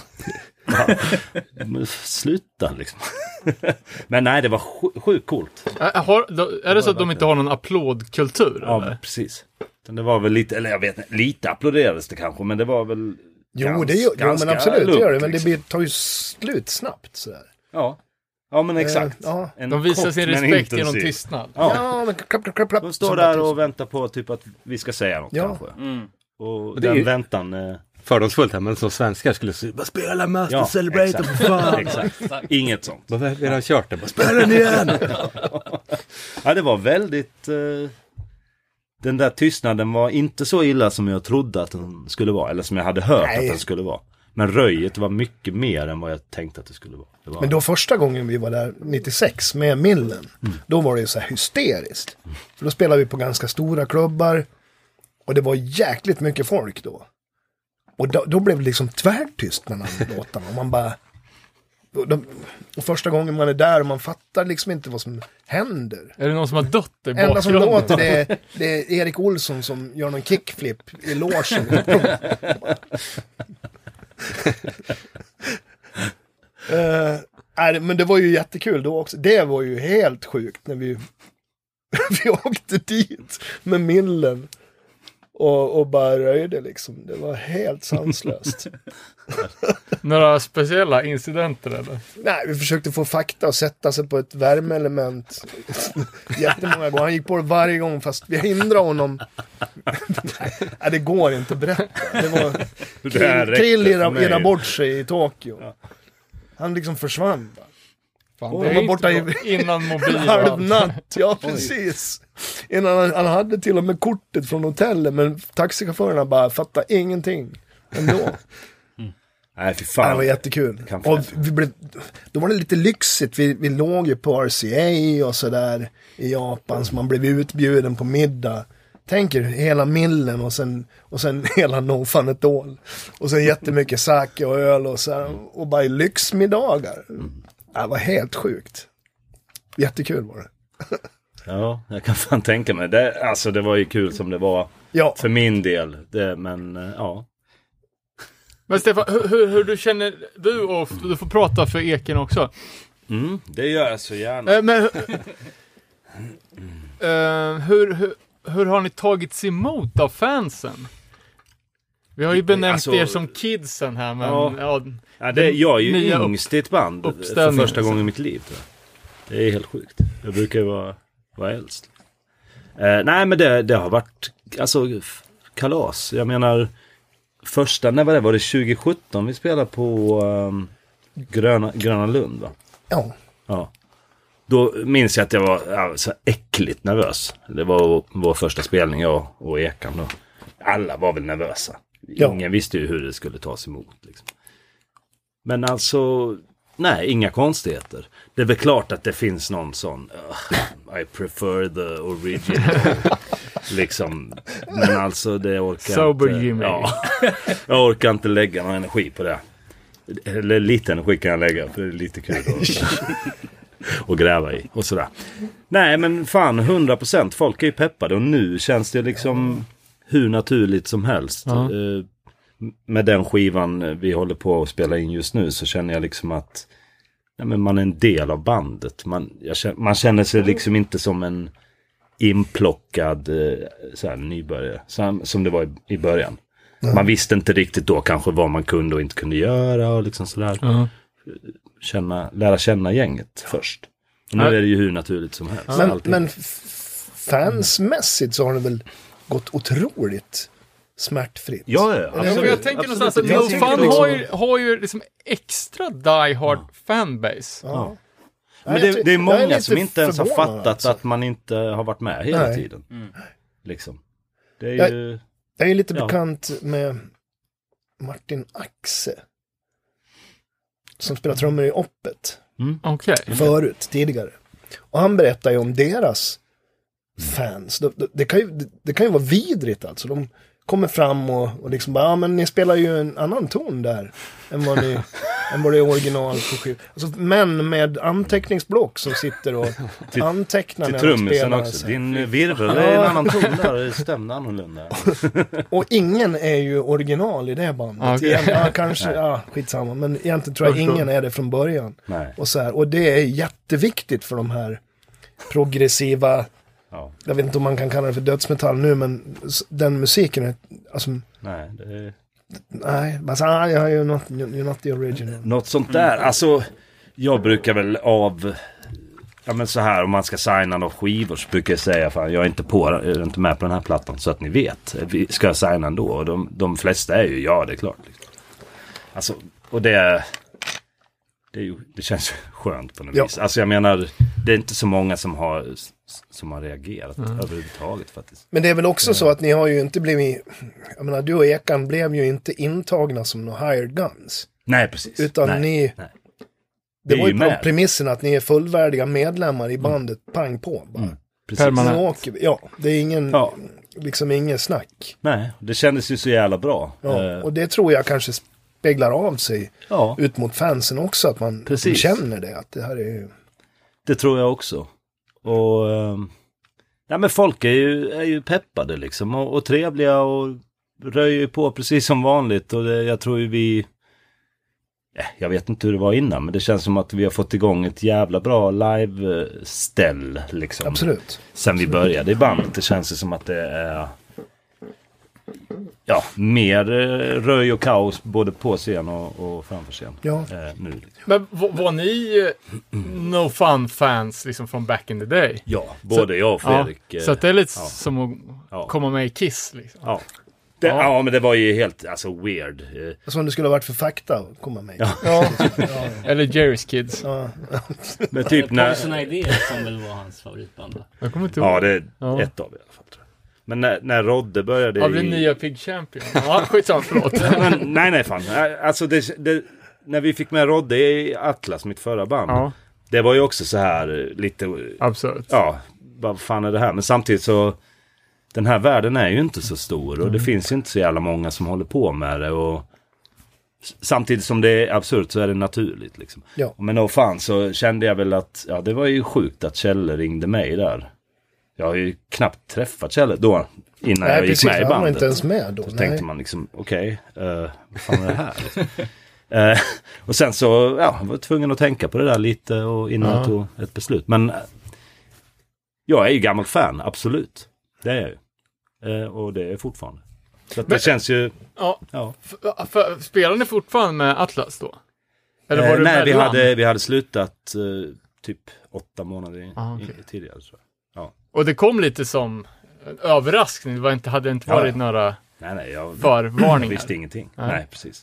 Speaker 6: Men Sluta liksom. [LAUGHS] Men nej, det var sj- sjukt coolt.
Speaker 1: Ä-
Speaker 7: Äh,
Speaker 1: Har, då, är det så att de inte har någon applådkultur?
Speaker 6: Ja,
Speaker 1: eller?
Speaker 6: precis. Men Det var väl lite, eller jag vet inte, lite applåderades det kanske, men det var väl
Speaker 5: Jo,
Speaker 6: gans-
Speaker 5: det gör, jo men
Speaker 6: ganska
Speaker 5: absolut. Det
Speaker 6: lugnt,
Speaker 5: gör det. Men det
Speaker 6: liksom.
Speaker 5: blir, tar ju slut snabbt sådär.
Speaker 6: Ja. ja, men exakt.
Speaker 5: Eh, ja.
Speaker 6: En
Speaker 1: De visar
Speaker 6: kort
Speaker 1: sin
Speaker 6: men
Speaker 1: respekt genom
Speaker 6: intensiv.
Speaker 1: tystnad.
Speaker 6: Ja.
Speaker 5: Ja, men klapp, klapp, klapp, klapp.
Speaker 6: De står där och väntar på typ att vi ska säga något
Speaker 5: Ja.
Speaker 6: kanske. Och
Speaker 4: det
Speaker 6: den
Speaker 4: är-
Speaker 6: väntan... eh,
Speaker 4: Fördomsfullt här, men som svenskar skulle säga bara spela alla Master
Speaker 6: Ja,
Speaker 4: Celebrator
Speaker 6: exakt.
Speaker 4: för fan.
Speaker 6: [LAUGHS] Exakt. Inget sånt.
Speaker 4: Bara, Vi har kört det, bara spela den igen.
Speaker 6: Ja, det var väldigt... eh, Den där tystnaden var inte så illa som jag trodde att den skulle vara. Eller som jag hade hört
Speaker 5: Nej.
Speaker 6: att den skulle vara. Men röjet var mycket mer än vad jag tänkte att det skulle vara. Det var
Speaker 5: Men då första gången vi var där 96 med Millen,
Speaker 6: Mm.
Speaker 5: då var det ju så här hysteriskt. För då spelade vi på ganska stora klubbar och det var jäkligt mycket folk då. Och då, då blev det liksom
Speaker 6: [LAUGHS]
Speaker 5: tvärtyst mellan låtarna och man bara... Och, de, och första gången man är där och man fattar liksom inte vad som händer.
Speaker 1: Är det någon som har dött i
Speaker 5: enda som
Speaker 1: bakgrunden?
Speaker 5: låter det, är- det är Erik Olsson som gör någon kickflip i logen. [LAUGHS] Eh, Nej, men det var ju jättekul då också. Det var ju helt sjukt när vi, [LAUGHS] vi åkte dit med millen. Och, och bara röjde liksom. Det var helt sanslöst.
Speaker 1: [LAUGHS] Några speciella incidenter eller?
Speaker 5: Nej, vi försökte få fakta och sätta sig på ett värmeelement. Jättemånga gånger. Han gick på det varje gång fast vi hindrade honom. Nej, det går inte att berätta. Det var... Krill, krill irrade irra bort sig i Tokyo. Han liksom försvann. bara.
Speaker 1: Fan,
Speaker 5: Åh,
Speaker 1: det är
Speaker 5: de var
Speaker 1: inte
Speaker 5: borta i-
Speaker 1: bra. innan mobil.
Speaker 5: En [LAUGHS]
Speaker 1: och allt.
Speaker 5: halv natt, ja precis. Innan han, han hade till och med kortet från hotellet men taxichaufförerna bara fattade ingenting ändå.
Speaker 6: Nej, fy
Speaker 5: Ja, Det var
Speaker 6: fan.
Speaker 5: jättekul.
Speaker 6: Kan
Speaker 5: Och
Speaker 6: fläsa.
Speaker 5: vi blev, då var det lite lyxigt. Vi, vi låg ju på RCA och sådär i Japan så man blev utbjuden på middag. Tänker hela millen och sen, och sen [LAUGHS] hela No Fun At All. Och sen jättemycket sake och öl och så här, Och bara lyxmiddagar.
Speaker 6: Mm.
Speaker 5: Ja, Det var helt sjukt. Jättekul var det.
Speaker 6: Ja, jag kan fan tänka mig. Det, alltså det var ju kul som det var
Speaker 5: Ja.
Speaker 6: för min del. Det, men eh, ja.
Speaker 1: Men Stefan, hur, hur, hur du känner, du och du får prata för Eken också.
Speaker 6: Mm, det gör jag så gärna.
Speaker 1: Eh, men [LAUGHS] Eh, hur, hur, hur har ni tagits emot av fansen? Vi har ju benämnt
Speaker 6: Alltså-
Speaker 1: er som kidsen här, men ja.
Speaker 6: Ja. Ja, det, jag är ju
Speaker 1: Nya upp-
Speaker 6: yngst i ett band för
Speaker 1: uppställningen,
Speaker 6: första
Speaker 1: alltså.
Speaker 6: gången i mitt liv. Tror jag. Det är helt sjukt. Jag brukar ju vara, vara äldst. Eh, nej, men det, det har varit alltså, f- kalas. Jag menar, första, när var det? Var det 2017 vi spelade på ehm, Gröna, Gröna Lund? Va?
Speaker 5: ja.
Speaker 6: Ja. Då minns jag att jag var ja, så äckligt nervös. Det var vår första spelning, jag och Ekan. Då. Alla var väl nervösa.
Speaker 5: Ja.
Speaker 6: Ingen visste ju hur det skulle tas emot. Liksom. Men alltså, nej, inga konstigheter. Det är väl klart att det finns någon sån, "Ugh, I prefer the original.
Speaker 1: [LAUGHS]
Speaker 6: liksom, men alltså det orkar
Speaker 1: Sober
Speaker 6: inte.
Speaker 1: Jimmy.
Speaker 6: Ja, jag orkar inte lägga någon energi på det. Eller lite energi kan jag lägga, för det är lite kul
Speaker 1: [LAUGHS]
Speaker 6: att- att gräva i och sådär. Nej men fan, 100% folk är ju peppade och nu känns det liksom hur naturligt som helst.
Speaker 1: Ja.
Speaker 6: Eh, Med den skivan eh, vi håller på att spela in just nu så känner jag liksom att nej, men man är en del av bandet. Man, jag känner, man känner
Speaker 1: Mm.
Speaker 6: sig liksom inte som en inplockad eh, så här, nybörjare, som, som det var i, i början.
Speaker 1: Mm.
Speaker 6: Man visste inte riktigt då kanske vad man kunde och inte kunde göra och liksom sådär.
Speaker 1: Mm.
Speaker 6: Känna, lära känna gänget först. Och nu
Speaker 1: Ja.
Speaker 6: är det ju hur naturligt som helst.
Speaker 5: Men,
Speaker 6: allting.
Speaker 5: men f- fansmässigt så har det väl gått otroligt smärtfritt.
Speaker 6: Ja, ja,
Speaker 5: Eller
Speaker 1: Ja,
Speaker 5: hur?
Speaker 1: men jag tänker
Speaker 6: Absolut.
Speaker 1: någonstans att
Speaker 5: Jag
Speaker 1: No
Speaker 5: tänker
Speaker 1: Fun
Speaker 5: liksom-
Speaker 1: har ju, har ju liksom extra die hard fanbase.
Speaker 5: Ja.
Speaker 6: Men
Speaker 5: Nej, jag
Speaker 6: det,
Speaker 5: ty-
Speaker 6: det är
Speaker 5: jag
Speaker 6: många
Speaker 5: lite
Speaker 6: som inte ens har
Speaker 5: förvånad,
Speaker 6: fattat
Speaker 5: alltså.
Speaker 6: att man inte har varit med hela
Speaker 5: Nej.
Speaker 6: tiden. Liksom. Det är
Speaker 5: Jag-
Speaker 6: ju...
Speaker 5: Jag är lite
Speaker 6: Ja.
Speaker 5: bekant med Martin Axe. Som
Speaker 6: Mm.
Speaker 5: spelar trummor i Oppet.
Speaker 1: Okej.
Speaker 5: Förut, tidigare. Och han berättar ju om deras
Speaker 6: Mm.
Speaker 5: fans. Det, det, det, kan, ju, det, det kan ju vara vidrigt alltså. De kommer fram och, och liksom bara, ja men ni spelar ju en annan ton där. Än
Speaker 6: [LAUGHS]
Speaker 5: vad, ni, än vad det är original på skiv. Alltså män med anteckningsblock som sitter och antecknar
Speaker 6: Till
Speaker 5: när de
Speaker 6: trummisen
Speaker 5: spelar.
Speaker 6: också.
Speaker 5: så här.
Speaker 6: Din virvel är en annan ton där. Det stämde
Speaker 5: [LAUGHS]
Speaker 6: annorlunda.
Speaker 5: Och ingen är ju original i det
Speaker 1: Ja,
Speaker 5: bandet.
Speaker 1: okej.
Speaker 5: Egent- Ja,
Speaker 6: [LAUGHS]
Speaker 5: kanske,
Speaker 6: Nej.
Speaker 5: ja, skitsamma. Men egentligen tror jag ingen är det från början.
Speaker 6: Nej.
Speaker 5: Och, så här, och det är jätteviktigt för de här progressiva,
Speaker 6: Ja.
Speaker 5: jag vet inte om man kan kalla det för dödsmetall nu, men s- den musiken är, alltså,
Speaker 6: Nej, det är...
Speaker 5: nej, bara så här, "Ah, you're not, you're not the original.
Speaker 6: Något sånt där. Alltså, jag brukar väl av... Ja men så här om man ska signa några skivor så brukar jag säga fan jag är inte, på, jag är inte med på den här plattan så att ni vet. Vi Ska jag signa ändå? Och de, de flesta är ju ja det är klart. Liksom. Alltså och det... Det, är ju, det känns skönt på något
Speaker 5: Ja.
Speaker 6: vis. Alltså jag menar det är inte så många som har, som har reagerat
Speaker 5: Mm.
Speaker 6: överhuvudtaget faktiskt.
Speaker 5: Men det är väl också så att ni har ju inte blivit, jag menar du och Ekan blev ju inte intagna som några hired guns.
Speaker 6: Nej precis.
Speaker 5: Utan
Speaker 6: Nej.
Speaker 5: ni,
Speaker 6: Nej.
Speaker 5: det
Speaker 6: Vi
Speaker 5: var
Speaker 6: är
Speaker 5: ju
Speaker 6: ju
Speaker 5: på
Speaker 6: med.
Speaker 5: premissen att ni är fullvärdiga medlemmar i bandet, pang på bara.
Speaker 6: Precis.
Speaker 5: Nu åker vi, ja, det är ingen,
Speaker 6: Ja.
Speaker 5: liksom ingen snack.
Speaker 6: Nej, det kändes ju så jävla bra.
Speaker 5: Ja,
Speaker 6: Eh,
Speaker 5: Och det tror jag kanske speglar av sig
Speaker 6: ja.
Speaker 5: ut mot fansen också, att man
Speaker 6: Precis. Mm.
Speaker 5: känner det. Att det här är ju...
Speaker 6: Det tror jag också. Och... ehm, ja men folk är ju, är ju peppade liksom och, och trevliga och röjer ju på precis som vanligt och det, jag tror ju vi... eh, jag vet inte hur det var innan, men det känns som att vi har fått igång ett jävla bra live-ställ. Liksom.
Speaker 5: Absolut.
Speaker 6: Sen vi började i bandet, det känns ju som att det är ja, mer eh, röj och kaos både på scen och, och framför scen.
Speaker 5: Ja.
Speaker 6: Eh, nu.
Speaker 1: Men v- var ni eh, No Fun-fans liksom från back in the day?
Speaker 6: Ja, både jag och Fredrik.
Speaker 1: ja,
Speaker 6: eh,
Speaker 1: så att det är lite
Speaker 6: ja.
Speaker 1: som att
Speaker 6: Ja.
Speaker 1: komma med i Kiss liksom.
Speaker 6: Ja. Det, ja. men det var ju helt alltså, weird. Eh,
Speaker 5: Som det skulle ha varit för fakta att komma med. Ja.
Speaker 1: [LAUGHS] Eller Jerry's Kids.
Speaker 5: Ja.
Speaker 6: Men typ
Speaker 8: Poison
Speaker 6: när...
Speaker 8: Idea som väl var hans favoritband va?
Speaker 1: Jag kommer inte ihåg.
Speaker 6: Ja, det är
Speaker 1: Ja.
Speaker 6: ett av i alla fall. Tror jag. Men när, när Rodde började
Speaker 1: Ja, det är
Speaker 6: i-
Speaker 1: nya Pig Champion. Ja, skitsamma,
Speaker 5: [LAUGHS]
Speaker 1: förlåt.
Speaker 6: Men, [LAUGHS] nej, nej, fan. Alltså, det, det, när vi fick med Rodde i Atlas, mitt förra band.
Speaker 1: ja,
Speaker 6: Det var ju också så här eh, lite...
Speaker 1: absurt.
Speaker 6: Ja, vad fan är det här? Men samtidigt så... Den här världen är ju inte så stor
Speaker 5: Mm.
Speaker 6: och det finns ju inte så jävla många som håller på med det. Och, s- samtidigt som det är absurt så är det naturligt. Liksom.
Speaker 5: Ja.
Speaker 6: Men då fan så kände jag väl att ja, det var ju sjukt att Kjelle ringde mig där. Jag har ju knappt träffat Kjelle då innan
Speaker 5: Nej,
Speaker 6: jag gick
Speaker 5: precis.
Speaker 6: med i
Speaker 5: Han var
Speaker 6: bandet.
Speaker 5: inte ens med då.
Speaker 6: Så
Speaker 5: Nej.
Speaker 6: tänkte man liksom, okej, eh, vad fan är det här?
Speaker 1: [LAUGHS]
Speaker 6: Eh, och sen så ja, var jag tvungen att tänka på det där lite och innan jag tog ett beslut. Men eh, jag är ju gammal fan, absolut. Det är jag ju. Eh, och det är jag fortfarande. Så att det
Speaker 1: Men-
Speaker 6: känns ju...
Speaker 1: Ja,
Speaker 6: Ja.
Speaker 1: f- för, spelar ni fortfarande med Atlas då? Eller var
Speaker 6: Eh,
Speaker 1: du
Speaker 6: nej, vi
Speaker 1: mellan?
Speaker 6: hade, vi hade slutat eh, typ åtta månader i-
Speaker 1: Ah, okej.
Speaker 6: i- tidigare. Så.
Speaker 1: Och det kom lite som en överraskning. Det var inte, hade inte
Speaker 6: Ja, ja.
Speaker 1: varit några
Speaker 6: Nej, nej, jag
Speaker 1: förvarningar.
Speaker 6: visste ingenting.
Speaker 1: Nej.
Speaker 6: Nej, precis.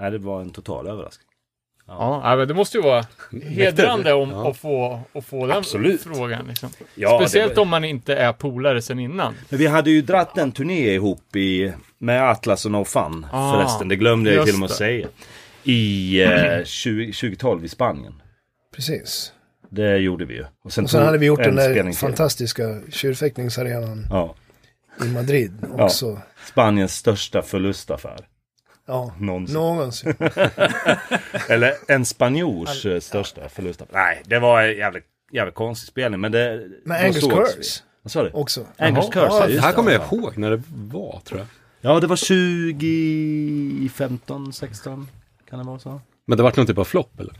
Speaker 6: Nej, det var en total överraskning.
Speaker 1: Ja, nej, men det måste ju vara hedrande om,
Speaker 4: Ja.
Speaker 1: att, få, att få den
Speaker 6: Absolut.
Speaker 1: frågan. Liksom.
Speaker 6: Ja, det
Speaker 1: Speciellt
Speaker 6: var-
Speaker 1: om man inte är polare sen innan.
Speaker 6: Men vi hade ju dratt en turné ihop i, med Atlas och No Fun
Speaker 1: Ah,
Speaker 6: förresten. Det glömde jag ju
Speaker 1: just
Speaker 6: till och med
Speaker 1: det.
Speaker 6: att säga. I eh, 20, 2012 i Spanien.
Speaker 5: Precis.
Speaker 6: Det gjorde vi ju. Och sen,
Speaker 5: Och sen
Speaker 6: tog
Speaker 5: hade vi gjort
Speaker 6: en
Speaker 5: den där
Speaker 6: spelning till.
Speaker 5: fantastiska tjurfäktningsarenan
Speaker 6: Ja,
Speaker 5: i Madrid
Speaker 6: Ja.
Speaker 5: också.
Speaker 6: Spaniens största förlustaffär.
Speaker 5: Ja.
Speaker 6: Någonsin. [LAUGHS]
Speaker 5: Någonsin.
Speaker 6: Eller en spanjors eh, största förlustaffär. Nej, det var en jävligt, jävligt konstig spelning. Men det...
Speaker 5: Men
Speaker 6: då
Speaker 5: Angus
Speaker 6: sågs vi.
Speaker 5: Curse
Speaker 6: Vad sa du?
Speaker 5: också.
Speaker 6: Angus Curse, ja,
Speaker 4: det
Speaker 6: just
Speaker 4: här
Speaker 6: det.
Speaker 4: kommer jag ihåg när det var tror jag.
Speaker 6: Ja, det var 2015, 16 kan det vara så.
Speaker 4: Men det vart någon typ av flopp eller?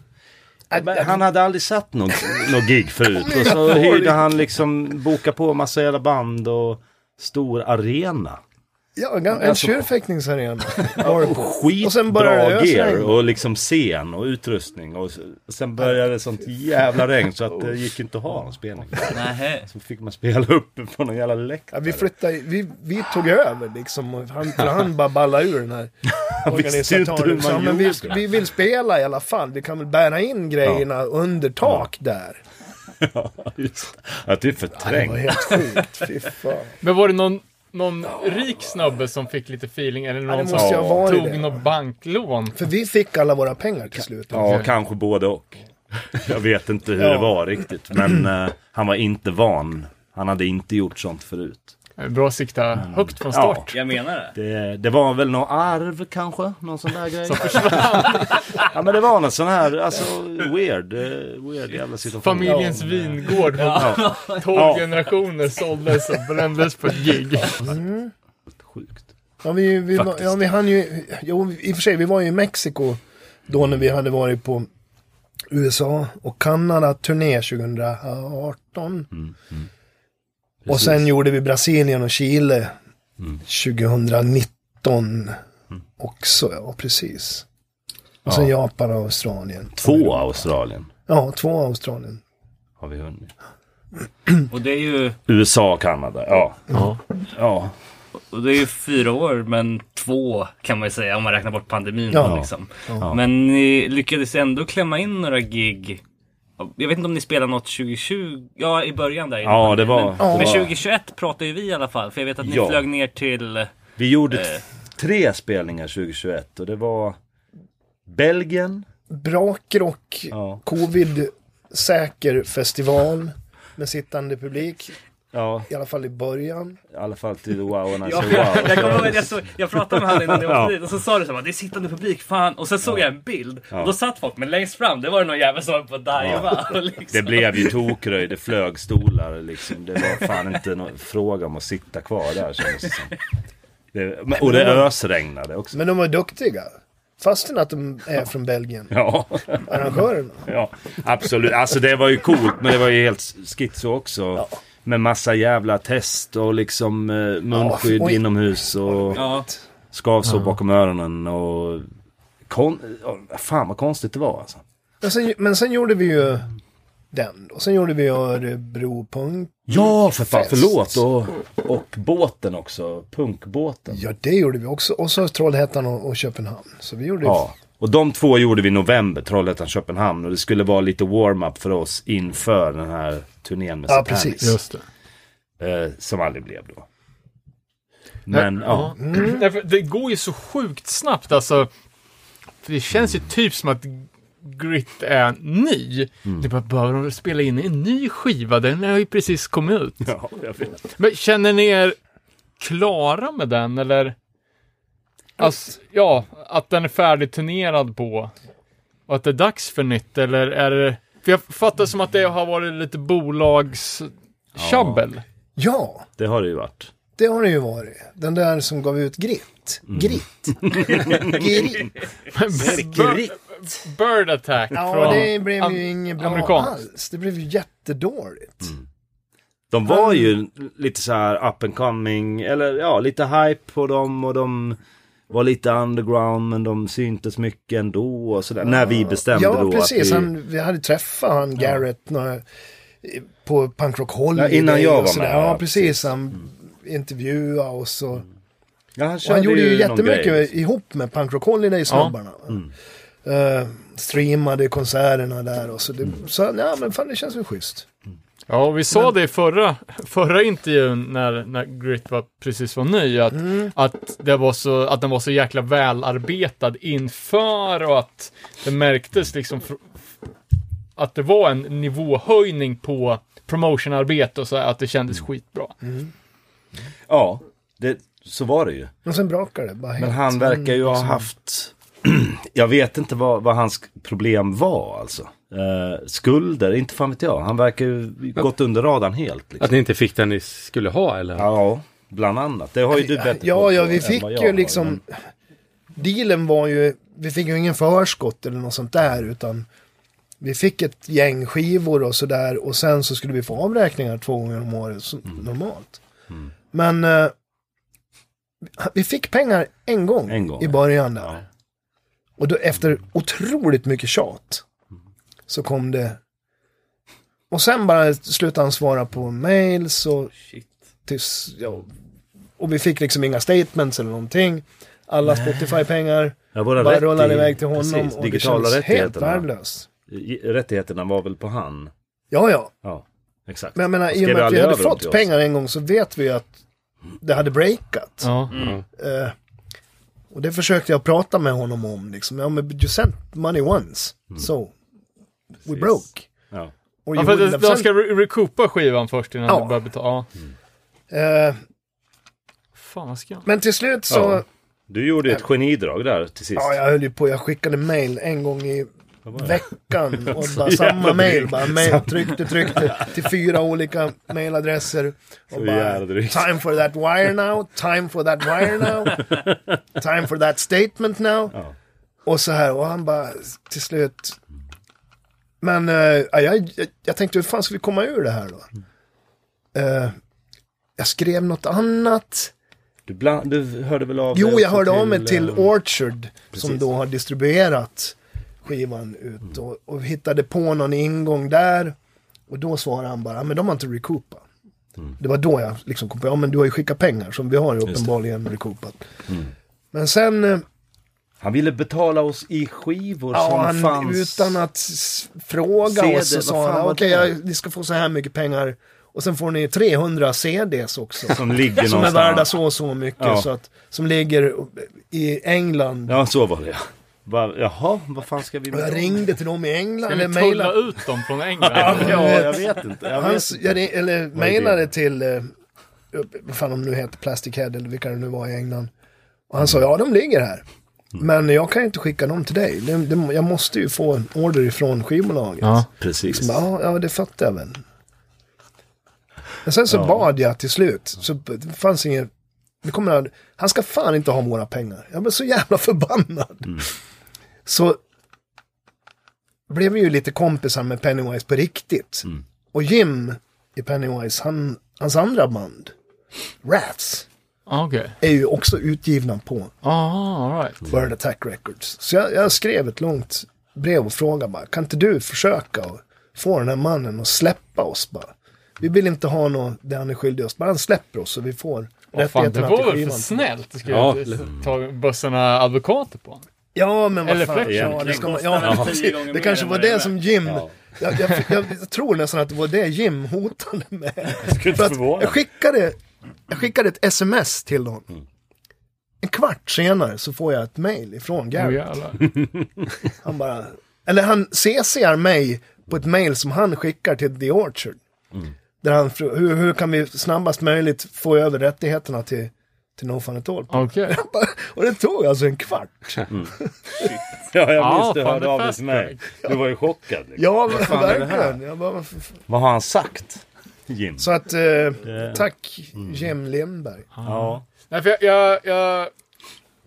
Speaker 6: Men han hade aldrig satt något, något gig förut. Och så hyrde han liksom, boka på massa jävla band och stor arena.
Speaker 5: Ja, en, en
Speaker 6: Alltså-
Speaker 5: tjurfäktningsarena.
Speaker 6: Skitbra
Speaker 5: Och sen började det ösa
Speaker 6: gear
Speaker 5: regn.
Speaker 6: och liksom scen och utrustning. Och s- sen började det sånt jävla regn så att det gick inte att ha någon spelning.
Speaker 8: Nej.
Speaker 6: Så fick man spela upp på någon jävla
Speaker 5: Ja,
Speaker 6: läktare.
Speaker 5: vi flyttade, vi, vi tog över liksom.
Speaker 6: [LAUGHS]
Speaker 5: och Han, för han bara ballade ur den här
Speaker 6: visste ju inte hur
Speaker 5: organisatören.
Speaker 6: man
Speaker 5: Så, men vi,
Speaker 6: gjorde.
Speaker 5: vi vill spela i alla fall. Vi kan väl bära in grejerna under tak där.
Speaker 6: Ja, just det. Ja, det är
Speaker 5: Det var
Speaker 6: förträngt.
Speaker 5: helt sjukt.
Speaker 6: [LAUGHS]
Speaker 5: Fy fan.
Speaker 1: Men var det någon, någon rik snubbe som fick lite feeling? Eller
Speaker 5: Ja,
Speaker 1: någon
Speaker 5: det måste ju
Speaker 1: som
Speaker 5: ha varit
Speaker 1: tog
Speaker 5: det.
Speaker 1: något banklån?
Speaker 5: För vi fick alla våra pengar till slut.
Speaker 6: Ja, kanske både och. Jag vet inte hur det
Speaker 5: Ja.
Speaker 6: var riktigt. Men eh, han var inte van. Han hade inte gjort sånt förut.
Speaker 1: Bra att sikta högt från start.
Speaker 8: Jag menar det.
Speaker 6: Det, det var väl någon arv kanske? Någon sån där grej? Som försvann? ja men det var någon sån här, alltså weird, eh, weird jävla situation.
Speaker 1: Familjens vingård från
Speaker 6: Ja,
Speaker 1: 12
Speaker 6: Ja.
Speaker 1: generationer såldes och brändes på ett gig.
Speaker 6: sjukt.
Speaker 5: Ja, vi, vi, var- ja, vi hann ju... Jo, i och för sig, vi var ju i Mexiko då när vi hade varit på USA och Kanada-turné 2018.
Speaker 6: Mm,
Speaker 5: Och sen gjorde vi Brasilien och Chile
Speaker 6: Mm.
Speaker 5: 2019 också. Ja, precis. Och sen Japan och Australien.
Speaker 6: Två Australien
Speaker 5: Ja, två Australien.
Speaker 6: har vi hunnit.
Speaker 8: Och det är ju,
Speaker 6: USA och Kanada, ja. Ja.
Speaker 8: och det är ju fyra år men två kan man ju säga om man räknar bort pandemin.
Speaker 5: Ja.
Speaker 8: Liksom. Men ni lyckades ändå klämma in några gig. Jag vet inte om ni spelade något 2020, ja i början där. innan.
Speaker 6: Ja, det var... det
Speaker 8: Men
Speaker 6: var.
Speaker 8: 2021 pratar ju vi i alla fall. För jag vet att ni
Speaker 6: Ja.
Speaker 8: flög ner till
Speaker 6: Vi gjorde t- tre spelningar 2021 och det var Belgien.
Speaker 5: Brakrock,
Speaker 6: Ja.
Speaker 5: covid-säker festival med sittande publik.
Speaker 6: Ja,
Speaker 5: I alla fall i början.
Speaker 6: i alla fall till Wow and I
Speaker 8: Ja,
Speaker 6: say
Speaker 8: jag, jag,
Speaker 6: wow.
Speaker 8: kommer ihåg, jag, såg, jag pratade med han innan jag
Speaker 6: Ja.
Speaker 8: åkte dit och så sa du så här, det är sittande publik, fan. Och sen såg jag en bild och då satt folk, men längst fram det var det någon jävel som var på att diva. [LAUGHS] och Liksom.
Speaker 6: [LAUGHS] Det blev ju tokröj, det flög stolar liksom. Det var fan inte någon fråga om att sitta kvar där kändes det som. Det, men- och det ösregnade också.
Speaker 5: Men de var duktiga. fastän att de är från Belgien.
Speaker 6: Ja,
Speaker 5: Arrangörerna.
Speaker 6: ja, absolut. Alltså det var ju coolt, men det var ju helt schizo också. Med massa jävla test och liksom eh, munskydd
Speaker 5: Ja, oj.
Speaker 6: inomhus och
Speaker 8: Ja.
Speaker 6: skavsår bakom öronen och... Kon... ja, Fan vad konstigt det var alltså.
Speaker 5: Men sen, men sen gjorde vi ju den då. Sen gjorde vi Örebro punk.
Speaker 6: Ja, för fan,
Speaker 5: Fest.
Speaker 6: förlåt. Och, och båten också, punkbåten.
Speaker 5: Ja, det gjorde vi också. Och så Trollhättan och, och Köpenhamn. Så vi gjorde
Speaker 6: Ja, och de två gjorde vi i november, Trollhättan, Köpenhamn. Och det skulle vara lite warm-up för oss inför den här turnén med
Speaker 5: Ja,
Speaker 6: Satanic,
Speaker 5: precis.
Speaker 1: Just det.
Speaker 6: Eh, som aldrig blev då. Men ja,
Speaker 1: Därför, det går ju så sjukt snabbt alltså. För det känns ju typ som att Grit är ny.
Speaker 6: Mm.
Speaker 1: Det är bara, behöver de spela in en ny skiva? Den har ju precis kommit ut.
Speaker 6: ja. jag vet.
Speaker 1: Men känner ni er klara med den eller? Alltså, ja, att den är färdigturnerad på. Och att det är dags för nytt eller är det... För jag fattar som att det har varit lite bolagstjabbel.
Speaker 5: Ja,
Speaker 6: Det har det ju varit.
Speaker 5: det har det ju varit. Den där som gav ut Grit.
Speaker 1: Mm.
Speaker 5: Grit.
Speaker 1: [LAUGHS]
Speaker 5: Grit.
Speaker 1: Bird, bird attack
Speaker 5: Ja,
Speaker 1: från...
Speaker 5: det blev
Speaker 1: am-
Speaker 5: ju inget bra
Speaker 1: amerikanskt.
Speaker 5: alls. Det blev ju jättedåligt.
Speaker 6: De var ju lite så här up and coming, eller ja, lite hype på dem och de var lite underground men de syntes mycket ändå och sådär. När vi bestämde
Speaker 5: Ja,
Speaker 6: då
Speaker 5: precis.
Speaker 6: att vi...
Speaker 5: Han, vi hade träffat han Garrett några, på Punk Rock Holiday.
Speaker 6: Ja, innan jag
Speaker 5: och
Speaker 6: var med,
Speaker 5: sådär.
Speaker 6: ja, Mm.
Speaker 5: Ja, precis. Han intervjuade oss och...
Speaker 6: Ja, han,
Speaker 5: Och han
Speaker 6: körde
Speaker 5: gjorde ju
Speaker 6: någon
Speaker 5: jättemycket
Speaker 6: grej. liksom. Mm.
Speaker 5: ihop med Punk Rock Holiday-snubbarna. Eh, streamade konserterna där och så. Det,
Speaker 6: Mm.
Speaker 5: så nej, men fan det känns väl schysst.
Speaker 1: Ja, och vi sa det i förra, förra intervjun när, när Grit var, precis var ny, att,
Speaker 5: Mm.
Speaker 1: att, det var så, att den var så jäkla välarbetad inför och att det märktes liksom fr- att det var en nivåhöjning på promotionarbete och så här, att det kändes
Speaker 5: Mm.
Speaker 1: skitbra.
Speaker 6: Ja, det, så var det ju.
Speaker 5: Och sen brakar det bara helt. Mm.
Speaker 6: Men han verkar ju ha haft, [CLEARS THROAT] jag vet inte vad, vad hans problem var alltså. Eh, skulder, inte fan vet jag. Han verkar ju gått under radarn helt. Liksom.
Speaker 4: Att ni inte fick den ni skulle ha eller?
Speaker 6: Ja, bland annat. Det har ju du bättre koll
Speaker 5: Ja,
Speaker 6: på
Speaker 5: ja, vi
Speaker 6: än
Speaker 5: fick
Speaker 6: vad jag
Speaker 5: ju
Speaker 6: har,
Speaker 5: liksom...
Speaker 6: men-
Speaker 5: Dealen var ju... Vi fick ju ingen förskott eller något sånt där, utan... Vi fick ett gäng skivor och sådär och sen så skulle vi få avräkningar två gånger om året, så,
Speaker 6: Mm.
Speaker 5: normalt. Men... eh, vi fick pengar en gång,
Speaker 6: En gång,
Speaker 5: i
Speaker 6: ja.
Speaker 5: början där.
Speaker 6: Ja.
Speaker 5: Och då efter otroligt mycket tjat så kom det... Och sen bara slutade han svara på mails och... Tills, ja, och vi fick liksom inga statements eller någonting. Alla Spotify-pengar
Speaker 6: Ja, våra
Speaker 5: bara
Speaker 6: rätt
Speaker 5: rullade
Speaker 6: i-
Speaker 5: iväg till honom
Speaker 6: precis,
Speaker 5: och det
Speaker 6: digitala
Speaker 5: känns helt
Speaker 6: rättigheterna.
Speaker 5: värdelöst.
Speaker 6: I- Rättigheterna var väl på han.
Speaker 5: Ja, ja.
Speaker 6: Ja, exakt.
Speaker 5: Men jag menar,
Speaker 6: Han
Speaker 5: i och
Speaker 6: skrev
Speaker 5: med att vi
Speaker 6: aldrig
Speaker 5: hade
Speaker 6: över dem till
Speaker 5: fått
Speaker 6: oss.
Speaker 5: pengar en gång så vet vi att det hade breakat.
Speaker 1: Ja.
Speaker 5: Eh, och det försökte jag prata med honom om. Liksom. Ja, men you sent money once. So, we broke.
Speaker 6: Ja.
Speaker 5: Or
Speaker 1: Mm. Ja,
Speaker 5: you
Speaker 1: för
Speaker 5: wouldn't
Speaker 1: att
Speaker 5: have
Speaker 1: de
Speaker 5: sent-
Speaker 1: ska re- recoupa skivan först innan
Speaker 5: Ja.
Speaker 1: du börjar betala. Ja.
Speaker 5: Eh,
Speaker 1: Fan, vad ska jag...
Speaker 5: men till slut så,
Speaker 6: Ja.
Speaker 5: ja.
Speaker 6: Du gjorde ju ett genidrag där till sist.
Speaker 5: jag höll ju på, jag skickade mail en gång i
Speaker 6: [LAUGHS]
Speaker 5: veckan och bara
Speaker 6: jävla
Speaker 5: samma mail,
Speaker 6: drygt.
Speaker 5: bara mail, tryckte, tryckte till fyra olika mailadresser. Och bara,
Speaker 6: jävla drygt.
Speaker 5: time for that wire now, time for that wire now, time for that statement now.
Speaker 6: Ja.
Speaker 5: Och så här, och han bara till slut. Men eh, ja, jag, jag, jag tänkte, hur fan ska vi komma ur det här då?
Speaker 6: Mm.
Speaker 5: Eh, jag skrev något annat.
Speaker 6: Du, bland, du hörde väl av dig
Speaker 5: Jo, jag
Speaker 6: också
Speaker 5: hörde av mig till
Speaker 6: eh,
Speaker 5: Orchard som
Speaker 6: precis.
Speaker 5: då har distribuerat skivan ut och, och hittade på någon ingång där. Och då svarade han bara, "Ja, men de har inte recoupat.
Speaker 6: Mm.
Speaker 5: Det var då jag liksom kom på, ja men du har ju skickat pengar som vi har ju uppenbarligen recoupat.
Speaker 6: Mm.
Speaker 5: Men sen, eh,
Speaker 6: Han ville betala oss i skivor
Speaker 5: ja,
Speaker 6: som
Speaker 5: han,
Speaker 6: fanns.
Speaker 5: utan att s- fråga
Speaker 6: CD,
Speaker 5: oss så
Speaker 6: vad
Speaker 5: sa
Speaker 6: fan
Speaker 5: han,
Speaker 6: var
Speaker 5: okej
Speaker 6: det?
Speaker 5: jag- ni ska få så här mycket pengar och sen får ni 300 CDs
Speaker 6: [LAUGHS]
Speaker 5: också.
Speaker 6: Som ligger
Speaker 5: Som är
Speaker 6: någonstans.
Speaker 5: värda så och så mycket.
Speaker 6: Ja.
Speaker 5: Så att, som ligger i England
Speaker 6: Ja, så var det ja. Bara, jaha, vad fan ska vi
Speaker 5: Och
Speaker 6: med
Speaker 5: jag
Speaker 6: dem?
Speaker 5: ringde till dem i England.
Speaker 1: Ska
Speaker 5: eller
Speaker 1: ni tulla
Speaker 5: mailade,
Speaker 1: ut dem från England?
Speaker 6: [LAUGHS]
Speaker 5: [LAUGHS]
Speaker 6: Ja, jag vet inte. Jag vet.
Speaker 5: hans, jag ring, eller
Speaker 6: är det?
Speaker 5: mailade till, eh, vad fan de nu heter, Plastic Head eller vilka det nu var i England. Och han sa, ja de ligger här.
Speaker 6: Mm.
Speaker 5: Men jag kan ju inte skicka dem till dig. Det, det, jag måste ju få en order ifrån skivbolaget.
Speaker 1: Ja.
Speaker 6: Precis.
Speaker 5: Så bara, Ja, ja, det fattar jag väl. Men sen så bad jag till slut. Så det fanns inget... Det kommer, han ska fan inte ha våra pengar. Jag blev så jävla förbannad. så blev vi ju lite kompisar med Pennywise på riktigt. Och Jim i Pennywise, han, hans andra band, Rats,
Speaker 1: Ah, Okej.
Speaker 5: är ju också utgivna på
Speaker 1: Ah, all right.
Speaker 5: Bird Attack Records. Så jag, jag skrev ett långt brev och frågade bara, kan inte du försöka och få den här mannen att släppa oss bara? Vi vill inte ha något det han är skyldig oss, bara han släpper oss så vi får
Speaker 1: Vad fan, det
Speaker 5: rättigheterna
Speaker 1: var väl
Speaker 5: till
Speaker 1: för
Speaker 5: skivan.
Speaker 1: snällt? Du skulle
Speaker 4: Ja.
Speaker 1: inte ta bussarna advokater på honom.
Speaker 5: Ja, men vad
Speaker 1: Eller
Speaker 5: fan.
Speaker 1: Fletcher.
Speaker 5: Ja, det, ska man,
Speaker 8: Det
Speaker 5: ja,
Speaker 8: kostar
Speaker 5: precis.
Speaker 8: tio gånger
Speaker 5: det
Speaker 8: mer
Speaker 5: kanske
Speaker 8: än
Speaker 5: var
Speaker 8: vad det
Speaker 5: det
Speaker 8: är
Speaker 5: som Jim...
Speaker 4: Ja.
Speaker 5: Jag, jag, jag, jag tror nästan att det var det Jim hotade
Speaker 1: [LAUGHS]
Speaker 5: med. För att jag, skickade, jag skickade ett sms till honom.
Speaker 1: Mm.
Speaker 5: En kvart senare så får jag ett mail ifrån
Speaker 1: Åh,
Speaker 5: Gary.
Speaker 1: jävlar.
Speaker 5: Han bara... Eller han CCar mig på ett mail som han skickar till The Orchard. Där han frå- hur, hur kan vi snabbast möjligt få över rättigheterna till, till No Fun At All?
Speaker 1: Okej.
Speaker 5: [LAUGHS] Och det tog alltså en kvart.
Speaker 6: Ja, jag
Speaker 1: Ja,
Speaker 6: minns du
Speaker 1: fan,
Speaker 6: hörde
Speaker 1: det
Speaker 6: av dig
Speaker 1: fast
Speaker 6: till mig. Du var ju chockad. Liksom.
Speaker 5: Ja, verkligen. Jag bara, vad f-
Speaker 6: Vad har han sagt? Jim.
Speaker 5: Så att, eh, tack Jim Lindberg.
Speaker 6: Ja.
Speaker 1: Nej, för jag, jag, jag,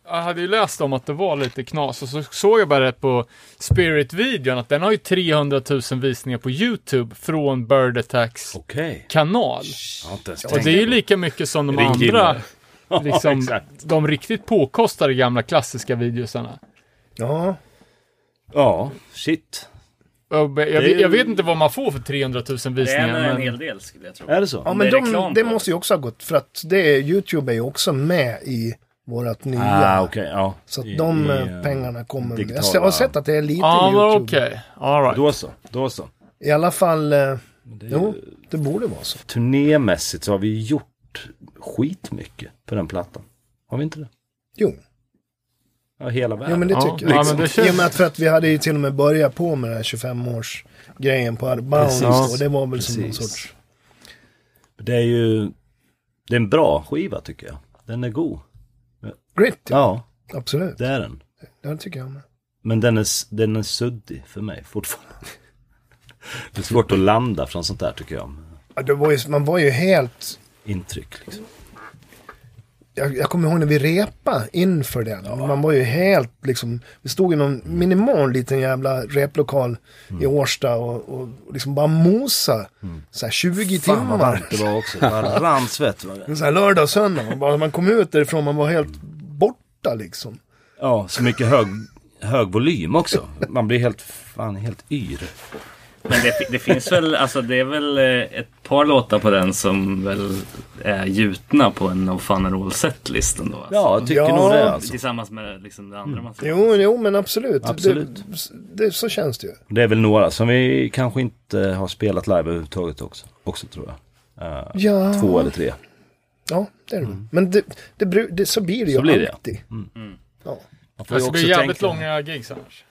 Speaker 1: jag hade ju läst om att det var lite knas och så såg jag bara det på Spirit-videon att den har ju 300 000 visningar på YouTube från Bird Attacks
Speaker 6: Okej.
Speaker 1: kanal.
Speaker 6: Jag har inte ens
Speaker 1: Och
Speaker 6: tänkt
Speaker 1: det är ju
Speaker 6: på
Speaker 1: lika mycket som de
Speaker 6: Är det en
Speaker 1: andra,
Speaker 6: gillare?
Speaker 1: liksom,
Speaker 6: exakt.
Speaker 1: de riktigt påkostade gamla klassiska videosarna.
Speaker 5: Ja,
Speaker 6: Ja, shit.
Speaker 1: Jag, jag,
Speaker 6: är ju-
Speaker 1: jag vet inte vad man får för 300 000
Speaker 8: Det är en,
Speaker 1: visningar,
Speaker 8: en
Speaker 1: men...
Speaker 8: hel del skulle jag tro.
Speaker 6: Är det så?
Speaker 5: ja
Speaker 8: Om
Speaker 5: men
Speaker 8: det är
Speaker 5: de,
Speaker 8: reklam
Speaker 5: det
Speaker 8: på
Speaker 5: måste ju också ha gått för att det, YouTube är ju också med i vårt nya.
Speaker 6: Ah, okej. ja.
Speaker 5: Så att
Speaker 6: I-
Speaker 5: de
Speaker 6: i,
Speaker 5: eh,
Speaker 6: eh,
Speaker 5: pengarna kommer.
Speaker 6: digitala-
Speaker 5: Jag har sett att det är lite
Speaker 1: Ja, men
Speaker 5: YouTube.
Speaker 1: okej. All right.
Speaker 6: Då så. Då så.
Speaker 5: I alla fall, eh, jo, det borde vara så.
Speaker 6: Turnémässigt så har vi gjort skitmycket på den plattan. Har vi inte det?
Speaker 5: Jo,
Speaker 6: Ja, hela världen.
Speaker 5: jo men det
Speaker 1: Ja,
Speaker 5: tycker
Speaker 1: ja, men
Speaker 5: jag.
Speaker 1: det
Speaker 5: I och med
Speaker 1: känns...
Speaker 5: att för att vi hade ju till och med börjat på med den här 25-års-grejen på Bounce.
Speaker 6: Precis.
Speaker 5: Och det var väl som någon
Speaker 6: Precis.
Speaker 5: sorts...
Speaker 6: Det är ju... Det är en bra skiva tycker jag. Den är god.
Speaker 5: Grit, ja.
Speaker 6: Ja,
Speaker 5: absolut.
Speaker 6: det är den.
Speaker 5: Det tycker jag med.
Speaker 6: Men den är, s- den är suddig för mig fortfarande. Det är svårt att landa från sånt där tycker jag.
Speaker 5: Ja, det var ju, man var ju helt
Speaker 6: Intryck liksom.
Speaker 5: jag, jag kommer ihåg när vi repa inför den. Man var ju helt liksom, vi stod i någon minimal liten jävla replokal i Årsta och, och liksom bara mosa. Så här 20
Speaker 6: Fan vad
Speaker 5: timmar.
Speaker 6: varmt det var också. Det bara rann svett. var det.
Speaker 5: Så här lördag och söndag. Och bara, man kom ut därifrån, man var helt borta liksom.
Speaker 6: Ja, så mycket hög, hög volym också. Man blir helt, fan, helt yr.
Speaker 8: Men det, det finns väl, alltså det är väl eh, ett par låtar på den som väl är gjutna på en No Fun At All setlist ändå. Alltså.
Speaker 6: Ja, jag tycker
Speaker 5: Ja. Mm.
Speaker 6: nog det alltså.
Speaker 8: Tillsammans med liksom det andra man ska
Speaker 5: Jo, jo men absolut.
Speaker 6: Absolut.
Speaker 5: Det, det, så känns det ju.
Speaker 6: Det är väl några som vi kanske inte har spelat live överhuvudtaget också. Också tror jag. Eh,
Speaker 5: Ja,
Speaker 6: Två eller tre. Mm.
Speaker 5: ja det är det. Men det, det, bru- det, så blir det ju
Speaker 6: Så blir det, ja. Mm.
Speaker 5: alltid. Ja.
Speaker 6: Man får
Speaker 1: Alltså,
Speaker 6: ju
Speaker 1: Det ska
Speaker 6: också
Speaker 1: bli jävligt
Speaker 6: tänka-
Speaker 1: långa gigs annars.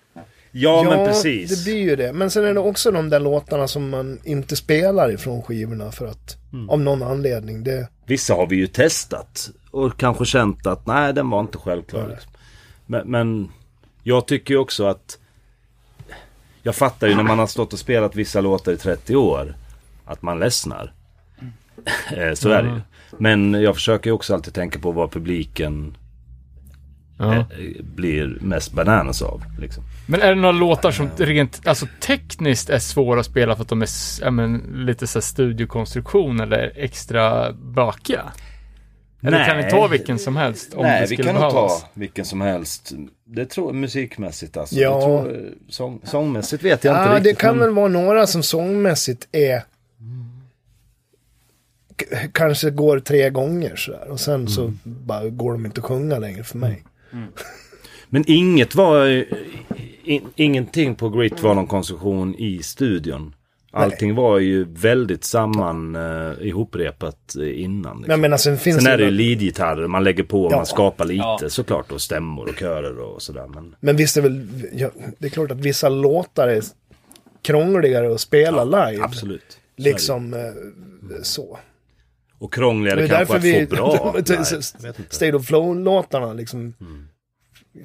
Speaker 6: Ja, men precis.
Speaker 5: det blir ju det. Men sen är det också de där låtarna som man inte spelar ifrån skivorna för att
Speaker 6: Mm.
Speaker 5: av någon anledning. Det,
Speaker 6: Vissa har vi ju testat och kanske känt att nej, den var inte självklar. Liksom. Men, men jag tycker ju också att jag fattar ju när man har stått och spelat vissa låtar i 30 år att man ledsnar. Eh, Så är det ju. Men jag försöker ju också alltid tänka på vad publiken eh, blir mest bananas av. Liksom.
Speaker 1: Men är det några låtar som rent alltså, tekniskt är svåra att spela för att de är s- ja, men, lite så här studiokonstruktion eller extra bökiga? Eller kan vi ta vilken som helst om
Speaker 6: Nej,
Speaker 1: det
Speaker 6: vi
Speaker 1: skulle
Speaker 6: kan nog ta
Speaker 1: behövas?
Speaker 6: vilken som helst. Det tror musikmässigt alltså.
Speaker 5: Ja.
Speaker 6: Det tror, sång, sångmässigt vet jag inte
Speaker 5: ah, det
Speaker 6: riktigt. Mm.
Speaker 5: kan
Speaker 6: men-
Speaker 5: väl vara några som sångmässigt är k- kanske går tre gånger sådär. Och sen så
Speaker 6: Mm.
Speaker 5: bara går de inte att sjunga längre för mig.
Speaker 6: Men inget var... eh, In, ingenting på Grit var någon konstruktion i studion. Allting var ju väldigt samman eh, ihoprepat eh, innan.
Speaker 5: Men jag
Speaker 6: Liksom.
Speaker 5: menar sen finns
Speaker 6: Sen är det ju
Speaker 5: väl-
Speaker 6: leadgitarrer man lägger på och
Speaker 5: Ja.
Speaker 6: man skapar lite såklart och stämmor och körer och sådär. Men
Speaker 5: Men visst är väl, ja, det är klart att vissa låtar är krångligare att spela live.
Speaker 6: absolut. Så är det ju.
Speaker 5: Liksom eh, så.
Speaker 6: Och krångligare kanske att få
Speaker 5: [LAUGHS]
Speaker 6: bra. Nej, jag vet inte. Mm.
Speaker 5: State of Flow-låtarna liksom.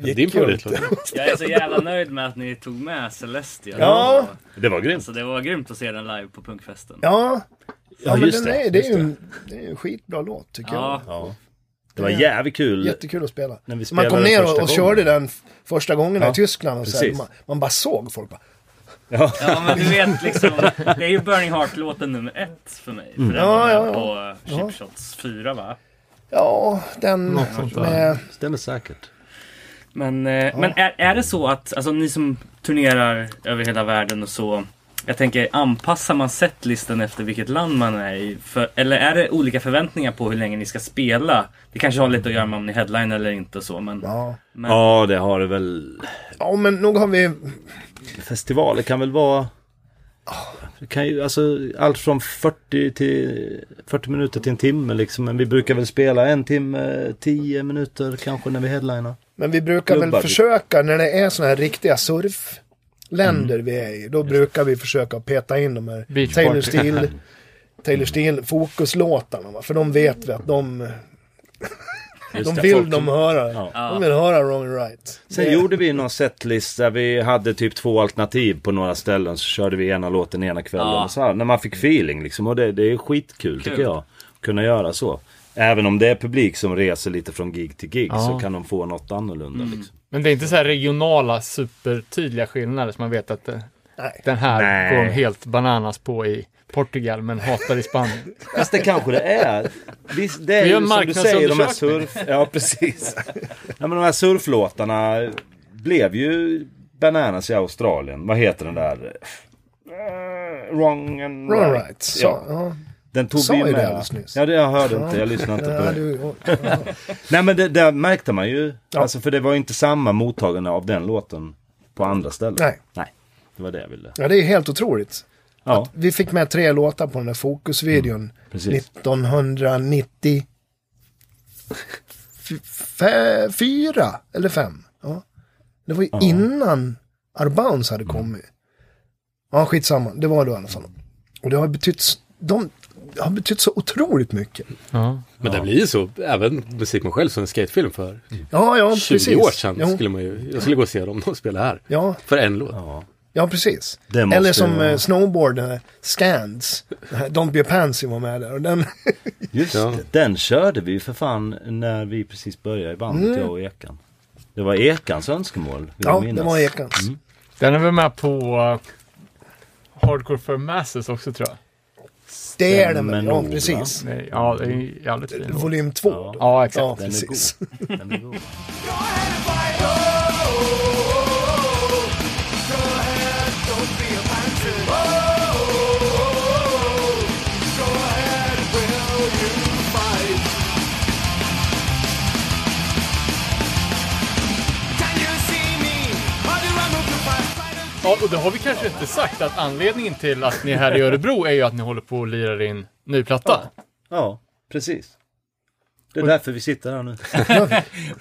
Speaker 5: gick
Speaker 4: Din
Speaker 5: ju
Speaker 4: favoritlåt.
Speaker 5: inte.
Speaker 8: Jag är så jävla nöjd med att ni tog med Celestia.
Speaker 5: Ja.
Speaker 6: Det var grymt.
Speaker 8: Så det var grymt att se den live på punkfesten.
Speaker 5: Ja, ja, men
Speaker 6: just
Speaker 5: den
Speaker 6: det,
Speaker 5: är, det, är
Speaker 6: just
Speaker 5: ju en, det är en skitbra låt tycker
Speaker 8: Ja.
Speaker 6: Ja. Det var jävligt kul.
Speaker 5: Jättekul att spela.
Speaker 6: När vi
Speaker 5: man kom
Speaker 6: spelade
Speaker 5: ner
Speaker 6: första
Speaker 5: och, och körde
Speaker 6: gången.
Speaker 5: den f- första gången
Speaker 6: Ja,
Speaker 5: i Tyskland. Och så här,
Speaker 6: precis.
Speaker 5: man, man bara såg folk. Bara,
Speaker 6: Ja.
Speaker 8: Ja, men du vet liksom. Det är ju Burning Heart-låten nummer ett för mig. För den
Speaker 5: Mm. Ja,
Speaker 8: var
Speaker 5: ja,
Speaker 8: med
Speaker 5: ja.
Speaker 8: på
Speaker 5: Ja.
Speaker 8: Chip Shots 4 va?
Speaker 5: ja, den med...
Speaker 6: Stämmer säkert.
Speaker 8: Men, eh, men är, är det så att, alltså ni som turnerar över hela världen och så. Jag tänker, anpassar man setlisten efter vilket land man är i? För, eller är det olika förväntningar på hur länge ni ska spela? Det kanske har lite att göra med om ni headline eller inte och så, men...
Speaker 5: Ja.
Speaker 8: men
Speaker 6: Ja, det har det väl.
Speaker 5: ja, men nog har vi...
Speaker 6: Festivaler kan väl vara... Det kan ju, alltså, allt från 40, till, 40 minuter till en timme liksom. Men vi brukar väl spela en timme, 10 minuter kanske när vi headlinar.
Speaker 5: Men vi brukar
Speaker 6: Klubbar. typ.
Speaker 5: väl försöka, när det är sådana här riktiga surfländer
Speaker 6: Mm.
Speaker 5: vi är i, då brukar vi försöka peta in de här
Speaker 1: Beach
Speaker 5: Taylor
Speaker 1: party.
Speaker 5: Steele, Taylor Steele fokuslåtarna. va? För de vet vi att de,
Speaker 6: Mm.
Speaker 5: de vill de höra.
Speaker 6: Ja.
Speaker 5: De vill höra Wrong and Right.
Speaker 6: Sen
Speaker 5: Det-
Speaker 6: gjorde vi någon setlist där vi hade typ två alternativ på några ställen. Så körde vi ena låten ena kvällen.
Speaker 8: Ja.
Speaker 6: Och så här, när man fick feeling liksom. Och det, det är skitkul tycker
Speaker 8: Kul.
Speaker 6: jag. att Kunna göra så. Även om det är publik som reser lite från gig till gig
Speaker 1: Ja.
Speaker 6: så kan de få något annorlunda. Liksom.
Speaker 1: Men det är inte så här regionala supertydliga skillnader som man vet att eh,
Speaker 5: Nej.
Speaker 1: den här
Speaker 6: Nej.
Speaker 1: går de helt bananas på i Portugal men hatar i Spanien.
Speaker 6: Fast det kanske det är. Visst, det är
Speaker 1: Vi
Speaker 6: ju
Speaker 1: gör en
Speaker 6: som du säger, de här
Speaker 1: marknadsundersökning.
Speaker 6: surf... Ja, precis. Ja, men de här surflåtarna blev ju bananas i Australien. Vad heter den där? Eh, Wrong and
Speaker 5: Wrong and
Speaker 6: right.
Speaker 5: right. Så, ja.
Speaker 6: Den tog
Speaker 5: Sa
Speaker 6: vi
Speaker 5: ju
Speaker 6: med.
Speaker 5: det alldeles nyss.
Speaker 6: Ja, det jag hörde inte. Jag lyssnade inte på
Speaker 5: Ja,
Speaker 6: det.
Speaker 5: du,
Speaker 6: Nej, men det, där märkte man ju. Alltså, för det var ju inte samma mottagande av den låten på andra ställen.
Speaker 5: [LAUGHS] Nej.
Speaker 6: Nej. Det var det jag ville.
Speaker 5: ja, det är helt otroligt.
Speaker 6: Ja,
Speaker 5: Vi fick med tre låtar på den där fokusvideon.
Speaker 6: precis.
Speaker 5: 1994 F- fyra eller fem. Ja. Det var ju innan Arbounce hade
Speaker 6: Mm.
Speaker 5: kommit. Ja, skitsamma. Det var det i alla fall. Och det har betytt, s- de det har betytt så otroligt mycket.
Speaker 1: Ja.
Speaker 4: Men det blir ju så, även musik man själv som en skatefilm för
Speaker 5: Ja, ja,
Speaker 4: 20
Speaker 5: precis.
Speaker 4: år sedan
Speaker 5: Jo,
Speaker 4: skulle man ju, jag skulle gå och se dem de spela här.
Speaker 5: ja,
Speaker 4: För en låt.
Speaker 6: Ja.
Speaker 5: ja, precis.
Speaker 6: Det måste
Speaker 5: Eller som
Speaker 6: ju vara-
Speaker 5: eh, Snowboard, eh, Scans. Den här Don't be a pansy var med där. Och den,
Speaker 6: Just
Speaker 4: Ja.
Speaker 6: det. Den körde vi ju för fan när vi precis började i bandet, jag och Ekan. Det var Ekans önskemål, vill
Speaker 5: ja,
Speaker 6: jag Mm. minnas.
Speaker 5: det var Ekans.
Speaker 1: Den är väl med på eh, Hardcore for Masses också tror jag.
Speaker 5: Det är den väl?
Speaker 6: Stämmer
Speaker 5: Ja,
Speaker 6: nog, va?
Speaker 5: precis.
Speaker 1: Nej, Ja, det är ju jävligt fin. låt.
Speaker 5: Volym 2.
Speaker 6: Ja.
Speaker 1: Ja,
Speaker 5: ja,
Speaker 1: exakt.
Speaker 6: Den är
Speaker 5: precis.
Speaker 6: god. Den är god.
Speaker 1: Ja, och det har vi kanske inte sagt att anledningen till att ni är här i Örebro är ju att ni håller på och lirar in ny platta.
Speaker 6: Ja, precis. Det är därför vi sitter här nu.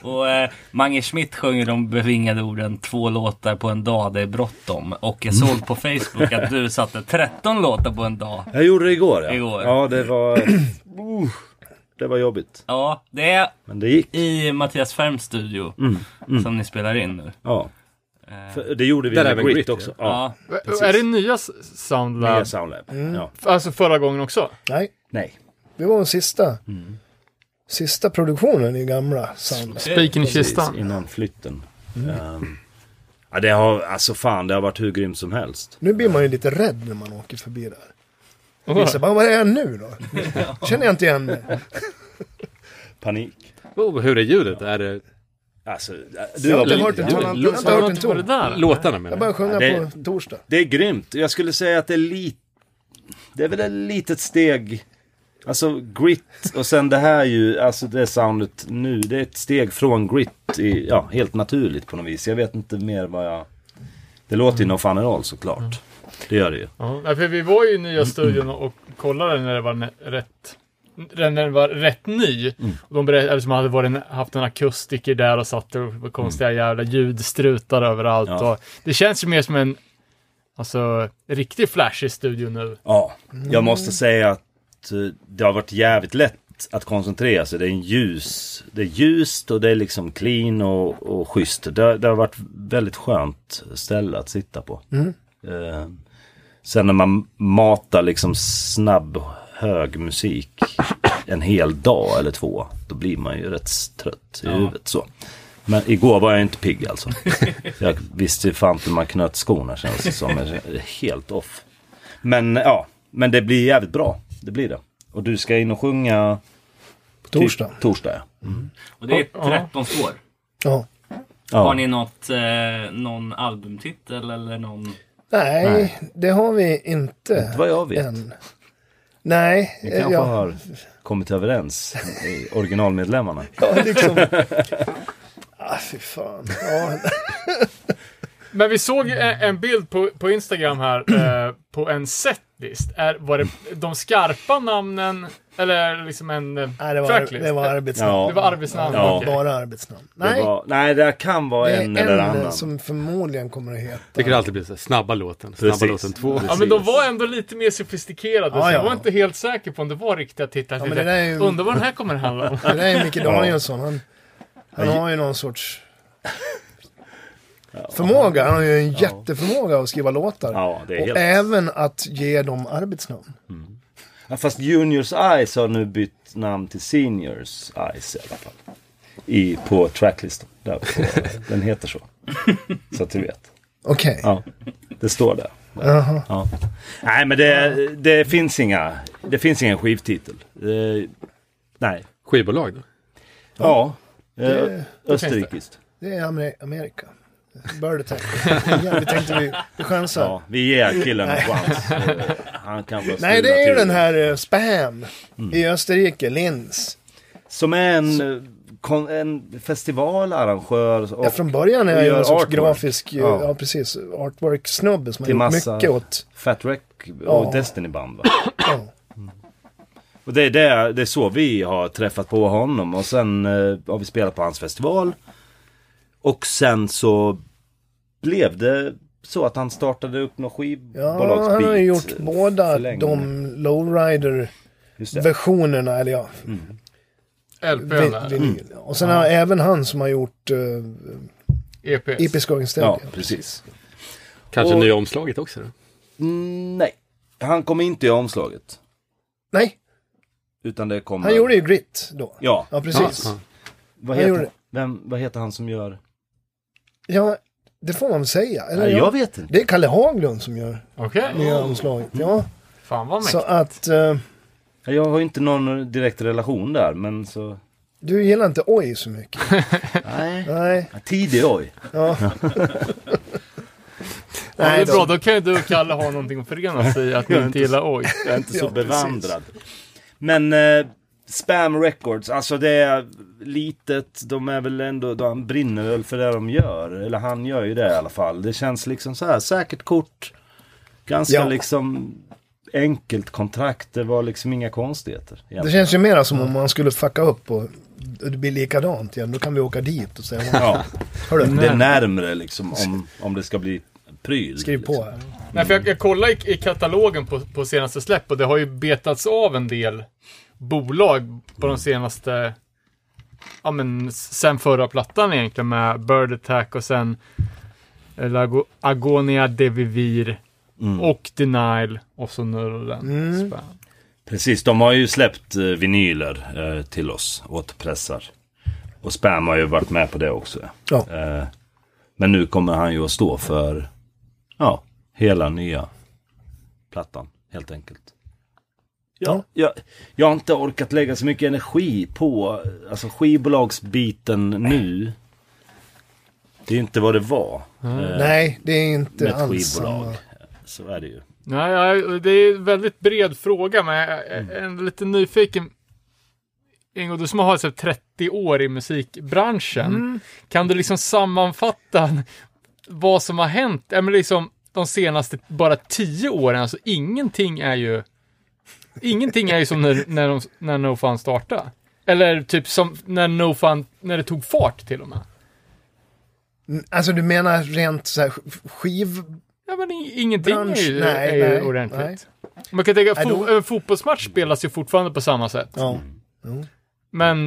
Speaker 8: Och eh, Mange Schmidt sjunger de bevingade orden Två låtar på en dag, det är bråttom. Och jag såg på Facebook att du satte 13 låtar på en dag.
Speaker 6: Jag gjorde det igår ja.
Speaker 8: Igår.
Speaker 6: Ja, det var... Uh, det var jobbigt.
Speaker 8: Ja, det är
Speaker 6: Men det gick.
Speaker 8: i Mattias Färms studio som ni spelar in nu.
Speaker 6: Ja. För det gjorde vi
Speaker 4: Där är
Speaker 6: med
Speaker 4: väl
Speaker 6: Grit,
Speaker 4: Grit,
Speaker 6: också. Ja.
Speaker 8: Ja.
Speaker 6: Precis.
Speaker 1: Är det nya s-
Speaker 6: Nya
Speaker 1: Soundlab?
Speaker 6: Soundlab. Ja.
Speaker 1: Alltså förra gången också?
Speaker 5: Nej.
Speaker 6: Nej.
Speaker 5: Det var den sista.
Speaker 6: Mm.
Speaker 5: Sista produktionen i gamla Sound.
Speaker 1: Spiken i kistan?
Speaker 6: Innan flytten. Ehm, ja, det har... Alltså fan, det har varit hur grymt som helst.
Speaker 5: Nu blir man ju lite rädd när man åker förbi
Speaker 6: [LAUGHS]
Speaker 5: där. Vissa bara, vad är jag nu då? Känner jag inte igen mig.
Speaker 6: Panik.
Speaker 4: Och hur är ljudet? Är det
Speaker 6: Alltså, du
Speaker 5: Jag har
Speaker 6: var
Speaker 5: inte
Speaker 6: väl-
Speaker 5: hört en ton, jag har inte- jag har inte
Speaker 1: Vad
Speaker 4: Har
Speaker 5: hört en
Speaker 1: är det
Speaker 5: ton.
Speaker 1: där?
Speaker 4: låtarna menar
Speaker 5: Jag
Speaker 4: jag?
Speaker 5: börjar sjunga
Speaker 6: det-
Speaker 5: på torsdag.
Speaker 6: Det är grymt. Jag skulle säga att det är lite... Det är väl ett litet steg. Alltså grit och sen det här ju, alltså det soundet nu, det är ett steg från grit i, ja, helt naturligt på något vis. Jag vet inte mer vad jag... Det låter ju No Fun At All såklart. Det gör det ju.
Speaker 1: Ja, nej, för vi var ju i nya studion och och kollade när det var nä- rätt när den var rätt ny. Och de berättade som hade varit en, haft en akustiker där och satt och det var konstiga jävla ljudstrutar överallt.
Speaker 6: Ja.
Speaker 1: Och det känns ju mer som en alltså, riktig flashig studio nu.
Speaker 6: Ja, jag måste säga att eh, det har varit jävligt lätt att koncentrera sig. Det är en ljus, det är ljust och det är liksom clean och, och schysst. Det, har- det har varit väldigt skönt ställe att sitta på. Eh, sen när man matar liksom snabb, hög musik en hel dag eller två, då blir man ju rätt trött i huvudet. Så. Men igår var jag inte pigg alltså. jag visste ju fan inte hur man knöt skorna känns det som. Jag är Helt off. Men ja, men det blir jävligt bra. Det blir det. Och du ska in och sjunga
Speaker 5: På torsdag.
Speaker 6: Typ, torsdag ja.
Speaker 8: Och det är 13 spår.
Speaker 5: Ja.
Speaker 6: Ja.
Speaker 8: Har ni något, eh, någon albumtitel eller någon...
Speaker 5: Nej, det har vi inte
Speaker 6: Vad jag vet.
Speaker 5: än. Nej,
Speaker 6: Ni
Speaker 5: eh,
Speaker 6: kanske
Speaker 5: ja,
Speaker 6: har kommit överens, i originalmedlemmarna.
Speaker 5: ja,
Speaker 6: [LAUGHS]
Speaker 5: liksom. ah, fy fan. Ja,
Speaker 1: Men vi såg ju en en bild på, på Instagram här eh, på en setlist. Är, var det de skarpa namnen eller liksom en eh,
Speaker 5: nej, det var,
Speaker 1: tracklist?
Speaker 5: det var arbetsnamn.
Speaker 6: Ja.
Speaker 1: Det var arbetsnamn.
Speaker 6: Ja.
Speaker 1: okej.
Speaker 5: Bara arbetsnamn.
Speaker 6: Nej.
Speaker 5: Nej,
Speaker 6: Det, var, nej, det kan vara
Speaker 5: det är
Speaker 6: en, eller annan.
Speaker 5: som förmodligen kommer att heta.
Speaker 4: Vilket alltid blir så här, snabba låten, snabba
Speaker 6: Precis.
Speaker 4: låten två.
Speaker 1: Ja men de var ändå lite mer sofistikerade.
Speaker 5: Ja,
Speaker 1: så jag
Speaker 5: ja.
Speaker 1: var inte helt säker på om det var riktiga titlar.
Speaker 5: Ja, men det där är ju-
Speaker 1: Undrar vad den här kommer handla om.
Speaker 5: Det där är Micke Danielsson. Han, han har ju någon sorts förmåga. Han har ju en jätteförmåga att skriva låtar.
Speaker 6: Ja, det är
Speaker 5: och
Speaker 6: helt...
Speaker 5: även att ge dem arbetsnamn.
Speaker 6: Ja, Fast Juniors Eyes har nu bytt namn till Seniors Eyes i alla fall. I, på tracklistan. Där på,
Speaker 4: [LAUGHS]
Speaker 6: den heter så. Så att du vet.
Speaker 5: Okej.
Speaker 6: Ja, det står där.
Speaker 5: Jaha.
Speaker 6: Ja. Nej, men det, det, finns inga, det finns ingen skivtitel. Eh, nej.
Speaker 4: Skivbolag då?
Speaker 6: Ja. Eh, österrikiskt.
Speaker 5: Det är Amer- Amerika. Bird attack. ja, vi tänkte vi, vi chansar.
Speaker 6: Ja, vi ger killen en
Speaker 5: [LAUGHS]
Speaker 6: chans. Eh, Han kan bara
Speaker 5: Nej, det
Speaker 6: strula
Speaker 5: är ju
Speaker 6: till.
Speaker 5: den här eh, Spam
Speaker 6: Mm.
Speaker 5: i Österrike, Linz.
Speaker 6: Som är en, eh, kon, en festivalarrangör. Och
Speaker 5: Ja, från början är jag ju
Speaker 6: gör
Speaker 5: en sorts
Speaker 6: artwork.
Speaker 5: grafisk, eh,
Speaker 6: Ja.
Speaker 5: ja, precis, artwork-snubbe som har
Speaker 6: Till
Speaker 5: gjort
Speaker 6: massa-
Speaker 5: mycket åt...
Speaker 6: Fat Wreck och
Speaker 5: Ja.
Speaker 6: Destiny Band va?
Speaker 5: Ja.
Speaker 6: Och det är, det, det är så vi har träffat på honom och sen eh, har vi spelat på hans festival. Och sen så blev det så att han startade upp någon
Speaker 5: Ja,
Speaker 6: skivbolagsbit.
Speaker 5: han har ju gjort
Speaker 6: eh,
Speaker 5: båda
Speaker 6: för länge.
Speaker 5: de lowrider-versionerna,
Speaker 6: Just det.
Speaker 5: eller ja,
Speaker 6: Mm.
Speaker 1: LPn
Speaker 5: [LAUGHS] vi-
Speaker 1: där.
Speaker 5: vinyl. Och sen har även han som har gjort uh,
Speaker 1: EP.
Speaker 5: IP Skogen
Speaker 6: Ja,
Speaker 5: ja.
Speaker 6: precis.
Speaker 4: Kanske
Speaker 6: Och-
Speaker 4: nya omslaget också då?
Speaker 6: Mm, nej, han kom inte i omslaget.
Speaker 5: Nej,
Speaker 6: Utan det kom...
Speaker 5: han gjorde ju Grit då.
Speaker 6: Ja,
Speaker 5: Ja, precis.
Speaker 4: Ja,
Speaker 6: vad
Speaker 5: han
Speaker 6: heter,
Speaker 5: gjorde-
Speaker 6: Vem, vad heter han som gör...
Speaker 5: Ja, det får man väl säga. Eller,
Speaker 6: Nej,
Speaker 5: ja.
Speaker 6: jag vet inte.
Speaker 5: Det är Kalle Haglund som gör
Speaker 1: Okej.
Speaker 5: nya omslaget. Ja,
Speaker 1: Fan vad
Speaker 5: så
Speaker 1: mäktigt.
Speaker 5: att eh,
Speaker 6: Jag har ju inte någon direkt relation där, men
Speaker 5: [LAUGHS]
Speaker 6: så...
Speaker 5: du gillar inte Oj så mycket.
Speaker 6: Nej.
Speaker 5: Nej,
Speaker 6: Tidig oj.
Speaker 1: Ja, det
Speaker 5: nej
Speaker 1: är
Speaker 5: då.
Speaker 1: bra, då kan ju du och Kalle ha någonting att förena sig i
Speaker 5: [LAUGHS]
Speaker 1: att ni inte gillar oj.
Speaker 6: Jag är inte så
Speaker 5: Ja, precis.
Speaker 6: bevandrad. Men eh, Spam Records, alltså det är litet. De är väl ändå, de brinner väl för det de gör. Eller han gör ju det i alla fall. Det känns liksom så här, säkert kort. Ganska
Speaker 5: Ja.
Speaker 6: liksom enkelt kontrakt. Det var liksom inga konstigheter.
Speaker 5: det
Speaker 6: egentligen.
Speaker 5: känns ju mera som om man skulle fucka upp och det blir likadant igen. Då kan vi åka dit och säga,
Speaker 6: Ja,
Speaker 5: hörru,
Speaker 6: det är närmre liksom om, om det ska bli pryl.
Speaker 5: skriv på
Speaker 6: Liksom.
Speaker 5: här.
Speaker 1: Nej, för jag, jag kollade i, i katalogen på, på senaste släpp och det har ju betats av en del bolag på de senaste, ja men s- sen förra plattan egentligen med Bird Attack och sen eh, Lago, Agonia Devivir och Denial och så nu då den. Spä-
Speaker 6: Precis, de har ju släppt eh, vinyler eh, till oss, återpressar. Och Spam har ju varit med på det också. ja.
Speaker 5: Ja.
Speaker 6: Eh, men nu kommer han ju att stå för ja, hela nya plattan helt enkelt.
Speaker 5: Ja.
Speaker 6: Jag, jag har inte orkat lägga så mycket energi på alltså, skivbolagsbiten nu. Det är ju inte vad det var eh,
Speaker 5: Nej, det är inte
Speaker 6: med ett
Speaker 5: alls
Speaker 6: skivbolag.
Speaker 5: samma.
Speaker 6: Så är det ju.
Speaker 1: Nej, ja, det är en väldigt bred fråga, men jag är ändå lite nyfiken. Ingo, du som har varit så här 30 år i musikbranschen, kan du liksom sammanfatta vad som har hänt? Ja, men liksom, de senaste bara 10 åren, alltså ingenting är ju Ingenting är ju som när, när, de, när NoFan startade. Eller typ som när NoFan, när det tog fart till och med.
Speaker 5: Alltså du menar rent så här skiv...
Speaker 1: Ja men i- ingenting
Speaker 5: Bransch-
Speaker 1: är ju,
Speaker 5: nej,
Speaker 1: är ju
Speaker 5: nej,
Speaker 1: ordentligt.
Speaker 5: nej.
Speaker 1: Man kan tänka,
Speaker 5: Nej,
Speaker 1: fo-
Speaker 5: då-
Speaker 1: en fotbollsmatch spelas ju fortfarande på samma sätt.
Speaker 5: Ja.
Speaker 1: Men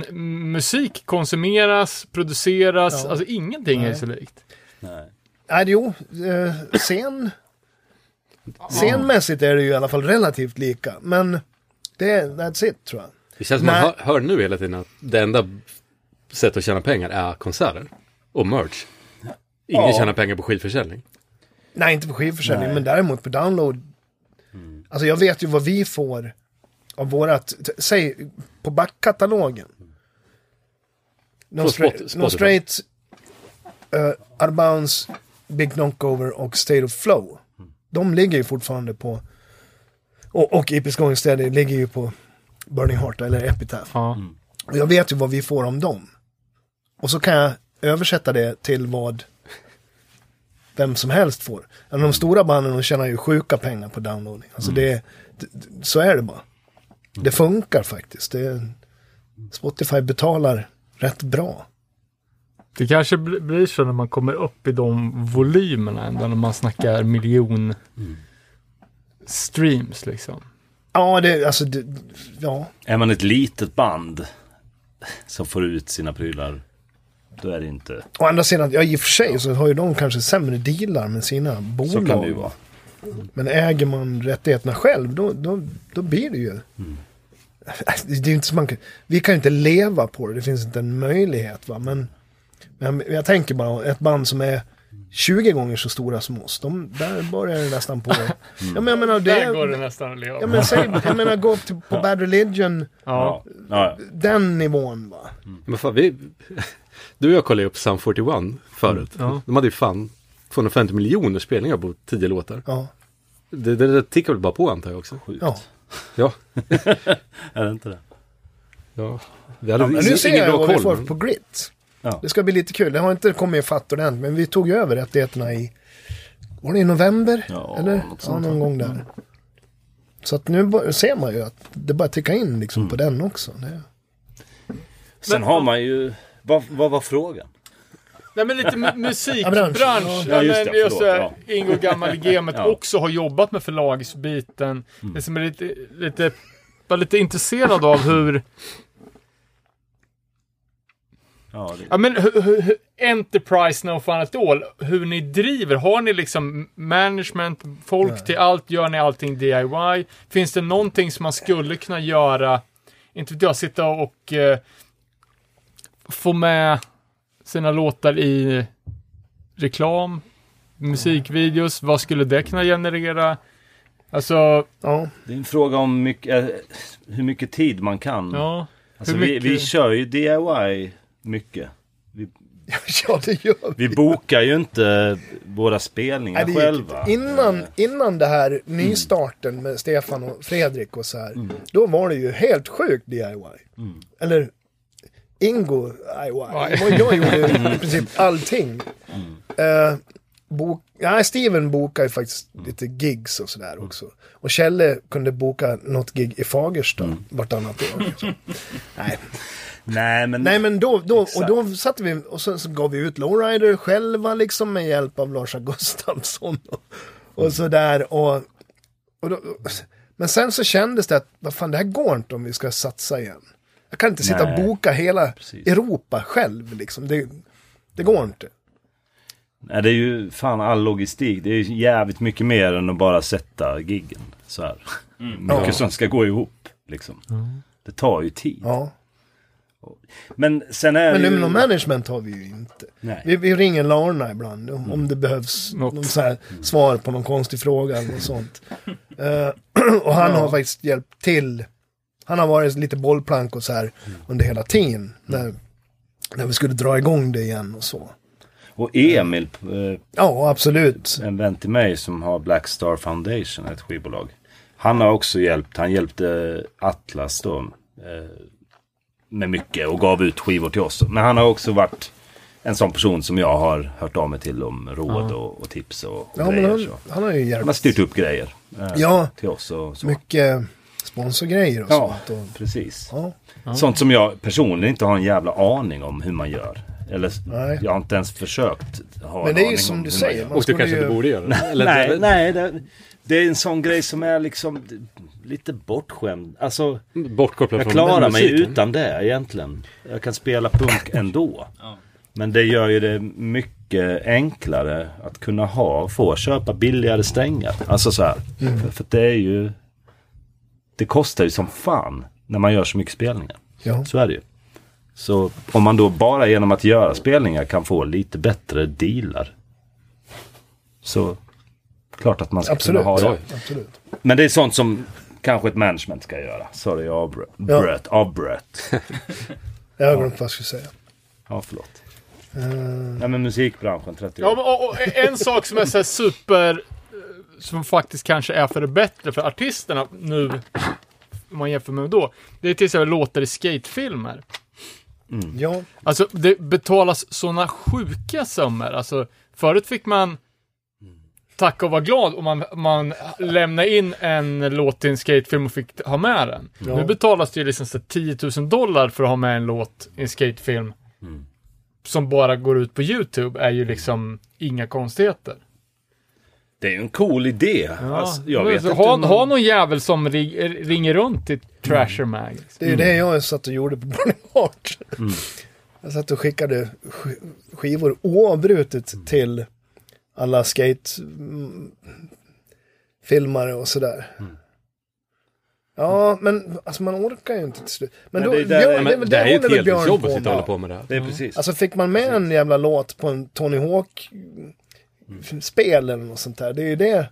Speaker 1: musik konsumeras, produceras,
Speaker 5: Ja.
Speaker 1: alltså ingenting är så likt.
Speaker 5: Nej, jo, eh, scen... Scenmässigt är det ju i alla fall relativt lika, men det är, that's it tror jag.
Speaker 4: Det känns som man
Speaker 5: Nej.
Speaker 4: hör, hör nu hela tiden att det enda sättet att tjäna pengar är konserter och merch. Ingen
Speaker 5: Ja.
Speaker 4: tjänar pengar på skivförsäljning.
Speaker 5: Nej, inte på skivförsäljning, men däremot på download. Alltså jag vet ju vad vi får av vårat, t- säg på backkatalogen. No,
Speaker 4: Från
Speaker 5: stra-
Speaker 4: Spot-
Speaker 5: no
Speaker 4: Spotify.
Speaker 5: Straight, uh, Arbounds, Big Knockover och State of Flow. De ligger ju fortfarande på, och, och Episk Gångstäder ligger ju på Burning Heart eller Epitaph.
Speaker 1: Ja.
Speaker 5: Och jag vet ju vad vi får om dem. Och så kan jag översätta det till vad vem som helst får. Men de stora banden de tjänar ju sjuka pengar på downloading. Alltså
Speaker 6: Mm.
Speaker 5: det, d- d- så är det bara. Det funkar faktiskt. Det, Spotify betalar rätt bra.
Speaker 1: Det kanske bl- blir så när man kommer upp i de volymerna ändå, när man snackar miljon
Speaker 5: Mm.
Speaker 1: streams liksom.
Speaker 5: Ja, det, alltså, det, ja.
Speaker 6: Är man ett litet band som får ut sina prylar, då är det inte...
Speaker 5: Å andra sidan, ja i och för sig så har ju de kanske sämre dealar med sina bolag.
Speaker 6: Så kan det ju vara.
Speaker 5: Men äger man rättigheterna själv, då, då, då blir det ju... Alltså, Det är ju inte så man kan, vi kan ju inte leva på det, det finns inte en möjlighet. Va? Men, men jag- jag tänker bara, ett band som är 20 gånger så stora som oss, de, där börjar det nästan på... Ja, men jag menar, det,
Speaker 1: Där går det nästan att leva.
Speaker 5: jag menar, säg, jag menar gå upp till, på Bad Religion,
Speaker 1: Ja.
Speaker 6: Ja. Ja.
Speaker 5: den nivån va.
Speaker 4: Men fan, vi, [LAUGHS] du och jag kollade upp Sum 41 förut.
Speaker 1: Ja.
Speaker 4: De hade ju fan 250 miljoner spelningar på 10 låtar.
Speaker 5: Ja,
Speaker 4: Det, det, det tickar väl bara på antar jag också.
Speaker 5: ja.
Speaker 4: Ja.
Speaker 6: Är det inte det?
Speaker 4: ja. Vi hade
Speaker 5: Men
Speaker 4: ingen,
Speaker 5: nu ser
Speaker 4: ingen
Speaker 5: jag
Speaker 4: bra
Speaker 5: vad vi
Speaker 4: koll.
Speaker 5: får
Speaker 4: men-
Speaker 5: på Grit.
Speaker 6: Ja.
Speaker 5: Det ska bli lite kul. Det har inte kommit ifatt ordentligt, men vi tog ju över rättigheterna i... Var det i november?
Speaker 6: Ja,
Speaker 5: Eller?
Speaker 6: något
Speaker 5: Ja,
Speaker 6: sånt.
Speaker 5: någon gång där. Så att nu bör- ser man ju att det bara tickar in liksom
Speaker 6: Mm.
Speaker 5: på den också. Det...
Speaker 6: Sen har man ju... Vad, vad var frågan?
Speaker 1: Nej men
Speaker 6: [LAUGHS]
Speaker 1: lite mu- musikbransch.
Speaker 5: Ja,
Speaker 1: Nej,
Speaker 6: just det,
Speaker 1: men just
Speaker 6: förlåt,
Speaker 1: det. Ingo
Speaker 6: [LAUGHS]
Speaker 1: Gammal i gamet
Speaker 6: Ja. Mm.
Speaker 1: också har jobbat med förlagsbiten. Det som är lite, lite, var lite intresserad av hur,
Speaker 6: Ja, det...
Speaker 1: ja men hur, hur, hur Enterprise No Fun At All, hur ni driver. Har ni liksom management, folk till allt? Gör ni allting DIY? Finns det någonting som man skulle kunna göra, inte vet jag, sitta och eh, få med sina låtar i reklam, musikvideos, vad skulle det kunna generera? Alltså,
Speaker 5: Ja, [LAUGHS]
Speaker 6: det är en fråga om mycket, eh, hur mycket tid man kan.
Speaker 1: ja.
Speaker 6: alltså,
Speaker 1: hur
Speaker 6: vi,
Speaker 1: mycket-
Speaker 6: vi kör ju DIY mycket. Vi,
Speaker 5: ja det gör vi.
Speaker 6: vi bokar ju inte våra spelningar
Speaker 5: Nej, det gick
Speaker 6: själva.
Speaker 5: inte. innan, innan det här nystarten med Stefan och Fredrik och så här, då var det ju helt sjukt DIY. Eller Ingo DIY. Och Jag gjorde i princip allting. Eh, bok, nej, Steven bokade ju faktiskt lite gigs och sådär också. Och Kjelle kunde boka något gig i Fagersta vartannat år. nej.
Speaker 6: Nej, men...
Speaker 5: nej, men då, då, och då satte vi, och sen så gav vi ut Lowrider själva liksom med hjälp av Lars Gustafsson och,
Speaker 6: Mm.
Speaker 5: och sådär. Och, och då, men sen så kändes det att, vad fan det här går inte om vi ska satsa igen. Jag kan inte sitta
Speaker 6: Nej.
Speaker 5: och boka hela
Speaker 6: Precis.
Speaker 5: Europa själv liksom. Det, det går inte.
Speaker 6: Nej, det är ju fan all logistik. Det är ju jävligt mycket mer än att bara sätta giggen så här. [LAUGHS] Mycket som ska gå ihop liksom. Det tar ju tid.
Speaker 5: Ja.
Speaker 6: Men sen är
Speaker 5: Men
Speaker 6: det ju...
Speaker 5: Luminal Management har vi ju inte.
Speaker 6: Nej.
Speaker 5: Vi, vi ringer Larna ibland om om det
Speaker 6: Mm.
Speaker 5: behövs
Speaker 1: Något.
Speaker 5: någon så här svar på någon konstig fråga eller något sånt. Eh, [CLEARS THROAT] och han har faktiskt hjälpt till. Han har varit lite bollplank och så här under hela
Speaker 6: Mm.
Speaker 5: tiden. När, när vi skulle dra igång det igen och så.
Speaker 6: Och Emil, eh,
Speaker 5: Ja, absolut.
Speaker 6: en vän till mig som har Black Star Foundation, ett skivbolag. Han har också hjälpt. Han hjälpte Atlas då. Eh, med mycket och gav ut skivor till oss. Men han har också varit en sån person som jag har hört av mig till om råd och, och tips och, och
Speaker 5: Ja, men
Speaker 6: grejer.
Speaker 5: han,
Speaker 6: så.
Speaker 5: han har ju
Speaker 6: De har
Speaker 5: hjälpt.
Speaker 6: styrt upp grejer eh,
Speaker 5: Ja.
Speaker 6: till oss och så.
Speaker 5: Mycket sponsorgrejer och
Speaker 6: Ja,
Speaker 5: sånt. Och,
Speaker 6: precis.
Speaker 5: ja.
Speaker 6: Sånt som jag personligen inte har en jävla aning om hur man gör. Eller s-
Speaker 5: Nej.
Speaker 6: jag har inte ens försökt ha
Speaker 5: Men
Speaker 6: en
Speaker 5: det är ju
Speaker 6: aning
Speaker 5: som
Speaker 6: om
Speaker 5: du
Speaker 6: hur
Speaker 5: säger.
Speaker 6: Man
Speaker 5: man
Speaker 4: Och du
Speaker 5: skulle
Speaker 4: kanske
Speaker 5: ju-
Speaker 4: inte borde göra det.
Speaker 6: gör.
Speaker 4: Eller,
Speaker 6: Nej,
Speaker 4: eller-
Speaker 6: nej det, det är en sån grej som är liksom d- lite bortskämd. Alltså,
Speaker 4: Bortkopplad
Speaker 6: jag
Speaker 4: från
Speaker 6: klarar mig
Speaker 4: musiken.
Speaker 6: utan det egentligen. Jag kan spela punk ändå. Men det gör ju det mycket enklare att kunna ha, få köpa billigare strängar. Alltså så här. För, för det är ju... Det kostar ju som fan när man gör så mycket spelningar.
Speaker 5: Ja.
Speaker 6: Så är det ju. Så om man då bara genom att göra spelningar kan få lite bättre dealar. Så klart att man ska
Speaker 5: Absolut.
Speaker 6: kunna ha det.
Speaker 5: Absolut.
Speaker 6: Men det är sånt som kanske ett management ska göra. Sorry, jag avbröt.
Speaker 5: Ja.
Speaker 6: Bröt, avbröt.
Speaker 5: Jag har glömt vad jag skulle säga.
Speaker 6: Ja, förlåt. Nej, men musikbranschen 30 år.
Speaker 1: Ja, men, och, och en sak som är så här super... eh, Som faktiskt kanske är för det bättre för artisterna nu, om man jämför med då. Det är till exempel låtar i skatefilmer.
Speaker 6: Mm.
Speaker 5: Ja,
Speaker 1: Alltså, det betalas sådana sjuka summor. Alltså, förut fick man tacka och vara glad om man, man lämnade in en låt till en skatefilm och fick ha med den. Nu betalas det ju liksom så här 10 000 dollar för att ha med en låt i en skatefilm. Som bara går ut på YouTube är ju liksom inga konstigheter.
Speaker 6: Det är ju en cool idé. Alltså, jag vet inte.
Speaker 1: ha,
Speaker 6: om-
Speaker 1: ha någon jävel som ring, eh, ringer runt till Trasher
Speaker 5: Mm.
Speaker 1: Mag. liksom.
Speaker 5: det är ju det jag satt och gjorde på Bonnie [LAUGHS] Hart. Jag satt och skickade sk- skivor oavbrutet till alla skatefilmare och sådär. Ja, men alltså man orkar ju inte till slut. Men,
Speaker 6: Men
Speaker 5: då,
Speaker 6: det är där-
Speaker 5: Björn-
Speaker 6: Ja,
Speaker 5: det,
Speaker 4: men det är ju
Speaker 5: håller
Speaker 4: ett
Speaker 5: väl Björn
Speaker 4: heltidsjobb
Speaker 5: på
Speaker 4: att sitta och
Speaker 5: med.
Speaker 4: hålla på med det här.
Speaker 6: Det är precis.
Speaker 5: Alltså fick man med en jävla låt på en Tony Hawk-spel eller något sånt där. Det är ju det.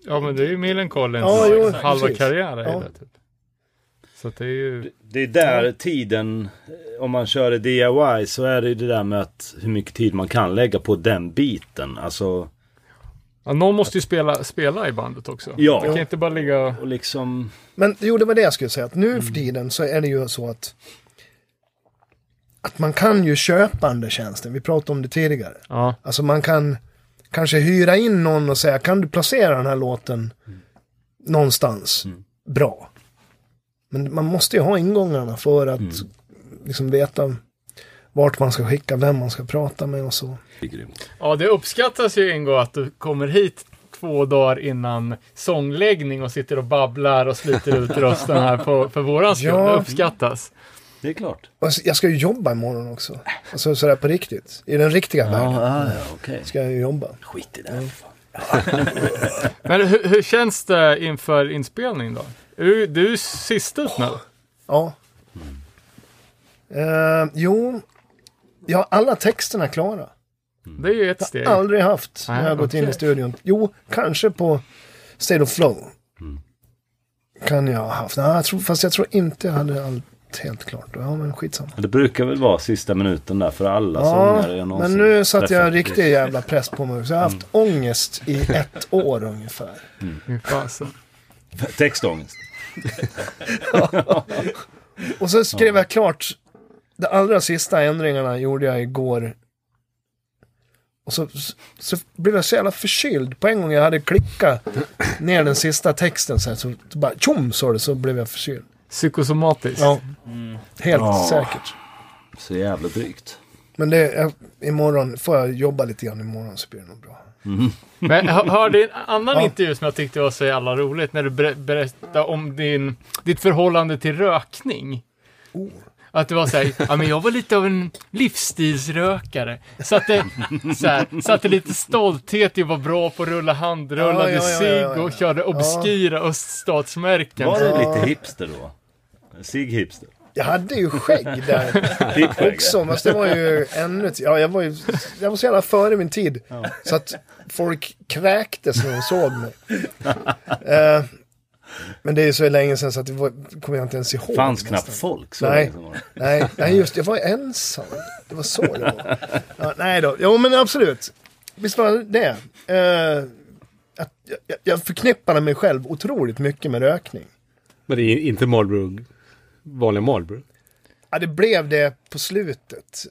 Speaker 1: Ja, men det är ju Millen Collins liksom,
Speaker 5: Ja, jo,
Speaker 1: halva
Speaker 5: precis.
Speaker 1: karriär. är
Speaker 5: Ja.
Speaker 1: Det, typ. Så att det är ju...
Speaker 6: Det är där tiden, eh, om man kör i DIY, så är det ju det där med att hur mycket tid man kan lägga på den biten. Alltså,
Speaker 1: Ja, någon måste ju spela, spela i bandet också.
Speaker 6: Ja.
Speaker 1: Det kan inte bara ligga och...
Speaker 6: och liksom...
Speaker 5: Men jo, det var det jag skulle säga. Att nu för tiden så är det ju så att att man kan ju köpa den där tjänsten. Vi pratade om det tidigare.
Speaker 1: Ja.
Speaker 5: Alltså man kan kanske hyra in någon och säga kan du placera den här låten någonstans bra. Men man måste ju ha ingångarna för att liksom veta vart man ska skicka, vem man ska prata med och så.
Speaker 6: Det är grymt.
Speaker 1: ja, det uppskattas ju en gång att du kommer hit två dagar innan sångläggning och sitter och babblar och sliter
Speaker 5: [LAUGHS]
Speaker 1: ut rösten här på, för våran skull.
Speaker 5: Ja.
Speaker 1: Det uppskattas.
Speaker 6: Det är klart.
Speaker 5: Och jag ska ju jobba imorgon också. Alltså sådär på riktigt. I den riktiga världen
Speaker 6: ah, ja, okej.
Speaker 5: ska jag ju jobba.
Speaker 6: Skit i det.
Speaker 1: Men hur, hur känns det inför inspelning då? Är Du, du är ju sist ut nu.
Speaker 5: Ja. Eh, jo, jag har alla texterna klara.
Speaker 1: Det är ju ett steg.
Speaker 5: Aldrig haft när jag
Speaker 1: Nej,
Speaker 5: har gått in i
Speaker 1: okej.
Speaker 5: studion. Jo, kanske på State of Flow.
Speaker 1: Mm.
Speaker 5: Kan jag ha haft. Nej, jag tror, fast jag tror inte jag hade allt helt klart. Ja, men skitsamma.
Speaker 6: Det brukar väl vara sista minuten där för alla
Speaker 5: Ja,
Speaker 6: sångare jag någonsin
Speaker 5: men nu satte jag
Speaker 6: träffat.
Speaker 5: riktig jävla press på mig. Så jag har haft
Speaker 1: Mm.
Speaker 5: ångest i ett år ungefär.
Speaker 1: Fy fasen.
Speaker 6: Textångest.
Speaker 5: Och så skrev jag klart. De allra sista ändringarna gjorde jag igår. Och så, så blev jag så jävla förkyld. På en gång jag hade klickat ner den sista texten så, här, så bara tjom sa det så blev jag förkyld.
Speaker 1: Psykosomatiskt.
Speaker 5: Ja. Helt
Speaker 6: Ja.
Speaker 5: säkert.
Speaker 6: Så jävla drygt.
Speaker 5: Men det, jag, imorgon får jag jobba lite grann imorgon så blir det nog bra.
Speaker 1: Men jag hörde en annan
Speaker 5: Ja.
Speaker 1: intervju som jag tyckte var så jävla roligt när du ber- berättade om din, ditt förhållande till rökning.
Speaker 5: Oh.
Speaker 1: Att det var såhär, ja men jag var lite av en livsstilsrökare. Satte, såhär, satte lite stolthet i att vara bra på att rulla handrullade
Speaker 5: Ja, ja, ja,
Speaker 1: cigg
Speaker 5: ja, ja.
Speaker 1: och körde obskyra öststatsmärken.
Speaker 6: Var det lite hipster då? Sig-hipster?
Speaker 5: Jag hade ju skägg där också. Fast det var ju ännu... ett- Ja, jag var ju... Jag var så jävla före min tid. Så att folk kräktes när de såg mig. Eh, men det är ju så länge sedan så att det var, kommer jag inte ens ihåg.
Speaker 6: Fanns
Speaker 5: nästan.
Speaker 6: knappt folk. Så liksom.
Speaker 5: Nej.
Speaker 6: länge som var det.
Speaker 5: Nej, nej, just det. Jag var ensam. Det var så det var. Ja, nej då. Jo, men absolut. Visst var det Eh, att, jag, jag förknippade mig själv otroligt mycket med rökning.
Speaker 4: Men det är inte Marlboro, vanliga Marlboro.
Speaker 5: Ja, det blev det på slutet.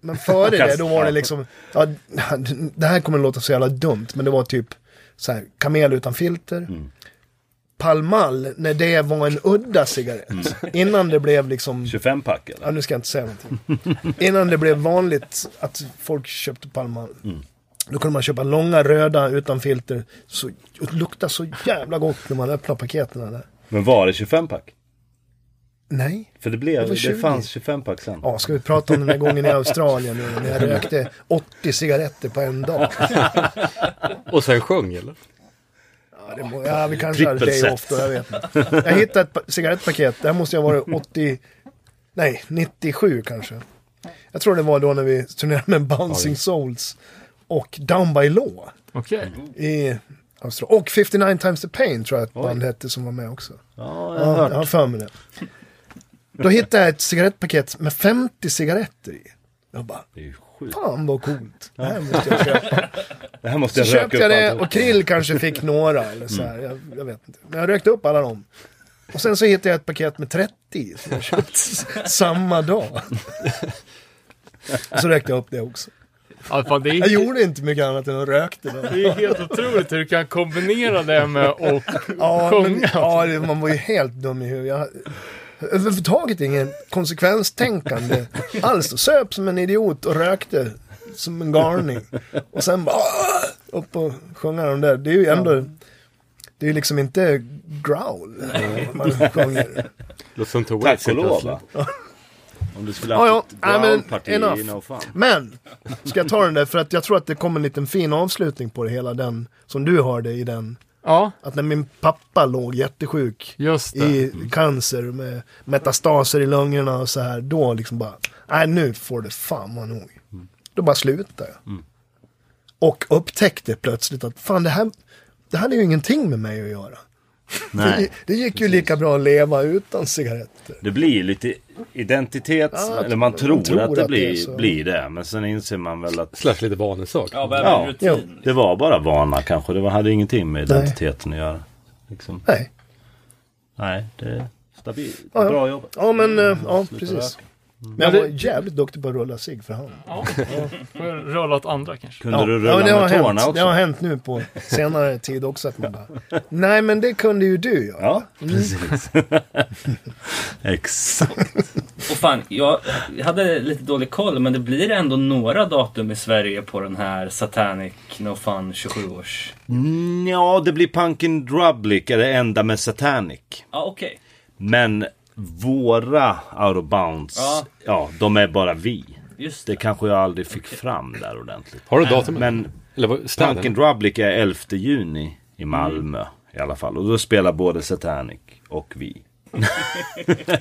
Speaker 5: Men före det, då var det liksom... Ja, det här kommer låta så jävla dumt, men det var typ så här, kamel utan filter. Pall Mall, när det var en udda cigarett. Innan det blev liksom...
Speaker 6: 25-pack eller?
Speaker 5: Ja, nu ska jag inte säga någonting. Innan det blev vanligt att folk köpte Pall Mall. Då kunde man köpa långa röda utan filter. Så, och det luktade så jävla gott när man öppnade paketen där.
Speaker 6: Men var det 25-pack?
Speaker 5: Nej.
Speaker 6: För det, blev,
Speaker 5: Det var
Speaker 6: det,
Speaker 5: 20.
Speaker 6: fanns 25-pack sen.
Speaker 5: Ja, ska vi prata om den där gången i Australien nu när jag rökte 80 cigaretter på en dag?
Speaker 4: Och sen sjöng eller?
Speaker 5: Ja, det må, ja vi kanske hade
Speaker 6: Trippel
Speaker 5: day off då,
Speaker 6: set.
Speaker 5: jag vet inte. Jag hittade ett pa- cigarettpaket, det här måste jag ha varit 80... Nej, 97 kanske. Jag tror det var då när vi turnerade med Bouncing Souls och Down by Law
Speaker 1: Okej.
Speaker 5: i Australien. Och 59 times the pain tror jag ett band hette som var med också.
Speaker 6: Ja, jag har
Speaker 5: Ja,
Speaker 6: hört.
Speaker 5: jag har för mig det. Då hittade jag ett cigarettpaket med 50 cigaretter i. Jag bara,
Speaker 6: Det är ju sjukt.
Speaker 5: fan vad coolt. Det här måste jag köpa.
Speaker 6: Det här måste
Speaker 5: Så
Speaker 6: [LAUGHS] jag
Speaker 5: köpte
Speaker 6: röka
Speaker 5: jag
Speaker 6: upp Mm.
Speaker 5: det
Speaker 6: alltihop.
Speaker 5: och Krill kanske fick några eller så här. Jag, jag vet inte. Men jag rökte upp alla dem. Och sen så hittade jag ett paket med 30 som
Speaker 6: [LAUGHS]
Speaker 5: jag köpt s- samma dag. Så rökte jag upp det också.
Speaker 1: Ja, fan, det,
Speaker 5: Jag
Speaker 1: är,
Speaker 5: gjorde inte mycket annat än att rökte det.
Speaker 1: det är helt otroligt hur du kan kombinera det med och
Speaker 5: Ja, men,
Speaker 1: sjunga.
Speaker 5: ja det- man var ju helt dum i huvudet. Jag, överhuvudtaget ingen konsekvenstänkande alls. Jag söp som en idiot och rökte som en galning. Och sen bara "Åh!" upp och sjunga de där. Det är ju ändå, det är ju liksom inte growl man sjunger.
Speaker 4: Låter som Tove
Speaker 6: Tack och
Speaker 4: helt
Speaker 6: lov.
Speaker 4: plötsligt.
Speaker 6: va? Om du skulle
Speaker 5: Ja, ja.
Speaker 6: haft
Speaker 5: Nej,
Speaker 6: ett
Speaker 5: men
Speaker 6: groundparti,
Speaker 5: enough.
Speaker 6: no fun.
Speaker 5: Men, ska jag ta den där för att jag tror att det kommer en liten fin avslutning på det hela den, som du hörde i den.
Speaker 1: Ja,
Speaker 5: Att när min pappa låg jättesjuk
Speaker 1: just det.
Speaker 5: i
Speaker 6: Mm.
Speaker 5: cancer med metastaser i lungorna och så här. Då liksom bara, nej nu får det fan vara nog.
Speaker 6: Mm.
Speaker 5: Då bara slutade jag. Och upptäckte plötsligt att fan det här, det här är ju ingenting med mig att göra. Det,
Speaker 6: Nej,
Speaker 5: [LAUGHS] det gick ju lika bra att leva utan cigaretter.
Speaker 6: det blir lite identitet.
Speaker 5: Ja,
Speaker 6: eller man tror,
Speaker 5: tror
Speaker 6: att det
Speaker 5: att det är
Speaker 6: blir det,
Speaker 5: så.
Speaker 6: blir det. Men sen inser man väl att
Speaker 4: Slash lite vanesak.
Speaker 8: Ja, behöver
Speaker 6: Ja.
Speaker 8: en rutin.
Speaker 6: det var bara vana kanske. Det var, hade ingenting med
Speaker 5: Nej.
Speaker 6: identiteten att göra. Liksom.
Speaker 5: Nej.
Speaker 6: Nej, det är stabilt.
Speaker 5: Ja, ja.
Speaker 6: Bra jobbat.
Speaker 5: Ja men, eh, ja
Speaker 6: Mm. Sluta
Speaker 5: precis.
Speaker 6: röka. Mm.
Speaker 5: Men
Speaker 1: Ja,
Speaker 5: jag var
Speaker 1: det-
Speaker 5: jävligt duktig på att rulla cigg för hand.
Speaker 1: Får rulla åt andra kanske.
Speaker 6: Kunde
Speaker 5: Ja.
Speaker 6: du
Speaker 5: Ja,
Speaker 6: rulla
Speaker 5: men det har
Speaker 6: med tårna
Speaker 5: hänt.
Speaker 6: också?
Speaker 5: Det har hänt nu
Speaker 6: [LAUGHS]
Speaker 5: på senare tid också att man bara, nej men det kunde ju du göra.
Speaker 6: Ja, precis. [LAUGHS] Exakt.
Speaker 8: Och fan, jag hade lite dålig koll men det blir ändå några datum i Sverige på den här Satanic No Fun 27-års...
Speaker 6: Mm, Ja, det blir Punkin Drublic, är det enda med Satanic.
Speaker 8: Ja, okej.
Speaker 6: Men våra out of bounds,
Speaker 8: Ja.
Speaker 6: ja. de är bara vi.
Speaker 8: Just
Speaker 6: Det
Speaker 8: det.
Speaker 6: kanske jag aldrig fick fram där ordentligt.
Speaker 4: Har du datumet?
Speaker 6: Men
Speaker 4: Eller vad,
Speaker 6: Punkin
Speaker 4: städen?
Speaker 6: Drublic är 11 juni i Malmö i alla fall. Och då spelar både Satanic och vi.
Speaker 5: Åh,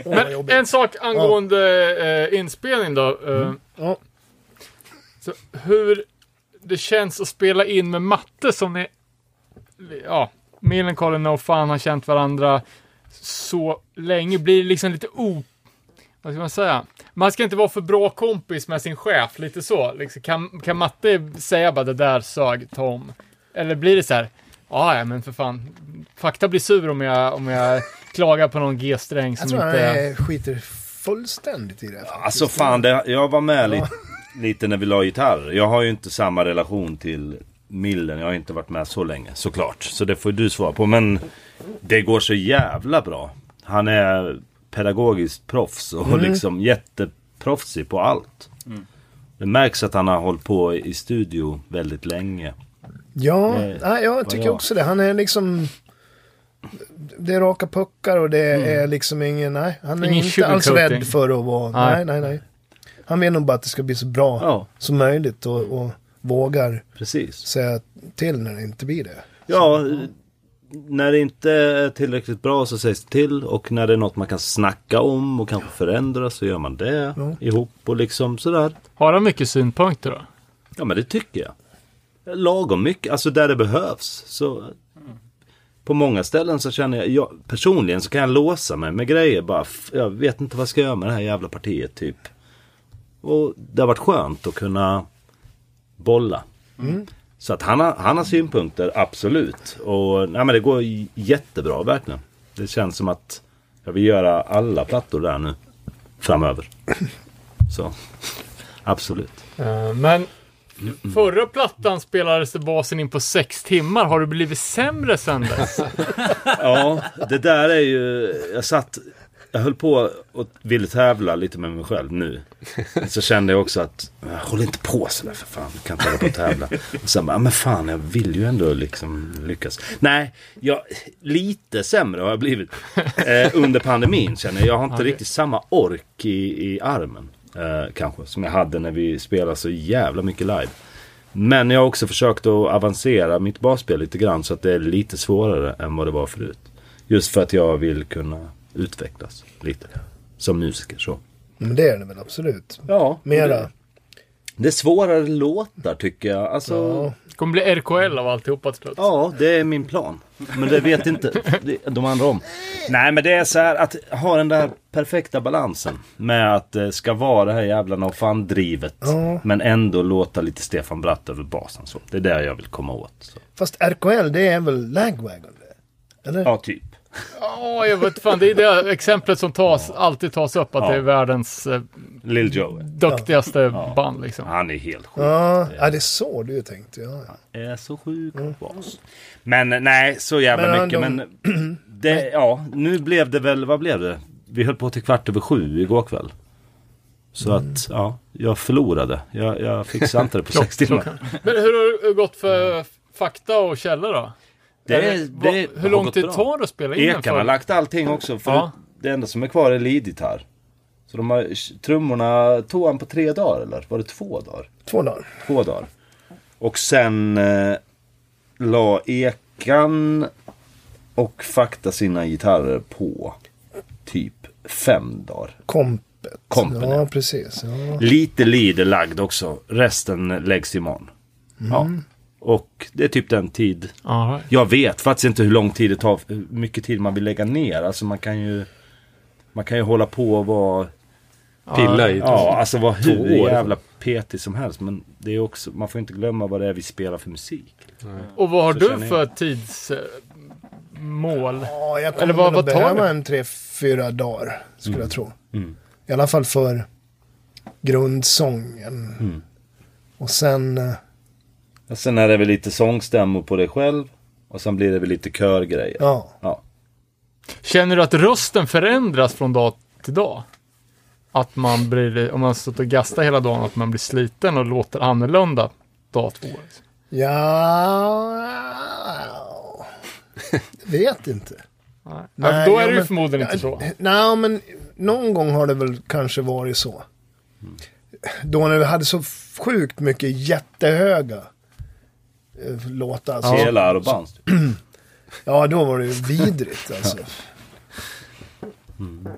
Speaker 5: vad
Speaker 1: Men
Speaker 5: jobbigt.
Speaker 1: en sak angående eh, inspelning då. Eh,
Speaker 5: Mm. Ja.
Speaker 1: så hur det känns att spela in med Matte som ni... Ja, Millencolin och fan har känt varandra så länge. Blir det liksom lite o... Vad ska man säga? Man ska inte vara för bra kompis med sin chef, lite så. Liksom, kan, kan Matte säga bara det där sög Tom? Eller blir det så här? "Ja, ja, men för fan. Fakta blir sur om jag, om jag klagar på någon G-sträng som
Speaker 5: Jag tror han
Speaker 1: inte...
Speaker 5: eh, skiter fullständigt i det. faktiskt.
Speaker 6: Alltså fan, det, jag var med lite, lite när vi la gitarr. Jag har ju inte samma relation till Millen. Jag har inte varit med så länge såklart. Så det får ju du svara på. Men det går så jävla bra. Han är pedagogiskt proffs och liksom jätteproffsig på allt. Det märks att han har hållit på i studio väldigt länge.
Speaker 5: Ja,
Speaker 6: Eh,
Speaker 5: nej, jag tycker
Speaker 6: jag.
Speaker 5: också det. Han är liksom... Det är raka puckar och det är liksom ingen... Nej, han är
Speaker 1: Ingen
Speaker 5: inte alls
Speaker 1: sugarcoating.
Speaker 5: rädd för att vara... Nej,
Speaker 1: Nej.
Speaker 5: nej, nej. Han vill nog bara att det ska bli så bra
Speaker 6: Ja,
Speaker 5: som möjligt och, och vågar
Speaker 6: precis.
Speaker 5: säga till när det inte blir det.
Speaker 6: Ja, när det inte är tillräckligt bra så sägs det till och när det är något man kan snacka om och kanske förändra så gör man det
Speaker 5: Ja.
Speaker 6: ihop och liksom sådär.
Speaker 1: Har han mycket synpunkter då?
Speaker 6: Ja men det tycker jag. Lagom mycket, alltså där det behövs. Så på många ställen så känner jag, jag, personligen så kan jag låsa mig med grejer bara. "F- Jag vet inte vad jag ska göra med det här jävla partiet typ. Och det har varit skönt att kunna bolla. Så att han har, han har synpunkter, absolut. Och nej men det går j- jättebra verkligen. Det känns som att jag vill göra alla plattor där nu. Framöver. Så absolut.
Speaker 1: Eh, men förra plattan spelades det basen in på sex timmar. Har du blivit sämre sen [LAUGHS] dess?
Speaker 6: Ja, det där är ju... Jag satt... Jag höll på och ville tävla lite med mig själv nu. Så kände jag också att, "Men håll inte på sådär för fan. Jag kan inte hålla på och tävla. Och sen bara, "Ja, men fan jag vill ju ändå liksom lyckas. Nej, jag, lite sämre har jag blivit. Eh, under pandemin känner jag. Jag har inte riktigt samma ork i, i armen. Eh, kanske, som jag hade när vi spelade så jävla mycket live. Men jag har också försökt att avancera mitt basspel lite grann så att det är lite svårare än vad det var förut. Just för att jag vill kunna utvecklas lite. Som musiker så.
Speaker 5: Men det är det väl absolut.
Speaker 6: Ja,
Speaker 5: Mera.
Speaker 6: Det är svårare låtar tycker jag. Alltså, ja.
Speaker 1: Det kommer bli RKL av alltihopa till slut.
Speaker 6: det är min plan. Men det vet inte det- de andra om. Nej, men det är så här att ha den där perfekta balansen. Med att det ska vara det här jävla no fan-drivet. Men ändå låta lite Stefan Bratt över basen. Så. Det är det jag vill komma åt. Så.
Speaker 5: Fast RKL det är väl Lagwagon? det? Eller?
Speaker 6: Ja, typ.
Speaker 1: Ja, jag vet fan. Det är det exemplet som tas, alltid tas upp, att
Speaker 6: Ja.
Speaker 1: det är världens eh,
Speaker 6: Lill Joe.
Speaker 1: duktigaste band liksom.
Speaker 6: Han är helt sjuk.
Speaker 5: Ja, ja, det är så du tänkte. Ja. ja.
Speaker 6: är så sjuk
Speaker 1: Mm.
Speaker 6: bas. Men nej, så jävla
Speaker 5: Men han-
Speaker 6: mycket.
Speaker 1: [CLEARS THROAT]
Speaker 6: Men det, ja, nu blev det väl, vad blev det? Vi höll på till kvart över sju igår kväll. Så
Speaker 1: Mm.
Speaker 6: att, ja, jag förlorade. Jag, jag fixade inte
Speaker 1: [LAUGHS]
Speaker 6: det på sex timmar.
Speaker 1: Men hur har det gått för fakta och källor då?
Speaker 6: Det,
Speaker 1: Eller, Eh, vad- hur
Speaker 6: har
Speaker 1: lång
Speaker 6: gått
Speaker 1: tid
Speaker 6: bra.
Speaker 1: tar det att spela in den
Speaker 6: Ekarna har
Speaker 1: för?
Speaker 6: lagt allting också. För
Speaker 1: Ja.
Speaker 6: Det enda som är kvar är leadgitarr. Så de har trummorna, tog han på tre dagar eller? Var det två dagar?
Speaker 5: Två dagar.
Speaker 6: två dagar. Och sen eh, la Ekan och Fakta sina gitarrer på typ fem dagar.
Speaker 5: Kompet.
Speaker 6: Kompen,
Speaker 5: Ja,
Speaker 6: ja.
Speaker 5: precis. Ja.
Speaker 6: Lite lead är lagd också. Resten läggs imorgon. Ja. Och det är typ den tid.
Speaker 1: All right.
Speaker 6: Jag vet faktiskt inte hur lång tid det tar. Hur mycket tid man vill lägga ner. Alltså man kan ju... Man kan ju hålla på och vara...
Speaker 4: Pilla i.
Speaker 6: Ja, alltså vara hur
Speaker 4: Två år.
Speaker 6: jävla petig som helst. Men det är också... Man får inte glömma vad det är vi spelar för musik.
Speaker 1: Och vad har
Speaker 6: Så
Speaker 1: du
Speaker 6: känner jag.
Speaker 1: för eh, tidsmål?
Speaker 5: Ja, jag kommer
Speaker 1: Eller vad-
Speaker 5: väl
Speaker 1: vad
Speaker 5: att
Speaker 1: tar Mm.
Speaker 5: behöva
Speaker 1: det?
Speaker 5: en tre, fyra dagar skulle jag tro. I alla fall för grundsången.
Speaker 1: Mm.
Speaker 5: Och sen, eh,
Speaker 6: Och sen är det väl lite sångstämmor på dig själv. Och sen blir det väl lite körgrejer.
Speaker 5: ja.
Speaker 6: Ja.
Speaker 1: Känner du att rösten förändras från dag till dag? Att man blir, om man har stått och gastat hela dagen, att man blir sliten och låter annorlunda dag två? liksom?
Speaker 5: Ja... Jag
Speaker 1: [LAUGHS]
Speaker 5: vet inte.
Speaker 1: Nej. Alltså,
Speaker 5: Nej,
Speaker 1: då är det
Speaker 5: ja,
Speaker 1: ju
Speaker 5: men-
Speaker 1: förmodligen inte så.
Speaker 5: [LAUGHS] Nej, men någon gång har det väl kanske varit så. Då när vi hade så sjukt mycket jättehöga eh, låtar. Alltså. Ja.
Speaker 6: Hela Arobans.
Speaker 5: då var det ju vidrigt alltså.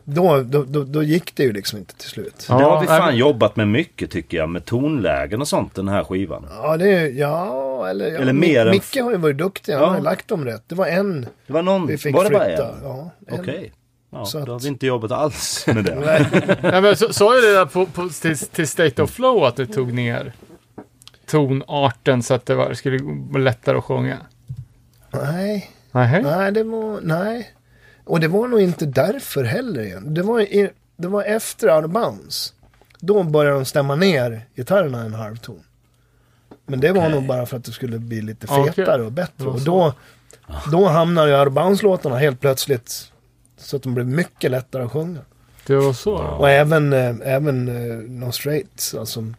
Speaker 5: Då, då, då, då gick det ju liksom inte till slut.
Speaker 6: det har vi
Speaker 1: nej,
Speaker 6: fan
Speaker 1: men-
Speaker 6: jobbat med mycket tycker jag. Med tonlägen och sånt den här skivan.
Speaker 5: Ja, det är, ja eller, ja,
Speaker 6: Eller
Speaker 5: Mi-
Speaker 6: mer än-
Speaker 5: Micke har ju varit duktig. Han
Speaker 6: Ja.
Speaker 5: har ju lagt dem rätt. Det var en
Speaker 6: Det var någon...
Speaker 5: vi fick
Speaker 6: var det bara
Speaker 5: flytta.
Speaker 6: en?
Speaker 5: Ja, en.
Speaker 6: Okej. Ja,
Speaker 5: Så
Speaker 6: då har
Speaker 5: att-
Speaker 6: vi inte jobbat alls med det.
Speaker 1: Nej, men så- Sa jag det där på, på, till, till State of Flow att du tog ner tonarten så att det var, det skulle gå lättare att sjunga?
Speaker 5: Nej.
Speaker 1: Nej.
Speaker 5: Nej, det var... Nej. Och det var nog inte därför heller igen. Det var, i, det var efter Out of Bounds. Då började de stämma ner gitarrerna en halv ton. Men det var nog bara för att det skulle bli lite
Speaker 1: Okej.
Speaker 5: fetare och bättre.
Speaker 1: Det var
Speaker 5: Och
Speaker 1: så.
Speaker 5: då, då hamnade ju Out of Bounds-låtarna helt plötsligt så att de blev mycket lättare att sjunga.
Speaker 1: Det var så?
Speaker 5: Och även, eh, även eh, No Straits, alltså.
Speaker 1: Mm.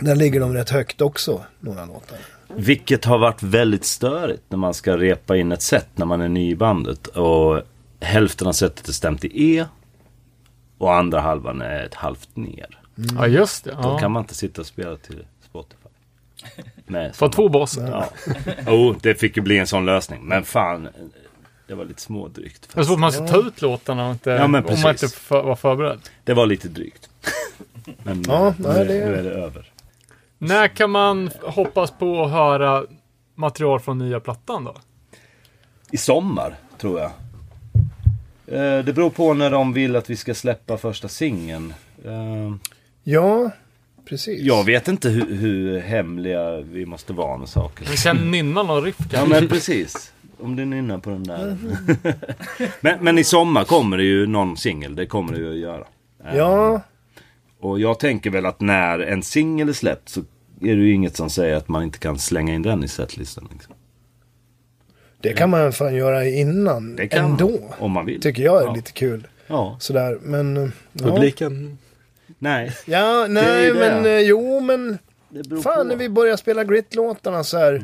Speaker 5: Där ligger de rätt högt också, några låtar.
Speaker 6: Vilket har varit väldigt störigt när man ska repa in ett set när man är ny i bandet. Och hälften av setet är stämt i E. Och andra halvan är ett halvt ner.
Speaker 1: Ja, just det.
Speaker 6: Då kan
Speaker 1: Ja.
Speaker 6: man inte sitta och spela till Spotify. Nej,
Speaker 1: För två bossar.
Speaker 6: Ja. Jo, det fick ju bli en sån lösning. Men fan, det var lite smådrygt.
Speaker 1: Det är så att man ska ta ut låtarna och inte,
Speaker 6: Ja, men
Speaker 1: om man inte
Speaker 6: precis.
Speaker 1: för, var förberedd.
Speaker 6: Det var lite drygt. Men
Speaker 5: Ja,
Speaker 6: nu,
Speaker 5: nej, det-
Speaker 6: nu är det över.
Speaker 1: När kan man hoppas på att höra material från nya plattan då?
Speaker 6: I sommar, tror jag. Eh, Det beror på när de vill att vi ska släppa första singeln. Eh,
Speaker 5: Ja, precis.
Speaker 6: Jag vet inte hur, hur hemliga vi måste vara med saker.
Speaker 1: Vi känner nynna någon riff
Speaker 6: Ja
Speaker 1: kanske?
Speaker 5: [LAUGHS]
Speaker 6: men precis. Om du nynnar på den där.
Speaker 5: Mm.
Speaker 6: [LAUGHS] men, men i sommar kommer det ju någon singel. Det kommer det ju att göra. Eh,
Speaker 5: Ja,
Speaker 6: Och jag tänker väl att när en singel är släppt så är det ju inget som säger att man inte kan slänga in den i setlistan. Liksom.
Speaker 5: Det kan man fan göra innan
Speaker 6: Det kan
Speaker 5: ändå.
Speaker 6: man, om man vill.
Speaker 5: Tycker jag är
Speaker 6: Ja.
Speaker 5: lite kul.
Speaker 6: Ja.
Speaker 5: Sådär, men... eh, Ja,
Speaker 4: Publiken.
Speaker 6: Nej.
Speaker 5: ja
Speaker 6: Det är
Speaker 5: nej,
Speaker 6: ju det.
Speaker 5: men eh, jo, men...
Speaker 6: Det beror Mm.
Speaker 5: Fan, när vi började spela Grit-låtarna så här.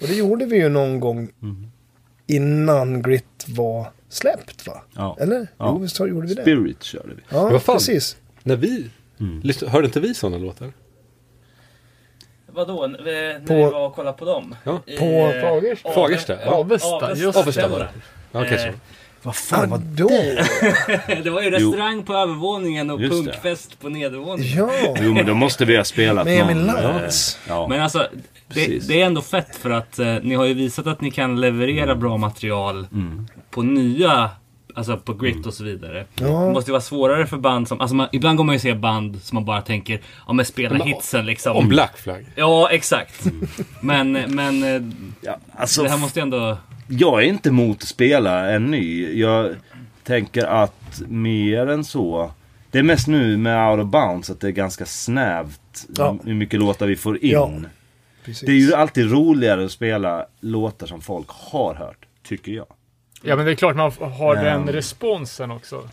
Speaker 5: Och det gjorde vi ju någon gång innan Grit var släppt, va?
Speaker 6: Ja.
Speaker 5: Eller?
Speaker 6: Ja.
Speaker 5: Jo, visst har- gjorde vi det?
Speaker 6: Spirit körde vi.
Speaker 5: Ja,
Speaker 4: Vad fan?
Speaker 5: precis.
Speaker 4: Mm. När vi... Lyssna- Hörde inte vi sådana låtar?
Speaker 8: vadå? N- eh, När
Speaker 5: På-
Speaker 8: vi var och kollade på dem?
Speaker 4: Ja.
Speaker 8: I,
Speaker 5: På
Speaker 8: eh,
Speaker 5: Fagersta?
Speaker 8: Ave-
Speaker 4: Fagersta, ja.
Speaker 1: Avesta, just
Speaker 4: Avesta var det. Ja, okej,
Speaker 8: Eh,
Speaker 4: så.
Speaker 6: Vad
Speaker 5: Ah,
Speaker 6: fan var
Speaker 5: Då?
Speaker 8: [LAUGHS] Det var ju restaurang på övervåningen och
Speaker 6: Just det.
Speaker 8: punkfest på nedervåningen.
Speaker 5: Ja.
Speaker 6: Jo, men då måste vi ha spelat
Speaker 5: Med Emil
Speaker 6: någon. eh,
Speaker 5: Lantz.
Speaker 6: Ja.
Speaker 8: Men alltså, det,
Speaker 6: Precis.
Speaker 8: det är ändå fett för att eh, ni har ju visat att ni kan leverera
Speaker 6: Mm.
Speaker 8: bra material på nya, alltså på grit
Speaker 6: Mm.
Speaker 8: och så vidare. Det måste ju vara svårare för band som, alltså man, ibland går man ju se band som man bara tänker, ja men spela
Speaker 4: Men,
Speaker 8: hitsen liksom.
Speaker 4: Om Black Flag.
Speaker 8: Ja, exakt.
Speaker 6: Mm.
Speaker 8: Men, men eh,
Speaker 6: ja, alltså,
Speaker 8: det här måste ju ändå...
Speaker 6: Jag är inte emot att spela en ny. Jag tänker att mer än så. Det är mest nu med Out of Bounds att det är ganska snävt
Speaker 5: Ja.
Speaker 6: hur mycket låtar vi får in.
Speaker 5: Ja, Precis.
Speaker 6: Det är ju alltid roligare att spela låtar som folk har hört, tycker jag.
Speaker 1: Ja, men det är klart man har den
Speaker 6: Ehm.
Speaker 1: responsen också.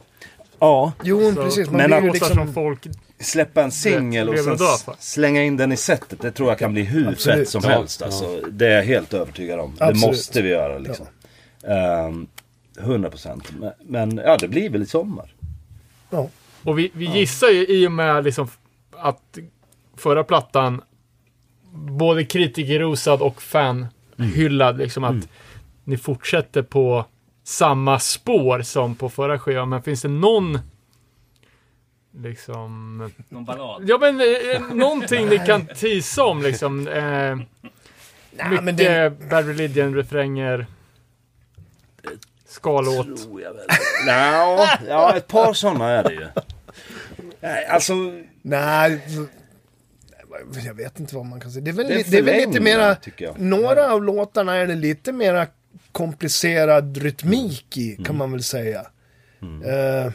Speaker 6: Ja,
Speaker 5: Jo,
Speaker 1: Så-
Speaker 5: precis. Man
Speaker 6: Men
Speaker 5: blir
Speaker 6: att-
Speaker 5: ju
Speaker 1: Låtar
Speaker 5: liksom...
Speaker 1: från folk
Speaker 6: släppa en singel och
Speaker 1: Rätt
Speaker 6: sen
Speaker 1: lever och dör, va?
Speaker 6: s- slänga in den i setet. Det tror jag kan bli hur
Speaker 5: Absolut.
Speaker 6: fett som
Speaker 4: Ja,
Speaker 6: helst.
Speaker 4: ja.
Speaker 6: Alltså, Det är jag helt övertygad om.
Speaker 5: Absolut.
Speaker 6: Det måste vi göra liksom. Ehm, 100 procent. Men ja, det blir väl i sommar.
Speaker 5: Ja.
Speaker 1: Och vi, vi gissar ju i och med liksom att förra plattan både kritikerrosad och fanhyllad. Liksom att
Speaker 6: Mm.
Speaker 1: ni fortsätter på samma spår som på förra skivan. Men finns det någon liksom...
Speaker 8: Någon ballad.
Speaker 1: Ja men eh, någonting ni kan tisa om liksom. Eh,
Speaker 5: Nej, men
Speaker 1: mycket
Speaker 5: det,
Speaker 1: Bad Religion-refränger. Skalåt.
Speaker 6: Tror jag väl. Nå, ja, ett par sådana är det ju. Nej, alltså...
Speaker 5: nej, v- nej, jag vet inte vad man kan säga. Det är väl,
Speaker 6: Det är
Speaker 5: li- det är väl lite
Speaker 6: förlängning,
Speaker 5: mera...
Speaker 6: tycker jag.
Speaker 5: Några av låtarna är det lite mera komplicerad rytmik i,
Speaker 6: Mm.
Speaker 5: kan man väl säga. Eh,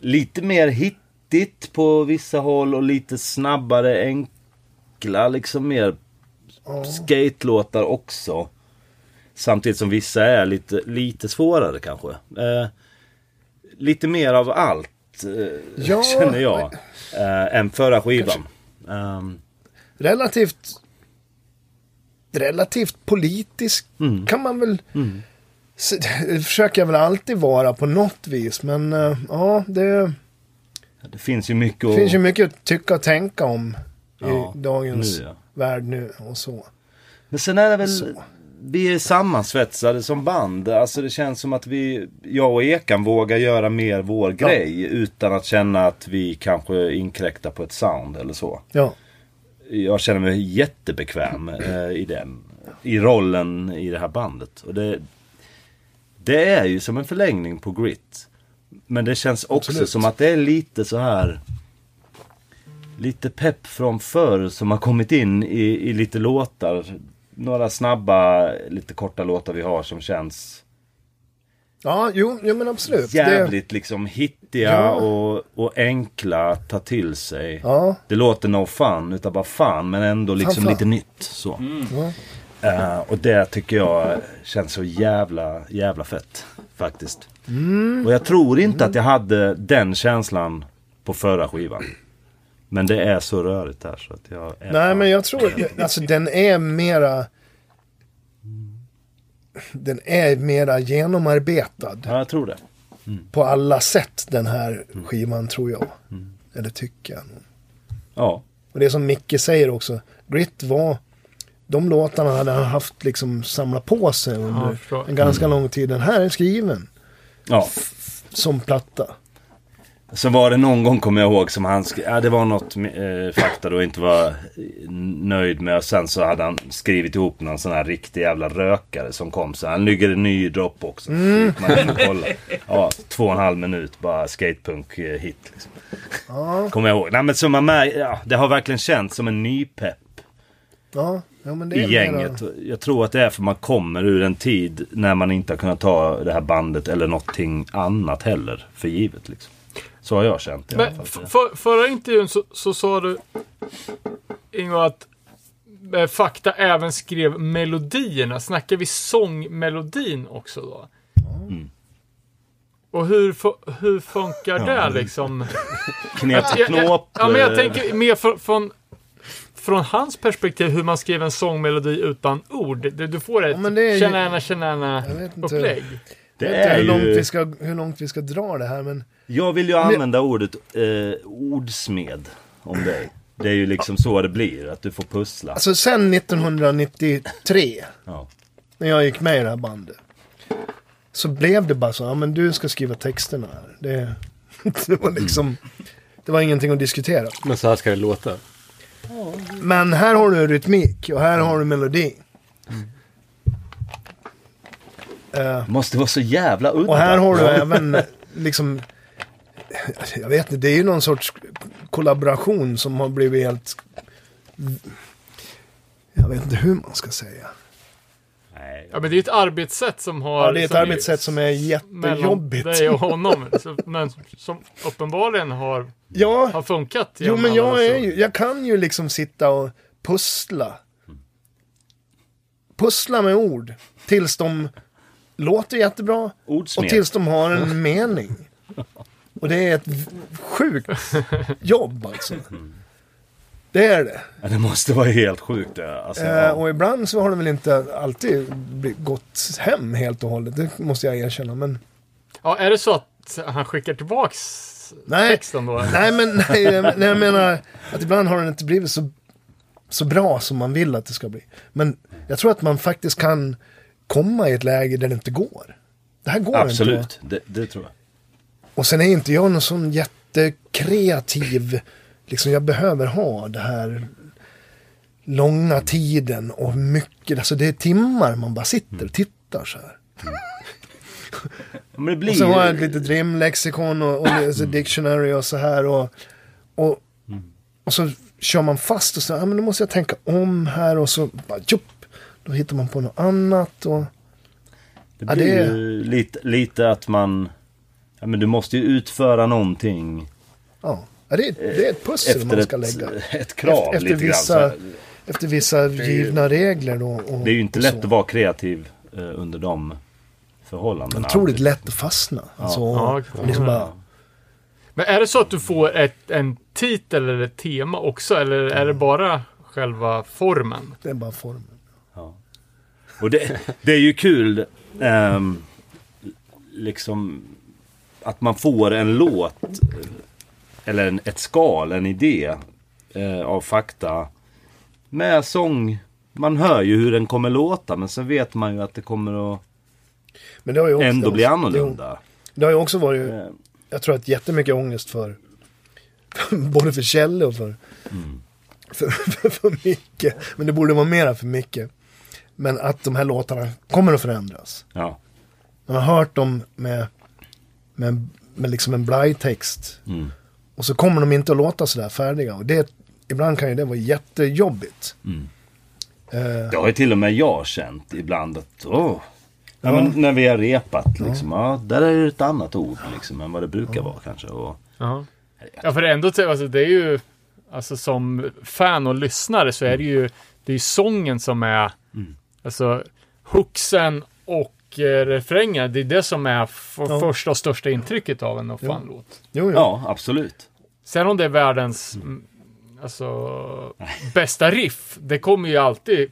Speaker 6: Lite mer hittigt på vissa håll och lite snabbare, enkla, liksom mer skatelåtar också. Samtidigt som vissa är lite, lite svårare kanske. Eh, lite mer av allt, eh,
Speaker 5: Ja.
Speaker 6: känner jag. Eh, än förra skivan. Ehm,
Speaker 5: relativt... Relativt politisk
Speaker 6: Mm.
Speaker 5: kan man väl... Se- [LAUGHS] Det försöker jag väl alltid vara på något vis, men eh, ja, det...
Speaker 6: det finns ju mycket
Speaker 5: Det
Speaker 6: att...
Speaker 5: finns ju mycket att tycka och tänka om i
Speaker 6: Ja,
Speaker 5: dagens
Speaker 6: nu, ja.
Speaker 5: värld nu och så.
Speaker 6: Men sen är det väl,
Speaker 5: Så.
Speaker 6: vi är sammansvetsade som band. Alltså det känns som att vi, jag och Ekan vågar göra mer vår grej utan att känna att vi kanske inkräktar på ett sound eller så.
Speaker 5: Ja,
Speaker 6: Jag känner mig jättebekväm eh, i den, i rollen i det här bandet. Och det, det är ju som en förlängning på grit. Men det känns också
Speaker 5: Absolut.
Speaker 6: som att det är lite så här lite pepp från förr som har kommit in i, i lite låtar. Några snabba, lite korta låtar vi har som känns
Speaker 5: ja jo, jo men absolut.
Speaker 6: jävligt liksom hittiga
Speaker 5: Ja.
Speaker 6: och, och enkla att ta till sig.
Speaker 5: Ja,
Speaker 6: Det låter no fun utan bara fan men ändå liksom
Speaker 5: fan. Mm.
Speaker 6: lite nytt så. Eh, och det tycker jag känns så jävla, jävla fett faktiskt.
Speaker 5: Mm.
Speaker 6: Och jag tror inte att jag hade den känslan på förra skivan. Men det är så rörigt där så att jag... är
Speaker 5: nej
Speaker 6: fan-
Speaker 5: men jag tror, alltså den är mera... Den är mera genomarbetad
Speaker 6: Ja, jag tror det.
Speaker 5: på alla sätt den här skivan tror jag. Eller tycker jag.
Speaker 6: Ja.
Speaker 5: Och det är som Micke säger också, Grit var... De låtarna hade han haft liksom samlat på sig
Speaker 1: Ja,
Speaker 5: under
Speaker 1: förstår.
Speaker 5: en ganska lång tid. Den här är skriven
Speaker 6: ja.
Speaker 5: som platta.
Speaker 6: Så var det någon gång kommer jag ihåg som han skrev, ja, det var något eh, fakta då inte var eh, nöjd med. Och sen så hade han skrivit ihop någon sån här riktig jävla rökare som kom så han ligger i ny dropp också.
Speaker 5: Mm.
Speaker 6: Gick Man in och kollade. Ja, två och en halv minut bara skatepunk eh, hit liksom. Kommer jag ihåg. Nej men så man mär, ja, det har verkligen känts som en ny pepp
Speaker 5: Ja, ja men det är
Speaker 6: i
Speaker 5: mera-
Speaker 6: gänget. Jag tror att det är för man kommer ur en tid när man inte har kunnat ta det här bandet eller någonting annat heller för givet liksom. Så har jag känt i alla
Speaker 1: Men
Speaker 6: fall.
Speaker 1: f- för, förra intervjun så, så sa du, Ingo, att eh, Fakta även skrev melodierna. Snackar vi sångmelodin också då? Och hur, fu- hur funkar det liksom?
Speaker 6: Knep till
Speaker 1: Alltså, Jag- jag-
Speaker 6: knåp.
Speaker 1: Ja, men jag
Speaker 6: eh,
Speaker 1: tänker mer från, från, från hans perspektiv hur man skrev en sångmelodi utan ord. Du, du får ett
Speaker 5: Ja, men det är ju-
Speaker 1: tjena tjena
Speaker 5: Jag vet inte.
Speaker 1: upplägg.
Speaker 6: Det
Speaker 5: Jag vet inte
Speaker 6: är
Speaker 5: hur, långt
Speaker 6: ju,
Speaker 5: vi ska, hur långt vi ska dra det här men
Speaker 6: jag vill ju använda ordet eh, ordsmed om dig. Det är ju liksom så det blir, att du får pussla.
Speaker 5: Alltså sen 1993,
Speaker 6: Ja.
Speaker 5: när jag gick med i det här bandet. Så blev det bara så, ja men du ska skriva texterna här. Det, [LAUGHS] det var liksom, det var ingenting att diskutera.
Speaker 4: Men så här ska det låta.
Speaker 5: Men här har du rytmik och här har du melodi. Eh,
Speaker 6: Måste vara så jävla udda.
Speaker 5: och här har du även liksom, jag vet inte, det är ju någon sorts kollaboration som har blivit helt, jag vet inte hur man ska säga.
Speaker 6: Nej.
Speaker 1: Ja, men det är ju ett arbetssätt som har...
Speaker 5: Ja, det är ett
Speaker 1: som
Speaker 5: arbetssätt som är
Speaker 1: Mellan
Speaker 5: jättejobbigt.
Speaker 1: dig och honom. [LAUGHS] Så, men som uppenbarligen har, har
Speaker 5: Ja,
Speaker 1: funkat.
Speaker 5: jo
Speaker 1: genom
Speaker 5: men
Speaker 1: alla
Speaker 5: jag,
Speaker 1: dessa
Speaker 5: är
Speaker 1: år.
Speaker 5: ju, jag kan ju liksom sitta och pussla. Pussla med ord. Tills de låter jättebra och
Speaker 6: Ordsmed.
Speaker 5: tills de har en mening. Och det är ett v- sjukt jobb alltså. Det är det.
Speaker 6: Ja, det måste vara helt sjukt det. Alltså,
Speaker 5: Eh,
Speaker 6: ja.
Speaker 5: och ibland så har det väl inte alltid bli- gått hem helt och hållet. Det måste jag erkänna. Men
Speaker 1: Ja, är det så att han skickar tillbaks
Speaker 5: Nej.
Speaker 1: texten då?
Speaker 5: [LAUGHS] Nej men nej, jag- nej, jag menar att ibland har den inte blivit så, så bra som man vill att det ska bli. Men jag tror att man faktiskt kan komma i ett läge där det inte går. Det här går inte.
Speaker 6: Absolut, det, det tror jag.
Speaker 5: Och sen är inte jag någon sån jättekreativ, liksom jag behöver ha det här långa tiden och mycket, alltså det är timmar man bara sitter och tittar så här.
Speaker 6: Men det blir
Speaker 5: Och så har jag ett litet rimlexikon och, och alltså dictionary och så här. Och, och, och så kör man fast och så, ja men då måste jag tänka om här och så bara, jupp, Då hittar man på något annat och,
Speaker 6: Det
Speaker 5: Ja,
Speaker 6: blir
Speaker 5: det-
Speaker 6: ju lite, lite att man... Ja, men du måste ju utföra någonting
Speaker 5: ja. ja det, är, det är ett pussel
Speaker 6: efter
Speaker 5: man ska
Speaker 6: ett,
Speaker 5: lägga.
Speaker 6: ett krav
Speaker 5: Efter- efter
Speaker 6: lite
Speaker 5: vissa-
Speaker 6: grann. Så här,
Speaker 5: Efter vissa givna regler då. Och,
Speaker 6: Det är ju inte
Speaker 5: och
Speaker 6: lätt
Speaker 5: så.
Speaker 6: att vara kreativ eh, under de förhållandena.
Speaker 5: Otroligt lätt att fastna. Alltså,
Speaker 1: Ja,
Speaker 5: och liksom bara,
Speaker 1: Men är det så att du får ett, en titel eller ett tema också? Eller är det bara själva formen?
Speaker 5: det är bara formen.
Speaker 6: Och det, det är ju kul ehm, liksom att man får en låt eh, eller en, ett skal, en idé eh, av fakta med sång. Man hör ju hur den kommer låta men sen vet man ju att det kommer att
Speaker 5: Men det har ju också,
Speaker 6: ändå bli
Speaker 5: det har-
Speaker 6: annorlunda.
Speaker 5: Det har ju också varit
Speaker 6: Eh,
Speaker 5: jag tror att jättemycket ångest för [LAUGHS] både för Kjelle och för, för, för, för Micke. Men det borde vara mera för Micke. Men att de här låtarna kommer att förändras.
Speaker 6: Ja,
Speaker 5: Man har hört dem med, med, med liksom en blajtext.
Speaker 6: Mm.
Speaker 5: Och så kommer de inte att låta sådär färdiga. Och det, ibland kan ju det vara jättejobbigt. Eh,
Speaker 6: det har ju till och med jag känt ibland att åh, ja, men när vi har repat liksom, ja, där är det ett annat ord liksom, än vad det brukar vara kanske. Och,
Speaker 1: Ja. Ja, för det är ändå, till- alltså, det är ju, alltså som fan och lyssnare så är det ju, det är ju sången som är, alltså hooksen och eh, refrängen, det är det som är f-
Speaker 5: Ja.
Speaker 1: första och största intrycket av en och fan-låt.
Speaker 5: jo, jo.
Speaker 6: ja, absolut.
Speaker 1: Sen om det är världens, mm, alltså, bästa riff, det kommer ju alltid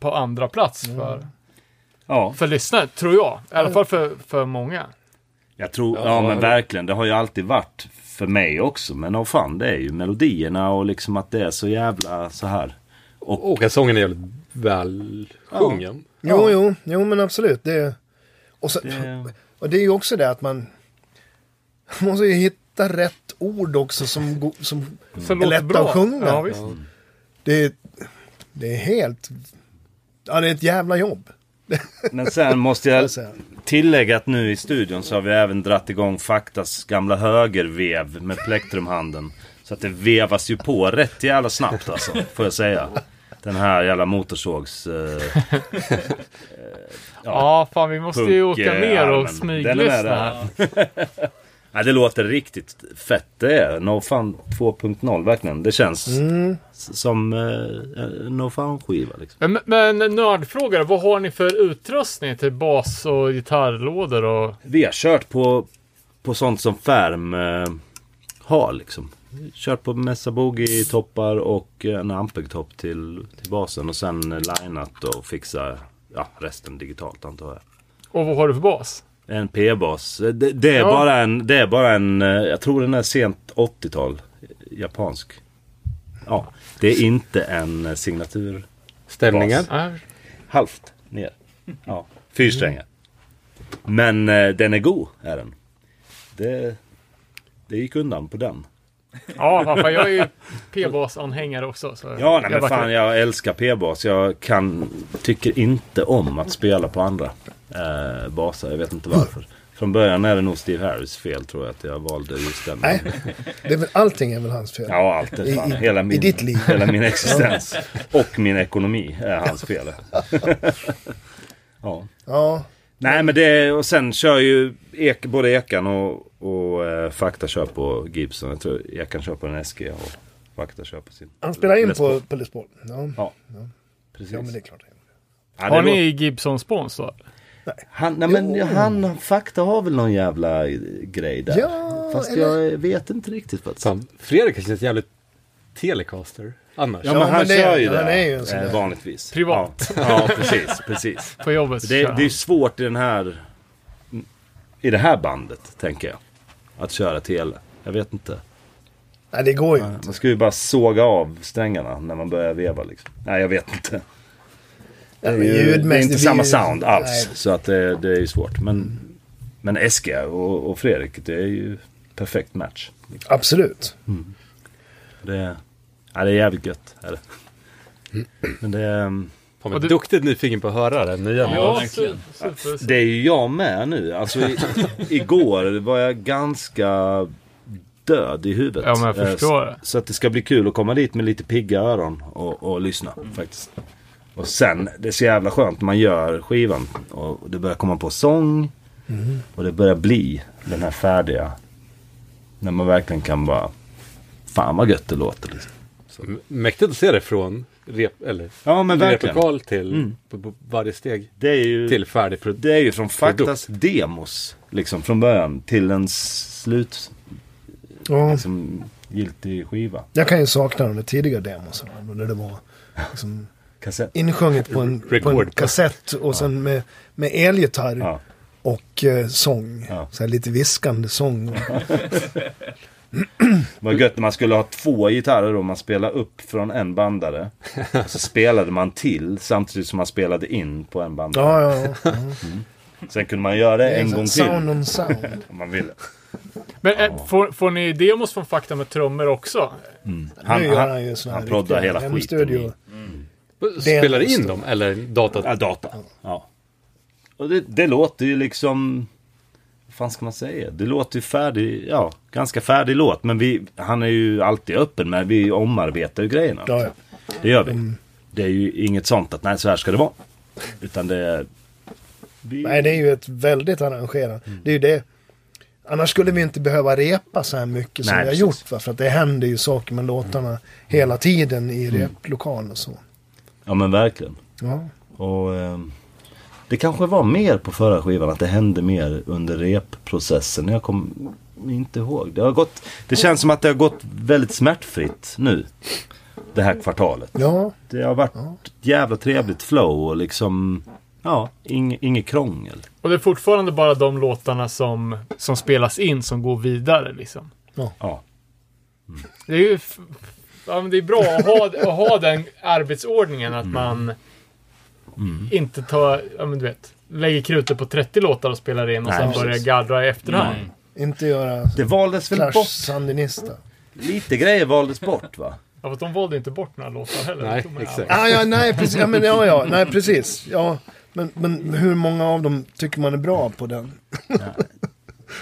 Speaker 1: på andra plats för,
Speaker 6: Ja,
Speaker 1: för lyssnare, tror jag. I alla fall för, för
Speaker 5: Mm.
Speaker 1: många.
Speaker 6: jag tror, ja,
Speaker 4: Ja,
Speaker 6: men
Speaker 4: ja.
Speaker 6: verkligen. Det har ju alltid varit för mig också. Men åh fan, det är ju melodierna och liksom att det är så jävla så här. Oh.
Speaker 4: Och att sången är jävligt väl sjungen.
Speaker 5: Jo, jo, jo, men absolut. Det, och, så,
Speaker 6: Det-
Speaker 5: och det är ju också det att man man måste ju hitta rätt ord också som, go- som
Speaker 1: Som
Speaker 5: är
Speaker 1: låter
Speaker 5: lätta
Speaker 1: bra.
Speaker 5: att sjunga.
Speaker 1: Ja, visst.
Speaker 5: det, är, det är helt... Ja, det är ett jävla jobb.
Speaker 6: Men sen måste jag
Speaker 5: Alltså.
Speaker 6: tillägga att nu i studion så har vi även dratt igång Faktas gamla högervev med plektrumhanden. Så att det vevas ju på rätt jävla snabbt alltså, får jag säga. Den här jävla motorsågs... Eh,
Speaker 1: Ja, fan vi måste ju åka ner och
Speaker 6: Punkarmen. Den är
Speaker 1: smyglyssna.
Speaker 6: där.
Speaker 1: här.
Speaker 6: Ja, det låter riktigt fett det är. No Fun 2.0 verkligen. Det känns s- som eh, No Fun-skiva. Liksom.
Speaker 1: Men, men nördfrågor, vad har ni för utrustning till bas och gitarrlådor och...
Speaker 6: Vi har kört på, på sånt som Färm eh, har liksom. Kört på Messa Boogie-toppar och eh, en Ampeg-topp till, till basen. Och sen eh, linat och fixa ja, resten digitalt antar jag.
Speaker 1: Och vad har du för bas?
Speaker 6: En P-bas. Eh, Det, det, är
Speaker 1: Ja.
Speaker 6: bara en, det är bara en, eh, jag tror den är sent 80-tal. eh, Japansk. ja, det är inte en eh, signatur
Speaker 4: Ställningar?
Speaker 6: Bas.
Speaker 1: Ja,
Speaker 6: halvt ner. Ja, fyrsträngar. Men eh, den är god, är den. Det, det gick undan på den.
Speaker 1: ja vad fan, jag är ju p-bas-anhängare också. Så
Speaker 6: Ja, nej, men
Speaker 1: vart-
Speaker 6: fan jag älskar p-bas. Jag kan, tycker inte om att spela på andra eh, basar. Jag vet inte varför. Från början är det nog Steve Harris fel tror jag att jag valde just den.
Speaker 5: Nej, det är väl, allting är väl hans fel.
Speaker 6: Ja, allt är fan.
Speaker 5: I- i-
Speaker 6: hela
Speaker 5: i
Speaker 6: min,
Speaker 5: ditt liv.
Speaker 6: Hela min existens. Och min ekonomi är hans
Speaker 5: [LAUGHS]
Speaker 6: fel. ja.
Speaker 5: Ja,
Speaker 6: Nej, men det och sen kör ju ek, både Ekan och, och eh, Fakta kör på Gibson. Jag tror Ekan kör på en SG och Fakta kör på sin.
Speaker 5: han spelar in
Speaker 6: Les Paul.
Speaker 5: på, på Les Paul. Ja,
Speaker 6: Ja, precis.
Speaker 5: ja, men det är klart.
Speaker 6: Ja, det
Speaker 1: Har
Speaker 6: låter-
Speaker 1: ni Gibson-spons då?
Speaker 6: Han, nej men han, fakta har väl någon jävla grej där.
Speaker 5: Ja,
Speaker 6: Fast
Speaker 5: eller-
Speaker 6: jag vet inte riktigt vad det är.
Speaker 4: Fan, Fredrik känns jävligt telecaster annars.
Speaker 5: Ja, men det- han är ju en sån
Speaker 6: eh,
Speaker 5: där.
Speaker 6: vanligtvis.
Speaker 1: Privat.
Speaker 6: Ja, ja precis,
Speaker 1: [LAUGHS]
Speaker 6: precis.
Speaker 1: På jobbet?
Speaker 6: Det,
Speaker 1: kör
Speaker 6: det är
Speaker 1: han.
Speaker 6: svårt i den här... I det här bandet, tänker jag. Att köra tele. Jag vet inte.
Speaker 5: Nej, det går ju inte.
Speaker 6: Man ska ju bara såga av strängarna när man börjar veva liksom. Nej, jag vet inte. Det är,
Speaker 5: men
Speaker 6: ju, det är
Speaker 5: ljudmässigt-
Speaker 6: inte samma sound alls.
Speaker 5: Nej.
Speaker 6: Så att det, det är ju svårt. Men, men Eske och, och Fredrik, det är ju perfekt match.
Speaker 5: Absolut.
Speaker 6: Det, ja, det är jävligt gött. Är det. Men det,
Speaker 4: Fan,
Speaker 6: ehm,
Speaker 1: Och
Speaker 4: men
Speaker 1: du-
Speaker 4: Duktigt nyfiken på att höra den nya.
Speaker 1: Ja,
Speaker 4: Ja.
Speaker 1: verkligen. Super.
Speaker 6: det är ju jag med nu. Alltså, [LAUGHS] i, igår var jag ganska död i huvudet.
Speaker 1: Ja, men jag
Speaker 6: Eh,
Speaker 1: förstår
Speaker 6: så-
Speaker 1: det.
Speaker 6: Så att det ska bli kul att komma dit med lite pigga öron och, och lyssna faktiskt. Och sen, det är så jävla skönt när man gör skivan. Och det börjar komma på sång. Och det börjar bli den här färdiga. När man verkligen kan bara... Fan vad gött det låter liksom.
Speaker 4: Mäktigt att se det från rep, eller,
Speaker 6: Ja men verkligen. Mm.
Speaker 4: replokal till på, på varje steg
Speaker 6: Det är ju...
Speaker 4: till färdig produkt.
Speaker 6: Det är ju från
Speaker 4: Produkt.
Speaker 6: faktas demos. Liksom från början till en s- slut.
Speaker 5: Ja,
Speaker 6: Liksom giltig skiva.
Speaker 5: jag kan ju sakna de där tidiga demosarna. När det var liksom
Speaker 6: Kassett.
Speaker 5: insjunget på en, på en
Speaker 4: Record.
Speaker 5: kassett och sen med, med elgitarr
Speaker 6: Ja.
Speaker 5: och eh, sång.
Speaker 6: Ja.
Speaker 5: Så här lite viskande sång.
Speaker 6: [LAUGHS]
Speaker 5: Och,
Speaker 6: Vad gött när man skulle ha två gitarrer och man spelade upp från en bandare. Och
Speaker 5: [LAUGHS]
Speaker 6: så spelade man till samtidigt som man spelade in på en bandare.
Speaker 5: ja, ja, ja.
Speaker 6: Sen kunde man göra det en gång
Speaker 5: Sound
Speaker 6: till
Speaker 5: on sound.
Speaker 6: om man ville.
Speaker 1: Men eh, får, får ni demos från Fakta med trummor också?
Speaker 6: Han,
Speaker 5: nu gör han ju sån här
Speaker 6: han proddar hela
Speaker 5: riktiga
Speaker 6: skiten
Speaker 5: hemstudio.
Speaker 6: i-
Speaker 4: Spelar in dem eller datat?
Speaker 6: Ja, data. Ja. Och det, det låter ju liksom... Vad fan ska man säga? Det låter ju färdig, ja, ganska färdig låt. Men vi, han är ju alltid öppen med, vi omarbetar ju grejerna.
Speaker 5: Ja, Mm. ja.
Speaker 6: Det gör vi. Det är ju inget sånt att nej, så här ska det vara. Utan det är... Vi,
Speaker 5: Nej, det är ju ett väldigt arrangerat.
Speaker 6: Mm.
Speaker 5: Det är ju det. Annars skulle vi inte behöva repa så här mycket som
Speaker 6: Nej,
Speaker 5: vi har
Speaker 6: precis.
Speaker 5: gjort. Va? För att det händer ju saker med låtarna hela tiden i
Speaker 6: Mm.
Speaker 5: replokal och så.
Speaker 6: Ja men verkligen.
Speaker 5: Ja.
Speaker 6: Och ehm, det kanske var mer på förra skivan att det hände mer under repprocessen. Jag kommer inte ihåg. Det, har gått, det känns som att det har gått väldigt smärtfritt nu. Det här kvartalet.
Speaker 5: ja,
Speaker 6: Det har varit ett jävla trevligt flow och liksom Ja, ing, inget krångel.
Speaker 1: Och det är fortfarande bara de låtarna som, som spelas in som går vidare liksom.
Speaker 6: Ja.
Speaker 1: Det är ju... f- Ja, men det är bra att ha, att ha den arbetsordningen
Speaker 6: Mm.
Speaker 1: att man inte tar... Ja, men du vet. Lägger krutet på 30 låtar och spelar in och
Speaker 6: Nej,
Speaker 1: sen
Speaker 6: precis. Mm.
Speaker 1: börjar gallra i efterhand.
Speaker 5: inte göra
Speaker 6: Det valdes väl
Speaker 5: Clash
Speaker 6: bort.
Speaker 5: Sandinista.
Speaker 6: Lite grejer valdes bort va?
Speaker 1: Ja, för de valde inte bort några låtar heller.
Speaker 4: Nej,
Speaker 1: De tog med
Speaker 4: exakt.
Speaker 5: Ja, ja, nej, precis. Ja, men, ja, ja, nej, precis. Ja, men, men hur många av dem tycker man är bra på den?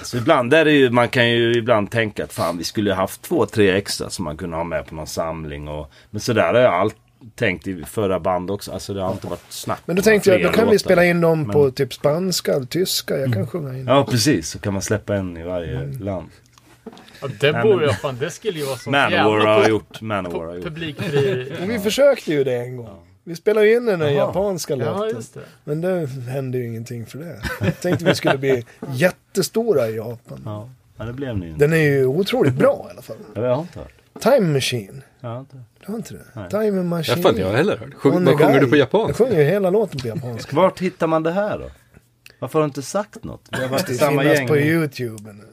Speaker 6: Så ibland är det ju, man kan ju ibland tänka att fan vi skulle ha haft två, tre extra som man kunde ha med på någon samling. Och, men sådär har jag allt tänkt i förra band också. Alltså det har inte varit snack.
Speaker 5: Men då tänkte jag, då kan vi spela in dem
Speaker 6: Men-
Speaker 5: på typ spanska eller tyska. Jag kan sjunga in.
Speaker 6: Ja precis, så kan man släppa en i varje
Speaker 5: Mm.
Speaker 6: land.
Speaker 1: Ja, det
Speaker 6: Nej,
Speaker 1: borde
Speaker 6: men-
Speaker 1: jag fan, det skulle ju vara så [LAUGHS]
Speaker 6: Manowar
Speaker 1: jävla
Speaker 6: har
Speaker 1: pu-
Speaker 6: gjort, Manowar har
Speaker 1: pu-
Speaker 6: gjort.
Speaker 1: publikfri...
Speaker 5: Men vi försökte ju det en gång. Vi spelade ju in den där
Speaker 6: Jaha.
Speaker 5: japanska
Speaker 4: [LAUGHS]
Speaker 1: Ja,
Speaker 5: låten.
Speaker 1: just det.
Speaker 5: Men det hände ju ingenting för det. Jag tänkte vi skulle bli jättestora i Japan.
Speaker 6: Ja, ja det blev ni ju inte.
Speaker 5: Den är ju otroligt bra i alla fall.
Speaker 6: Ja, Jag har inte hört.
Speaker 5: Time Machine.
Speaker 6: Jag har inte. hört.
Speaker 5: Du har inte det? Time
Speaker 4: Det har
Speaker 5: Machine.
Speaker 4: fan inte jag heller hört. Sjung,
Speaker 5: On
Speaker 4: vad
Speaker 5: the
Speaker 4: sjunger
Speaker 5: guy.
Speaker 4: du på
Speaker 5: Jag
Speaker 4: japanska?
Speaker 5: sjunger ju hela låten på japanska.
Speaker 6: Vart hittar man det här då? Varför har du inte sagt något? Vi har varit i
Speaker 5: Det
Speaker 6: samma
Speaker 5: finnas
Speaker 6: gäng.
Speaker 5: på YouTube. nu.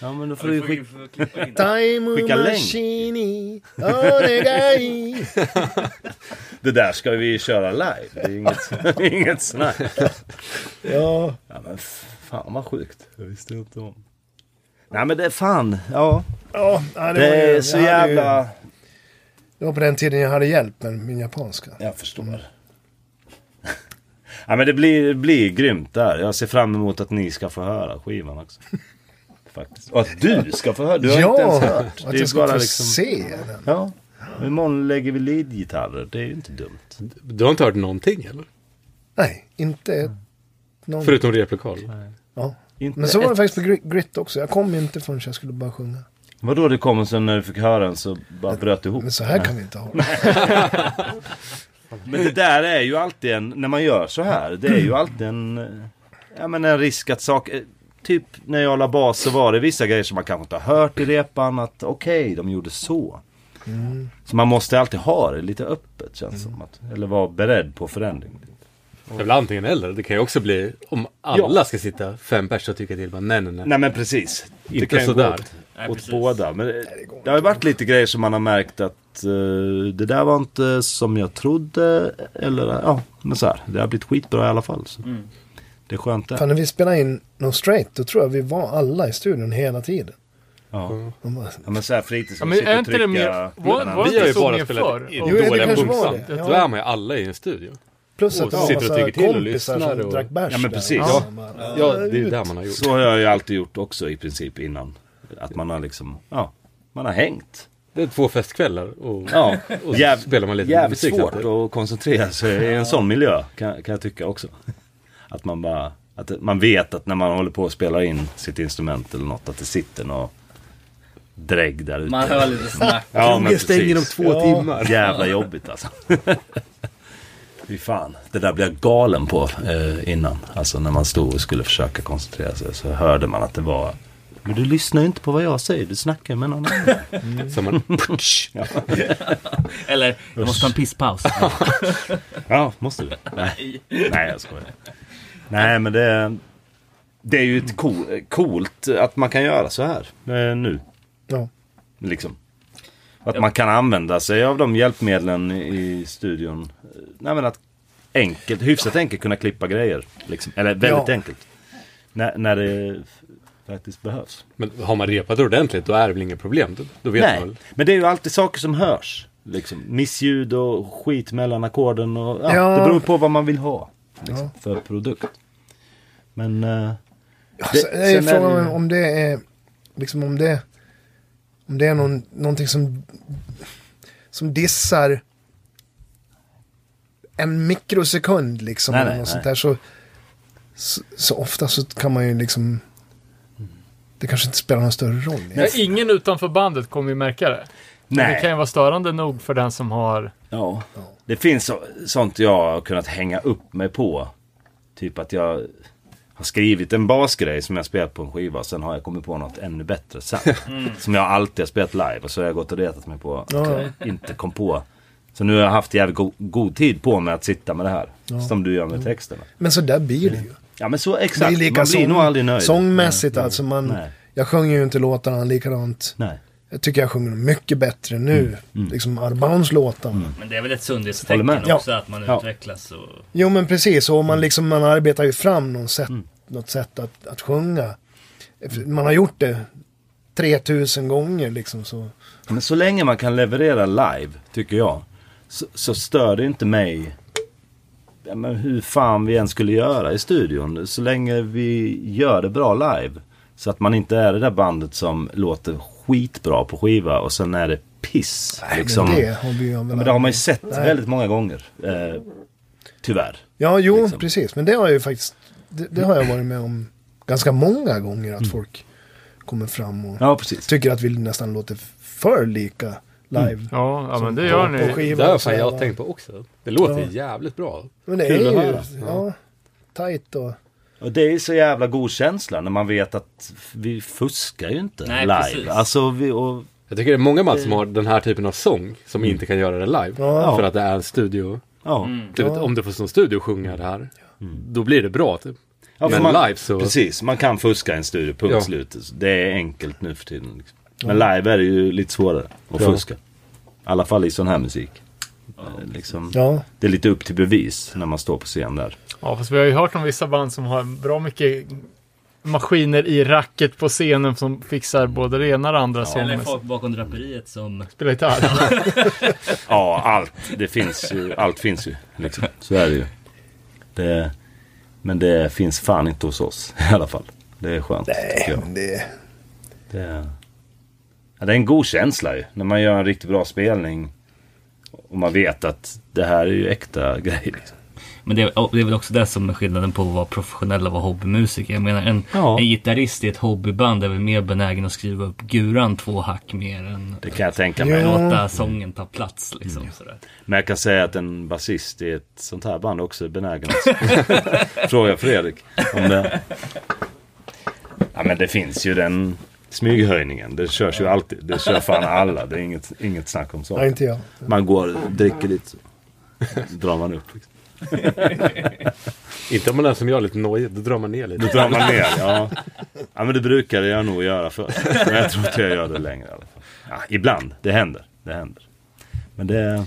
Speaker 6: Ja, men då
Speaker 8: Ja,
Speaker 6: får du
Speaker 8: det
Speaker 6: ju
Speaker 8: får vi
Speaker 6: skicka...
Speaker 8: får klippa in.
Speaker 5: Time
Speaker 6: Skicka länk.
Speaker 5: Machini, onegai.
Speaker 6: Det där ska vi köra live. Det är inget, [LAUGHS] inget snack.
Speaker 5: Ja,
Speaker 6: Ja, men f- fan vad sjukt. Jag visste inte om. Nej, men det är fan. Ja,
Speaker 5: ja ja, det,
Speaker 6: det
Speaker 5: var ju-
Speaker 6: är så
Speaker 5: jag hade ju-
Speaker 6: jävla...
Speaker 5: Det var på den tiden jag hade hjälp med min japanska.
Speaker 6: Jag förstår. [LAUGHS] Ja, men det blir, det blir grymt där. Jag ser fram emot att ni ska få höra skivan också. [LAUGHS] Faktiskt. Och att du ska få höra. Du har inte ens hört.
Speaker 5: Att
Speaker 6: Det
Speaker 5: jag
Speaker 6: är
Speaker 5: ska
Speaker 6: bara
Speaker 5: få
Speaker 6: liksom...
Speaker 5: se den.
Speaker 6: Ja. Och Imorgon lägger vi leadgitarrer. Det är ju inte dumt.
Speaker 4: Du har inte hört någonting eller?
Speaker 5: Nej,
Speaker 6: Mm.
Speaker 5: inte någon.
Speaker 4: Förutom replokal.
Speaker 5: Ja.
Speaker 6: Inte
Speaker 5: Men så var det
Speaker 6: ett.
Speaker 5: faktiskt med Gri- Grit också. Jag kom inte förrän jag skulle bara sjunga.
Speaker 6: Vadå det kom och sen när du fick höra den så bara bröt du ihop?
Speaker 5: Men så här kan vi inte ha det.
Speaker 6: Men det där är ju alltid en, när man gör så här, det är ju alltid en, eh, ja men en risk att saker, eh, typ när jag la bas så var det vissa grejer som man kanske inte har hört i repan att okej, de gjorde så. Så man måste alltid ha det lite öppet känns som att, eller vara beredd på förändring.
Speaker 4: Det är väl antingen eller. Det kan ju också bli om alla ska sitta fem personer och tycka till. Bara, nej, nej, nej.
Speaker 6: Nej men precis.
Speaker 4: Inte
Speaker 6: kan ju gå
Speaker 4: sådär.
Speaker 6: Åt,
Speaker 8: Nej,
Speaker 6: åt
Speaker 8: precis.
Speaker 6: båda. Men det, det har ju varit lite grejer som man har märkt att eh, det där var inte som jag trodde. Eller ja, men så här. Det har blivit skitbra i alla fall. Så.
Speaker 8: Mm.
Speaker 6: Det är skönt det.
Speaker 5: Fan, när vi spelade in No Straight, då tror jag vi var alla i studion hela tiden.
Speaker 6: Ja.
Speaker 5: De bara,
Speaker 6: ja men så här fritids.
Speaker 1: Ja, men är inte det mer... Var, var
Speaker 4: Vi
Speaker 1: det
Speaker 4: har
Speaker 1: inte
Speaker 4: ju
Speaker 1: så
Speaker 4: bara
Speaker 1: mer
Speaker 4: spelat
Speaker 1: förr?
Speaker 4: in
Speaker 5: Jo, det
Speaker 4: dåliga
Speaker 5: kanske var
Speaker 4: bumsar.
Speaker 5: det. Ja.
Speaker 4: Då är man ju alla i en studio.
Speaker 5: plus att
Speaker 4: Och
Speaker 5: det var
Speaker 4: sitter och
Speaker 5: massa
Speaker 4: tycker till och
Speaker 5: kompisar
Speaker 4: lyssnar
Speaker 5: som
Speaker 4: och-
Speaker 5: drack bärs
Speaker 6: Ja, men
Speaker 5: där.
Speaker 6: precis.
Speaker 5: Ja,
Speaker 6: Ja.
Speaker 5: man bara,
Speaker 4: Ja, det är ju där man har gjort.
Speaker 6: Så har jag ju alltid gjort också i princip innan. Att man har liksom, ja, man har hängt.
Speaker 4: Det är två festkvällar och,
Speaker 6: Ja,
Speaker 4: och så
Speaker 6: jäv-
Speaker 4: spelar man lite
Speaker 6: jävligt
Speaker 4: musik.
Speaker 6: svårt att koncentrera sig i en sån miljö kan, kan jag tycka också. Att man bara, att man vet att när man håller på att spela in sitt instrument eller något att det sitter någon drägg där ute.
Speaker 8: Man hör lite snack.
Speaker 6: ja, men
Speaker 4: Krogen stänger om
Speaker 6: precis.
Speaker 4: två timmar.
Speaker 6: [LAUGHS] Jävla jobbigt alltså. [LAUGHS] Fy fan, det där blev jag galen på eh, innan. Alltså när man stod och skulle försöka koncentrera sig så hörde man att det var Men du lyssnar ju inte på vad jag säger, du snackar med någon [LAUGHS] annan.
Speaker 4: Så man,
Speaker 8: Eller, jag måste ta en
Speaker 6: [LAUGHS]
Speaker 8: pisspaus.
Speaker 6: Ja, måste du? Nej, Nej jag skojar. Nej, men det, det är ju ett cool, coolt att man kan göra så här eh, nu.
Speaker 5: ja.
Speaker 6: Liksom. Att man kan använda sig av de hjälpmedlen i studion. Nej men att enkelt, hyfsat enkelt kunna klippa grejer. Liksom. Eller väldigt
Speaker 5: Ja.
Speaker 6: enkelt. När, när det faktiskt behövs.
Speaker 4: men har man repat ordentligt då är det väl inga problem. Då, då vet man
Speaker 6: Nej,
Speaker 4: väl.
Speaker 6: men det är ju alltid saker som hörs. Liksom. Missljud och skit mellan ackorden. Och, ja,
Speaker 5: Ja.
Speaker 6: Det beror på vad man vill ha liksom, för produkt. Men... eh,
Speaker 5: Alltså,
Speaker 6: det-
Speaker 5: det är
Speaker 6: sen är
Speaker 5: frågan
Speaker 6: det ju-
Speaker 5: om det är, liksom om det, om det är någon, någonting som, som dissar en mikrosekund liksom.
Speaker 6: Nej,
Speaker 5: eller
Speaker 6: nej,
Speaker 5: något
Speaker 6: nej.
Speaker 5: sånt där, så, så, så ofta så kan man ju liksom, det kanske inte spelar någon större roll.
Speaker 1: Ja, ingen utanför bandet kommer ju märka det. Men det kan ju vara störande nog för den som har...
Speaker 6: Ja. Det finns så, sånt jag har kunnat hänga upp mig på. Typ att jag har skrivit en basgrej som jag spelat på en skiva. Sen har jag kommit på något ännu bättre sen.
Speaker 5: Mm.
Speaker 6: Som jag alltid har spelat live. Och så har jag gått och retat mig på att jag inte kom på. Så nu har jag haft jävligt go- god tid på mig att sitta med det här. Som du gör med texterna.
Speaker 5: Men så där blir det ju.
Speaker 6: Ja men så
Speaker 5: Det är
Speaker 6: exakt.
Speaker 5: lika
Speaker 6: Man blir
Speaker 5: sång-
Speaker 6: nog aldrig nöjd.
Speaker 5: Sångmässigt alltså. Man,
Speaker 6: Nej.
Speaker 5: jag sjunger ju inte låtarna likadant.
Speaker 6: Nej. Mm,
Speaker 5: Jag tycker jag sjunger dem mycket bättre nu. Liksom Arbans låtar.
Speaker 8: Men det är väl ett
Speaker 6: Håller
Speaker 8: sundhetstecken
Speaker 6: med.
Speaker 8: också att man
Speaker 6: Ja.
Speaker 8: utvecklas och...
Speaker 5: Jo men precis, och
Speaker 6: Mm.
Speaker 5: man, liksom, man arbetar ju fram någon sätt, något sätt att, att sjunga. Man har gjort det 3000 gånger liksom så.
Speaker 6: Men så länge man kan leverera live, tycker jag, så, så stör det inte mig ja, men hur fan vi än skulle göra i studion. Så länge vi gör det bra live. Så att man inte är det där bandet som låter skitbra på skiva och sen är det piss. liksom.
Speaker 5: Men
Speaker 6: men,
Speaker 5: det
Speaker 6: det,
Speaker 5: har vi ju
Speaker 6: men det har man ju sett väldigt många gånger. Eh, tyvärr.
Speaker 5: Ja, jo
Speaker 6: liksom.
Speaker 5: precis. Men det har jag ju faktiskt, det, det har jag varit med om ganska många gånger att folk kommer fram och
Speaker 6: Mm. Ja, precis. Mm.
Speaker 5: tycker att vi nästan låter för lika live.
Speaker 1: Ja, ja men det
Speaker 5: Som
Speaker 1: gör
Speaker 5: på-
Speaker 1: ni.
Speaker 5: på skiva
Speaker 4: Det har
Speaker 5: och
Speaker 4: fan
Speaker 5: sådär,
Speaker 4: jag
Speaker 5: va.
Speaker 4: tänkt på också. Det låter
Speaker 5: Ja.
Speaker 4: jävligt bra.
Speaker 5: Men det är
Speaker 4: Kul att
Speaker 5: ju,
Speaker 4: höra.
Speaker 5: ja, tajt och...
Speaker 6: Och det är så jävla god känsla när man vet att vi fuskar ju inte
Speaker 8: Nej,
Speaker 6: live.
Speaker 8: precis.
Speaker 6: Alltså, vi, och
Speaker 4: Jag tycker det är många band som har den här typen av sång som inte kan göra det live.
Speaker 5: Ja.
Speaker 4: För att det är en studio.
Speaker 6: Ja,
Speaker 8: Mm.
Speaker 4: Du vet, om du får som studio sjunga det här, då blir det bra. Typ.
Speaker 6: Ja, för
Speaker 4: Men
Speaker 6: man,
Speaker 4: live så...
Speaker 6: precis, man kan fuska en studio, punkt
Speaker 4: Ja.
Speaker 6: slut. Det är enkelt nu för tiden. Liksom. Men live är det ju lite svårare att
Speaker 4: Ja.
Speaker 6: fuska. I alla fall i sån här musik. Eh, Liksom,
Speaker 5: Ja.
Speaker 6: Det är lite upp till bevis när man står på scen där.
Speaker 1: Ja, fast vi har ju hört om vissa band som har bra mycket maskiner i racket på scenen som fixar både det ena och det andra
Speaker 8: Eller
Speaker 1: som
Speaker 8: folk bakom draperiet som...
Speaker 1: spelar gitarr.
Speaker 6: Ja, allt. Det finns ju. Allt finns ju. Liksom. Så är det ju. Det, men det finns fan inte hos oss [LAUGHS] i alla fall. Det är skönt. tycker jag.
Speaker 5: Men det,
Speaker 6: Det, är- ja, det är en god känsla ju. När man gör en riktigt bra spelning. Och man vet att det här är ju äkta [LAUGHS] grejer. Liksom.
Speaker 8: Men det är, och det är väl också det som är skillnaden på att vara professionell och vara hobbymusiker. Jag menar en,
Speaker 6: Ja.
Speaker 8: en gitarrist i ett hobbyband är väl mer benägen att skriva upp guran två hack mer än
Speaker 6: Det kan jag tänka mig.
Speaker 5: Ja.
Speaker 8: låta sången ta plats liksom. Sådär.
Speaker 6: Men jag kan säga att en basist i ett sånt här band också är benägen att- [LAUGHS] Fråga Fredrik om det. Ja men det finns ju den smyghöjningen. Det körs ju alltid. Det kör fan alla. Det är inget, inget snack om
Speaker 5: nej,
Speaker 6: sånt.
Speaker 5: inte jag.
Speaker 6: Man går, dricker lite så drar man upp. Liksom.
Speaker 4: Inte om man är som jag, lite nojig. Då drar man ner
Speaker 6: Då
Speaker 4: lite.
Speaker 6: drar man ner. Ja. ja men det brukade jag nog göra förr. Men jag tror inte jag gör det längre i alla fall. Ja, ibland. Det händer. Det händer. Men det...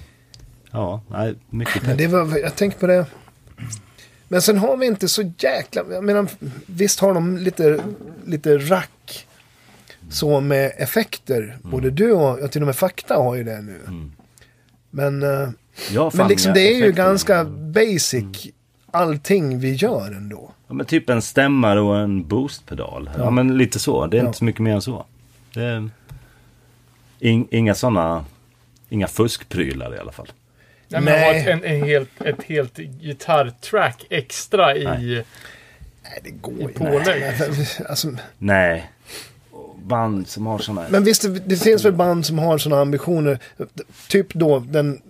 Speaker 6: Ja, nej, mycket
Speaker 5: Men
Speaker 6: pepp.
Speaker 5: det var, jag tänker på det. Men sen har vi inte så jäkla... Jag menar, visst har de lite, lite rack. Så med effekter. Både du och, ja, till och med Fakta har ju det nu. Men, eh,
Speaker 6: Mm. Ja, fan, Mm.
Speaker 5: men liksom, det är ju
Speaker 6: effekterna.
Speaker 5: ganska basic allting vi gör ändå.
Speaker 6: Ja, men typ en stämmare och en boostpedal. Ja, men lite så. Det är
Speaker 5: Ja.
Speaker 6: inte så mycket mer än så. Det är... In, inga sådana... Inga fuskprylar i alla fall.
Speaker 1: Nej, men
Speaker 5: Nej.
Speaker 1: ha ett, en, en helt, ett helt gitarrtrack extra i...
Speaker 5: Nej, det går ju
Speaker 1: pålägg.
Speaker 5: inte. Alltså,
Speaker 6: Nej. Och Band som har sådana...
Speaker 5: Men visst, det, det finns väl band som har sådana ambitioner. Typ då den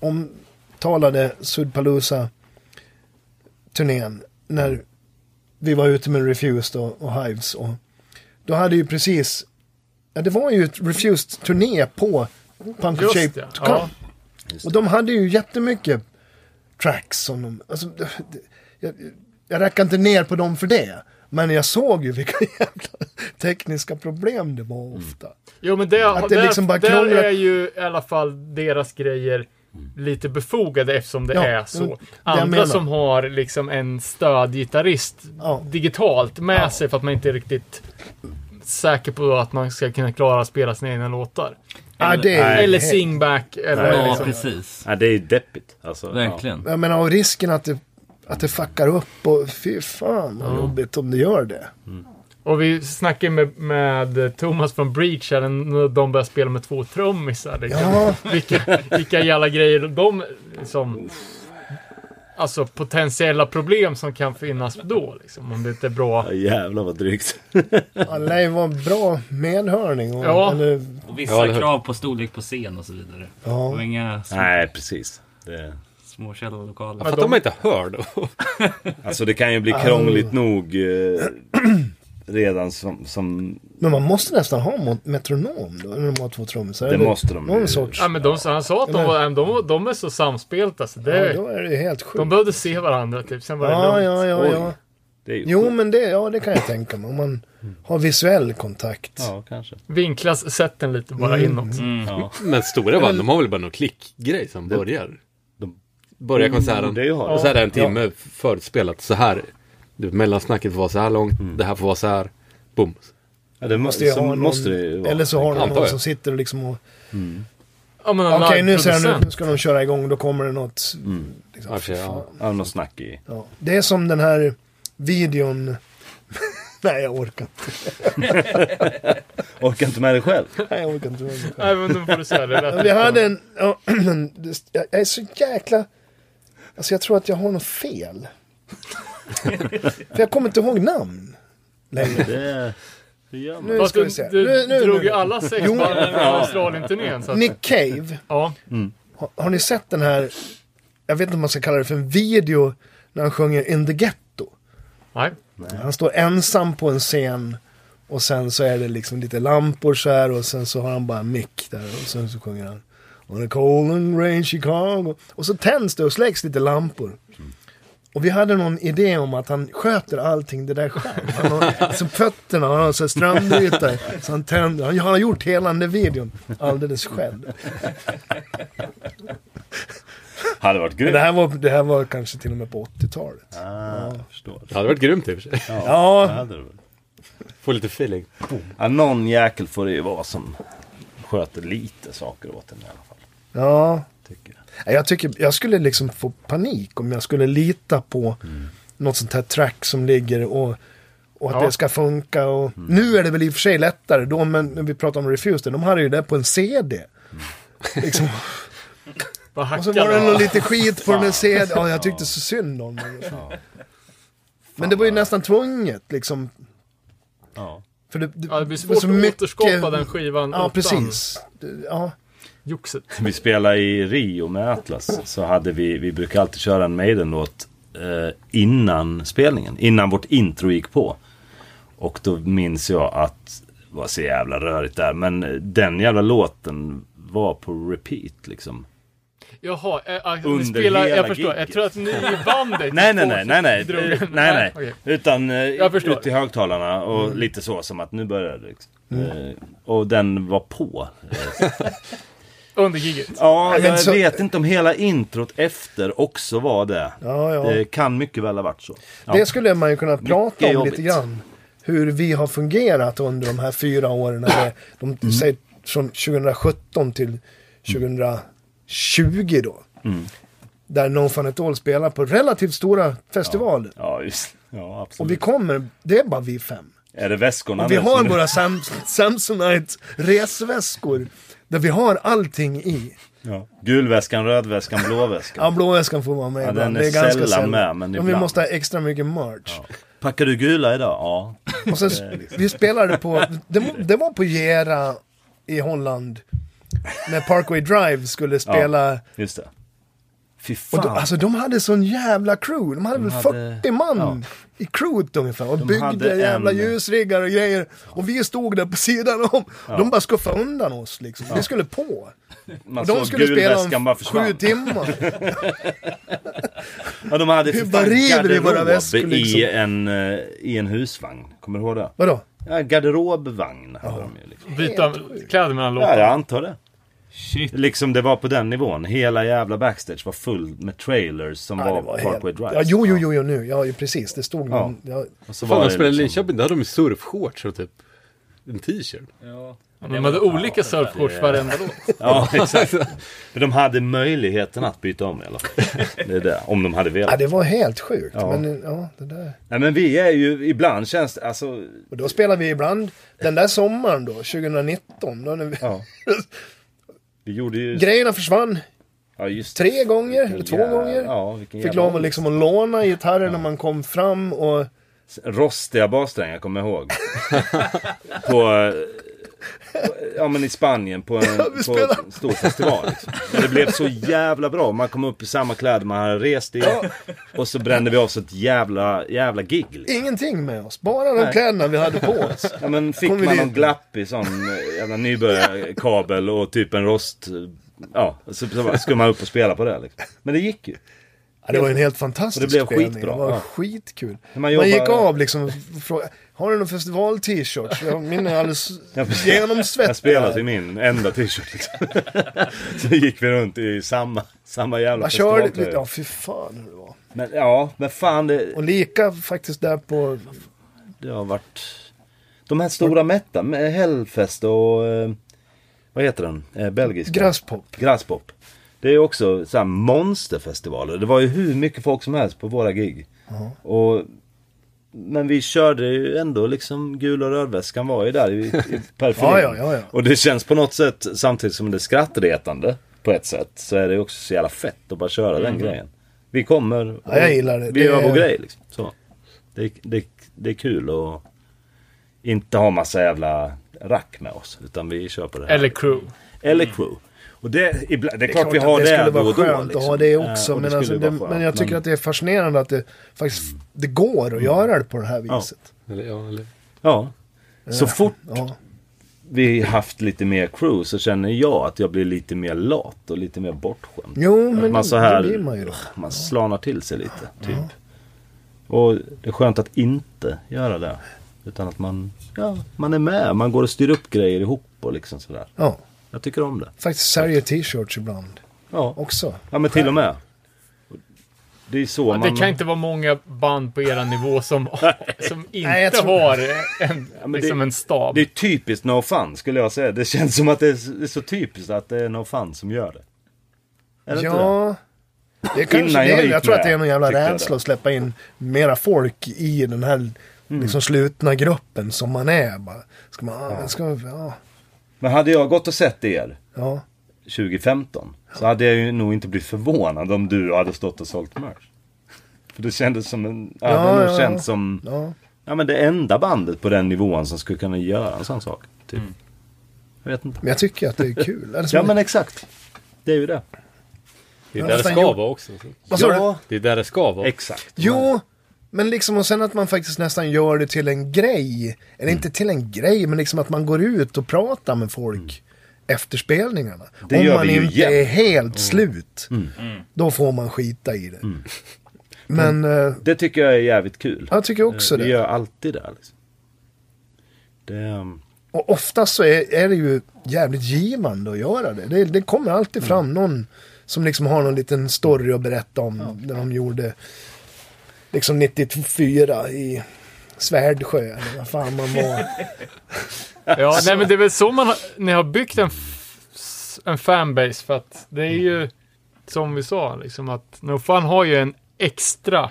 Speaker 5: omtalade Sudpalooza-turnén. När vi var ute med Refused och, och Hives. Och, då hade ju precis, ja det var ju ett Refused-turné på Punk of
Speaker 1: Just
Speaker 5: Shape.
Speaker 1: det, ja.
Speaker 5: Och de hade ju jättemycket tracks som de, alltså, det, det, jag, jag rackar inte ner på dem för det. Men jag såg ju vilka [LAUGHS] jävla tekniska problem det var ofta.
Speaker 1: Jo, men det,
Speaker 5: Att det
Speaker 1: där,
Speaker 5: liksom bara
Speaker 1: där
Speaker 5: krånglar-
Speaker 1: är ju i alla fall deras grejer lite befogade eftersom det
Speaker 5: Ja,
Speaker 1: är
Speaker 5: det- det
Speaker 1: så.
Speaker 5: jag menar.
Speaker 1: Andra som har liksom en stödgitarrist
Speaker 5: Ja.
Speaker 1: digitalt med sig för att man inte är riktigt säker på att man ska kunna klara att spela sina egna låtar.
Speaker 5: Ja, det är
Speaker 1: Eller
Speaker 5: helt-
Speaker 1: singback eller
Speaker 6: Nej.
Speaker 8: Ja,
Speaker 1: liksom.
Speaker 8: precis.
Speaker 6: Ja, det är ju deppigt. Alltså,
Speaker 8: Verkligen.
Speaker 5: Jag menar, och risken att det, att det fuckar upp och fy fan vad jobbigt om det gör det.
Speaker 1: Och vi snackade med, med Thomas från Breach här när de började spela med två trummisar. Liksom.
Speaker 5: Ja,
Speaker 1: Vilka, vilka jävla grejer de liksom, Alltså potentiella problem som kan finnas då liksom. Om det inte är bra.
Speaker 6: Ja, jävlar vad
Speaker 5: [LAUGHS]
Speaker 6: drygt.
Speaker 5: alla är var bra medhörning. Och,
Speaker 1: Ja.
Speaker 5: Eller,
Speaker 8: Och
Speaker 4: Ja,
Speaker 8: vissa
Speaker 4: eller hur?
Speaker 8: krav på storlek på scen och så vidare.
Speaker 5: Ja.
Speaker 8: Och inga sm-
Speaker 6: Nej, precis. Det...
Speaker 8: små källarlokaler.
Speaker 4: Jag fattar om man inte hör då.
Speaker 6: Alltså det kan ju bli
Speaker 5: Ah.
Speaker 6: krångligt nog eh, redan som, som...
Speaker 5: men man måste nästan ha mo- metronom då, när de har två trummisar.
Speaker 6: Det
Speaker 5: eller
Speaker 6: måste de ju.
Speaker 5: Någon sorts.
Speaker 1: Ja, men de, han sa att de, var, de, de är så samspelta så
Speaker 5: Ja,
Speaker 1: det,
Speaker 5: då är det helt
Speaker 1: De
Speaker 5: sjukt.
Speaker 1: behövde se varandra typ. Sen var det
Speaker 5: Ja,
Speaker 1: lugnt.
Speaker 5: ja, ja,
Speaker 6: Oj.
Speaker 5: ja.
Speaker 6: Det är ju
Speaker 5: Jo, men det, ja, det kan jag tänka mig. Om man har visuell kontakt.
Speaker 6: Ja, kanske.
Speaker 1: Vinklas sätten lite bara
Speaker 5: Mm.
Speaker 1: inåt.
Speaker 4: Men stora band, de har väl bara någon klickgrej som börjar. De börjar konserten.
Speaker 6: det är ju har det.
Speaker 4: och så är det en timme förutspelat. Så här. Du, mellansnacket får vara så här långt. Det här får vara så här. Boom.
Speaker 6: Ja, det måste,
Speaker 5: Måste jag
Speaker 6: så
Speaker 5: ha någon,
Speaker 6: måste det ju vara.
Speaker 5: eller så har de
Speaker 4: Antar
Speaker 5: någon
Speaker 4: jag.
Speaker 5: som sitter och liksom och...
Speaker 1: Ja, men en
Speaker 5: Okej, nu, ser jag,
Speaker 1: liveproducent.
Speaker 5: nu ska de köra igång. Då kommer det något. Liksom,
Speaker 4: Ja, för sig, ja.
Speaker 6: Mm. Ja, någon snack i.
Speaker 5: Ja. Det är som den här videon. [LAUGHS] Nej, jag orkar inte.
Speaker 6: Orkar inte med det själv.
Speaker 5: Nej, jag orkar inte. Jag orkar
Speaker 1: Nej, men nu får du säga det.
Speaker 5: inte.
Speaker 1: Rätt.
Speaker 5: Vi hade en... ja, [CLEARS THROAT] det- Jag är så jäkla... Alltså jag tror att jag har något fel. För jag kommer inte ihåg namn. längre.
Speaker 6: Det, det gör man.
Speaker 5: Nu
Speaker 1: Fast
Speaker 5: ska vi
Speaker 1: Alltså, du,
Speaker 5: se.
Speaker 1: du
Speaker 5: Nu, nu,
Speaker 1: drog ju alltså.
Speaker 5: nu.
Speaker 1: alla sex
Speaker 5: Jo.
Speaker 1: band från Australien-turnén. så att-
Speaker 5: Nick Cave.
Speaker 1: Ja.
Speaker 5: Har, har ni sett den här... Jag vet inte om man ska kalla det för en video. När han sjunger In the Ghetto.
Speaker 1: Nej.
Speaker 5: Han står ensam på en scen och sen så är det liksom lite lampor så här och sen så har han bara en mick där och sen så sjunger han On a cold and rain Chicago. Och så tänds det och släcks lite lampor. Och vi hade någon idé om att han sköter allting det där själv. Han har, som fötterna, han har så här strömbrytare, så han tänder. Han, han har gjort hela den där videon alldeles själv.
Speaker 6: Hade varit
Speaker 5: Men
Speaker 6: grymt.
Speaker 5: det här var, det här var kanske till och med på 80-talet.
Speaker 6: Ah, jag förstår.
Speaker 4: Det hade varit grymt i och för sig.
Speaker 6: Ja, det hade det varit.
Speaker 4: Få lite feeling.
Speaker 6: Ja, någon jäkel får det ju vara som sköter lite saker åt en i alla fall.
Speaker 5: Ja,
Speaker 6: Tycker jag.
Speaker 5: Nej, Jag, tycker, jag skulle liksom få panik om jag skulle lita på något sånt här track som ligger och, och att
Speaker 1: Ja.
Speaker 5: det ska funka. Och, Nu är det väl i och för sig lättare då, men när vi pratar om Refused, de hade ju det på en CD.
Speaker 1: Mm.
Speaker 5: Liksom.
Speaker 1: Vad [LAUGHS]
Speaker 5: Och så var det
Speaker 1: hackar
Speaker 5: nog
Speaker 1: du?
Speaker 5: lite skit på den där CD. Ja, jag tyckte så synd om den. Men det var ju nästan tvunget liksom.
Speaker 6: Ja.
Speaker 5: För det, det,
Speaker 1: Ja, det blir
Speaker 5: var
Speaker 1: svårt
Speaker 5: så
Speaker 1: att
Speaker 5: mycket-
Speaker 1: återskapa den skivan
Speaker 5: Ja,
Speaker 1: utan
Speaker 5: precis. Det- Ja.
Speaker 1: joxet.
Speaker 6: Vi spelade i Rio med Atlas. Så hade vi, vi brukar alltid köra en Maiden-låt eh, innan spelningen. Innan vårt intro gick på. Och då minns jag att det var så jävla rörigt där. Men eh, den jävla låten var på repeat liksom.
Speaker 1: Jaha, äh, äh,
Speaker 6: Under
Speaker 1: ni spelar,
Speaker 6: hela
Speaker 1: jag förstår. Jag
Speaker 6: gigget.
Speaker 1: tror att ni
Speaker 6: [LAUGHS]
Speaker 1: i bandet
Speaker 6: Nej, nej, nej, nej, nej,
Speaker 1: drog
Speaker 6: Eh,
Speaker 1: den.
Speaker 6: nej, nej.
Speaker 1: okej.
Speaker 6: Utan eh,
Speaker 1: Jag förstår.
Speaker 6: ut i högtalarna och
Speaker 5: Mm.
Speaker 6: lite så som att nu börjar det. Liksom. Eh, och den var på.
Speaker 1: Under giget.
Speaker 6: Ja,
Speaker 5: men
Speaker 6: jag
Speaker 5: så-
Speaker 6: vet inte om hela introt efter också var det.
Speaker 5: Ja, ja.
Speaker 6: Det kan mycket väl ha varit så. Ja.
Speaker 5: Det skulle man ju kunna prata om
Speaker 6: Mycket jobbigt.
Speaker 5: lite grann. Hur vi har fungerat under de här fyra åren. Eller de,
Speaker 6: Mm.
Speaker 5: säg, från 2017 till 2020 då.
Speaker 6: Mm.
Speaker 5: Där No Fun At All spelar på relativt stora festivaler.
Speaker 6: Ja, just Ja, absolut.
Speaker 5: Och vi kommer, det är bara vi fem.
Speaker 6: Är det väskorna
Speaker 5: Och vi
Speaker 6: nu
Speaker 5: har
Speaker 6: som-
Speaker 5: våra Sam Samsonite resväskor. Där vi har allting i.
Speaker 6: [LAUGHS] Ja. Gul väskan, röd väskan, blå väskan.
Speaker 5: Ja, blåväskan får vara med.
Speaker 6: Ja,
Speaker 5: ibland.
Speaker 6: den är sällan med, men
Speaker 5: Vi
Speaker 6: ibland.
Speaker 5: måste ha extra mycket merch.
Speaker 6: Packar du gula idag? Ja.
Speaker 5: Och sen,
Speaker 6: liksom-
Speaker 5: vi spelade på, det, var- det var på Gera i Holland. När Parkway Drive skulle spela.
Speaker 6: Just det. Fy
Speaker 5: Och
Speaker 6: fan.
Speaker 5: då, alltså de hade sån jävla crew. De hade väl
Speaker 6: hade-
Speaker 5: 40 man i crewet ungefär. Och byggde
Speaker 6: hade en-
Speaker 5: jävla ljusriggar och grejer. Och vi stod där på sidan om. De bara skuffade undan oss liksom. Vi skulle på.
Speaker 6: Man
Speaker 5: Och de
Speaker 6: såg
Speaker 5: skulle
Speaker 6: Alltså, gul
Speaker 5: spela
Speaker 6: väskan bara
Speaker 5: om
Speaker 6: försvann.
Speaker 5: sju
Speaker 6: [LAUGHS]
Speaker 5: timmar.
Speaker 6: Ja, de hade
Speaker 5: Hur
Speaker 6: för
Speaker 5: [LAUGHS] bara
Speaker 6: fan
Speaker 5: river i våra
Speaker 6: garderob
Speaker 5: väskor, liksom.
Speaker 6: i, en, eh, I en husvagn. Kommer du ihåg det?
Speaker 5: Vadå?
Speaker 6: Ja, garderobvagn hade de ju. Liksom.
Speaker 1: Byta kläder mellan
Speaker 6: Ja,
Speaker 1: låtarna.
Speaker 6: jag antar det. Shit. Liksom det var på den nivån. Hela jävla backstage var full med trailers som
Speaker 5: Ja,
Speaker 6: var,
Speaker 5: det var
Speaker 6: Parkway
Speaker 5: helt...
Speaker 6: Drive.
Speaker 5: ja, jo, jo, jo, jo, nu. Ja, ju precis. Det stod någon. Ja.
Speaker 6: Och så
Speaker 4: Fan,
Speaker 6: var
Speaker 4: de
Speaker 6: det
Speaker 4: spelade i
Speaker 6: liksom-
Speaker 4: Linköping, då hade de ju surfshorts och typ en t-shirt.
Speaker 1: De hade olika surfshorts varenda låt.
Speaker 4: [LAUGHS]
Speaker 6: Ja, exakt. Men de hade möjligheten att byta om i alla fall. Det är det, om de hade
Speaker 5: ja,
Speaker 6: velat.
Speaker 5: det var helt sjukt.
Speaker 6: Ja.
Speaker 5: Men ja, det där.
Speaker 6: Nej men vi är ju, ibland känns det, alltså...
Speaker 5: Och då spelade vi ibland, den där sommaren då, 2019. Då när vi, [LAUGHS]
Speaker 6: Ja. Vi gjorde ju...
Speaker 5: Grejerna försvann
Speaker 6: ja, just
Speaker 5: tre gånger, eller
Speaker 6: Vilken
Speaker 5: två
Speaker 6: jävla-
Speaker 5: gånger.
Speaker 6: Ja, vilken
Speaker 5: Fick
Speaker 6: jävla-
Speaker 5: lov att, liksom, att låna gitarren när man kom fram och...
Speaker 6: Rostiga bassträngar kommer jag
Speaker 5: [LAUGHS]
Speaker 6: ihåg. på... eh, Ja men i Spanien på en,
Speaker 5: vi
Speaker 6: på
Speaker 5: spelar-
Speaker 6: en stor festival. Liksom. Men det blev så jävla bra. Man kom upp i samma kläder man hade rest i. Och så brände vi av så ett jävla, jävla gig. Liksom.
Speaker 5: Ingenting med oss, bara de
Speaker 6: Nej.
Speaker 5: kläderna vi hade på
Speaker 6: [LAUGHS]
Speaker 5: oss.
Speaker 6: Ja men fick
Speaker 5: Kommer
Speaker 6: man
Speaker 5: det-
Speaker 6: någon glappig sån eh, jävla nybörjarkabel och typ en rost... eh, Ja, så, så skulle man upp och spela på det liksom. Men det gick ju.
Speaker 5: Ja, det var en helt fantastisk
Speaker 6: Och det blev
Speaker 5: spelning.
Speaker 6: skitbra,
Speaker 5: Det var
Speaker 6: ja.
Speaker 5: skitkul.
Speaker 6: När man
Speaker 5: Man,
Speaker 6: jobbar-
Speaker 5: gick av liksom och frågade, har du någon festival-t-shirt? Ja, Min är alldeles
Speaker 6: [LAUGHS] Ja, precis. Jag spelade i
Speaker 5: genomsvettad.
Speaker 6: min enda t-shirt liksom. [LAUGHS] Så gick vi runt i samma, samma jävla typ.
Speaker 5: Man körde,
Speaker 6: festivaltröja.
Speaker 5: ja fy fan hur det var.
Speaker 6: Men ja, men fan det,
Speaker 5: Och lika faktiskt där på
Speaker 6: det har varit... De här stora mätta, med Hellfest och... eh, Vad heter den? Eh, Belgiska?
Speaker 5: Grasspop.
Speaker 6: Grasspop. Det är också så här monsterfestivaler. Det var ju hur mycket folk som helst på våra gig. Och, men vi körde ju ändå liksom gul och rödväskan var ju där i,
Speaker 5: [LAUGHS]
Speaker 6: i periferin.
Speaker 5: Ja, ja, ja, ja.
Speaker 6: Och det känns på något sätt, samtidigt som det är skrattretande på ett sätt, så är det ju också så jävla fett att bara köra den grejen. Vi kommer och
Speaker 5: Mm. Ja, jag gillar det.
Speaker 6: vi
Speaker 5: Det
Speaker 6: gör
Speaker 5: är-
Speaker 6: vår grej liksom. Så. Det, det, det är kul att inte ha massa jävla rack med oss. Utan vi kör på det här.
Speaker 1: Eller crew.
Speaker 6: Eller
Speaker 1: Mm.
Speaker 6: crew. Och det, ibla- det är
Speaker 5: Det
Speaker 6: klart vi har
Speaker 5: att
Speaker 6: det,
Speaker 5: det skulle
Speaker 6: då
Speaker 5: vara
Speaker 6: och då.
Speaker 5: skönt
Speaker 6: liksom.
Speaker 5: att ha det också.
Speaker 6: Eh, och
Speaker 5: men,
Speaker 6: skulle
Speaker 5: alltså,
Speaker 6: ju vara
Speaker 5: det,
Speaker 6: skönt, Mm.
Speaker 5: men jag tycker att det är fascinerande att det faktiskt det går att göra det på det här viset.
Speaker 4: Eller, ja, eller...
Speaker 6: Ja.
Speaker 5: Eh.
Speaker 6: Så fort
Speaker 5: Ja.
Speaker 6: vi haft lite mer crew så känner jag att jag blir lite mer lat och lite mer bortskämd.
Speaker 5: Jo, men
Speaker 6: man så
Speaker 5: det-
Speaker 6: här,
Speaker 5: det blir man ju då.
Speaker 6: man slanar till sig lite, typ. Och det är skönt att inte göra det. Utan att man, ja, man är med. Man går och styr upp grejer ihop och liksom sådär.
Speaker 5: Ja,
Speaker 6: Jag tycker om det.
Speaker 5: faktiskt säljer t-shirts ibland
Speaker 6: Ja,
Speaker 5: också.
Speaker 6: ja men till och med. Det är så man...
Speaker 1: Det kan inte vara många band på era nivå
Speaker 6: [LAUGHS]
Speaker 1: som, som inte
Speaker 5: Nej, jag tror-
Speaker 1: har en,
Speaker 6: men det-
Speaker 1: liksom en stab.
Speaker 6: Det är typiskt No Fun skulle jag säga. Det känns som att det är så- det är så typiskt att det är No Fun som gör det. Är det inte det?
Speaker 5: Ja, det är kanske
Speaker 6: Innan
Speaker 5: det.
Speaker 6: jag
Speaker 5: Jag,
Speaker 6: gick
Speaker 5: tror att
Speaker 6: med,
Speaker 5: det är någon jävla
Speaker 6: tyckte jag
Speaker 5: rädsla
Speaker 6: det.
Speaker 5: att släppa in mera folk i den här
Speaker 6: Mm.
Speaker 5: liksom, slutna gruppen som man är. Bara, ska man, ja. Ska, man- ja,
Speaker 6: Men hade jag gått och sett er
Speaker 5: ja.
Speaker 6: 2015 så hade jag ju nog inte blivit förvånad om du hade stått och sålt merch. För det kändes som en... Ja,
Speaker 5: Ja,
Speaker 6: det hade nog
Speaker 5: ja,
Speaker 6: känts
Speaker 5: ja.
Speaker 6: som...
Speaker 5: ja.
Speaker 6: Ja men det enda bandet på den nivån som skulle kunna göra en sån sak. Typ. Jag vet inte.
Speaker 5: Men jag tycker att det är kul. Eller som-
Speaker 6: Ja men exakt. Det är ju det.
Speaker 4: Det
Speaker 5: Ja,
Speaker 4: är där det
Speaker 5: fan,
Speaker 4: ska
Speaker 5: jo.
Speaker 4: vara också.
Speaker 5: Vad sa du?
Speaker 6: Ja,
Speaker 4: Det är där det ska vara.
Speaker 6: exakt.
Speaker 5: Jo, men liksom och sen att man faktiskt nästan gör det till en grej. Eller
Speaker 6: Mm.
Speaker 5: inte till en grej, men liksom att man går ut och pratar med folk efter spelningarna.
Speaker 6: Mm. Det
Speaker 5: Om
Speaker 6: gör
Speaker 5: man
Speaker 6: vi ju Mm.
Speaker 5: inte
Speaker 6: jämt.
Speaker 5: är helt slut, då får man skita i det.
Speaker 6: Mm.
Speaker 5: Men eh,
Speaker 6: Det tycker jag är jävligt kul. Eh,
Speaker 5: jag tycker också
Speaker 6: Vi
Speaker 5: det.
Speaker 6: gör alltid det. Liksom. det ehm,
Speaker 5: Och oftast så är, är det ju jävligt givande att göra det. Det, det kommer alltid fram någon som liksom har någon liten story att berätta om. När de gjorde liksom 94 i Svärdsjö. Eller vad fan man var.
Speaker 1: Ja,
Speaker 6: Alltså-
Speaker 1: nej, men det är väl så man har, ni har byggt en, f- en fanbase för att det är ju som vi sa liksom att No Fun har ju en extra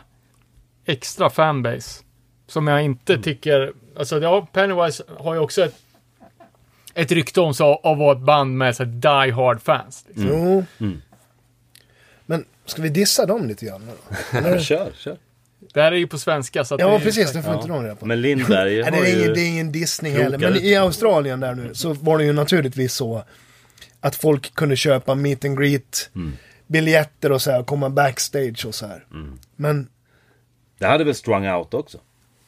Speaker 1: extra fanbase som jag inte
Speaker 6: Mm.
Speaker 1: tycker alltså ja, Pennywise har ju också ett ett rykte om sig av att vara ett band med så här, die hard fans. Liksom.
Speaker 5: Jo. Men ska vi dissa dem lite grann? då?
Speaker 6: ja, kör, kör.
Speaker 1: Det här är ju på svenska så att det
Speaker 5: Ja,
Speaker 1: är,
Speaker 5: precis. Det får inte de reda på.
Speaker 6: Men Lindberg
Speaker 5: Nej,
Speaker 6: har
Speaker 5: det, är ingen, det
Speaker 6: ju...
Speaker 5: är ingen dissning
Speaker 6: krokar
Speaker 5: heller. Men
Speaker 6: lite.
Speaker 5: i Australien där nu så var det ju naturligtvis så att folk kunde köpa meet and greet
Speaker 6: Mm.
Speaker 5: biljetter och så här och komma backstage och så här.
Speaker 6: Mm.
Speaker 5: Men
Speaker 6: Det hade väl strung out också?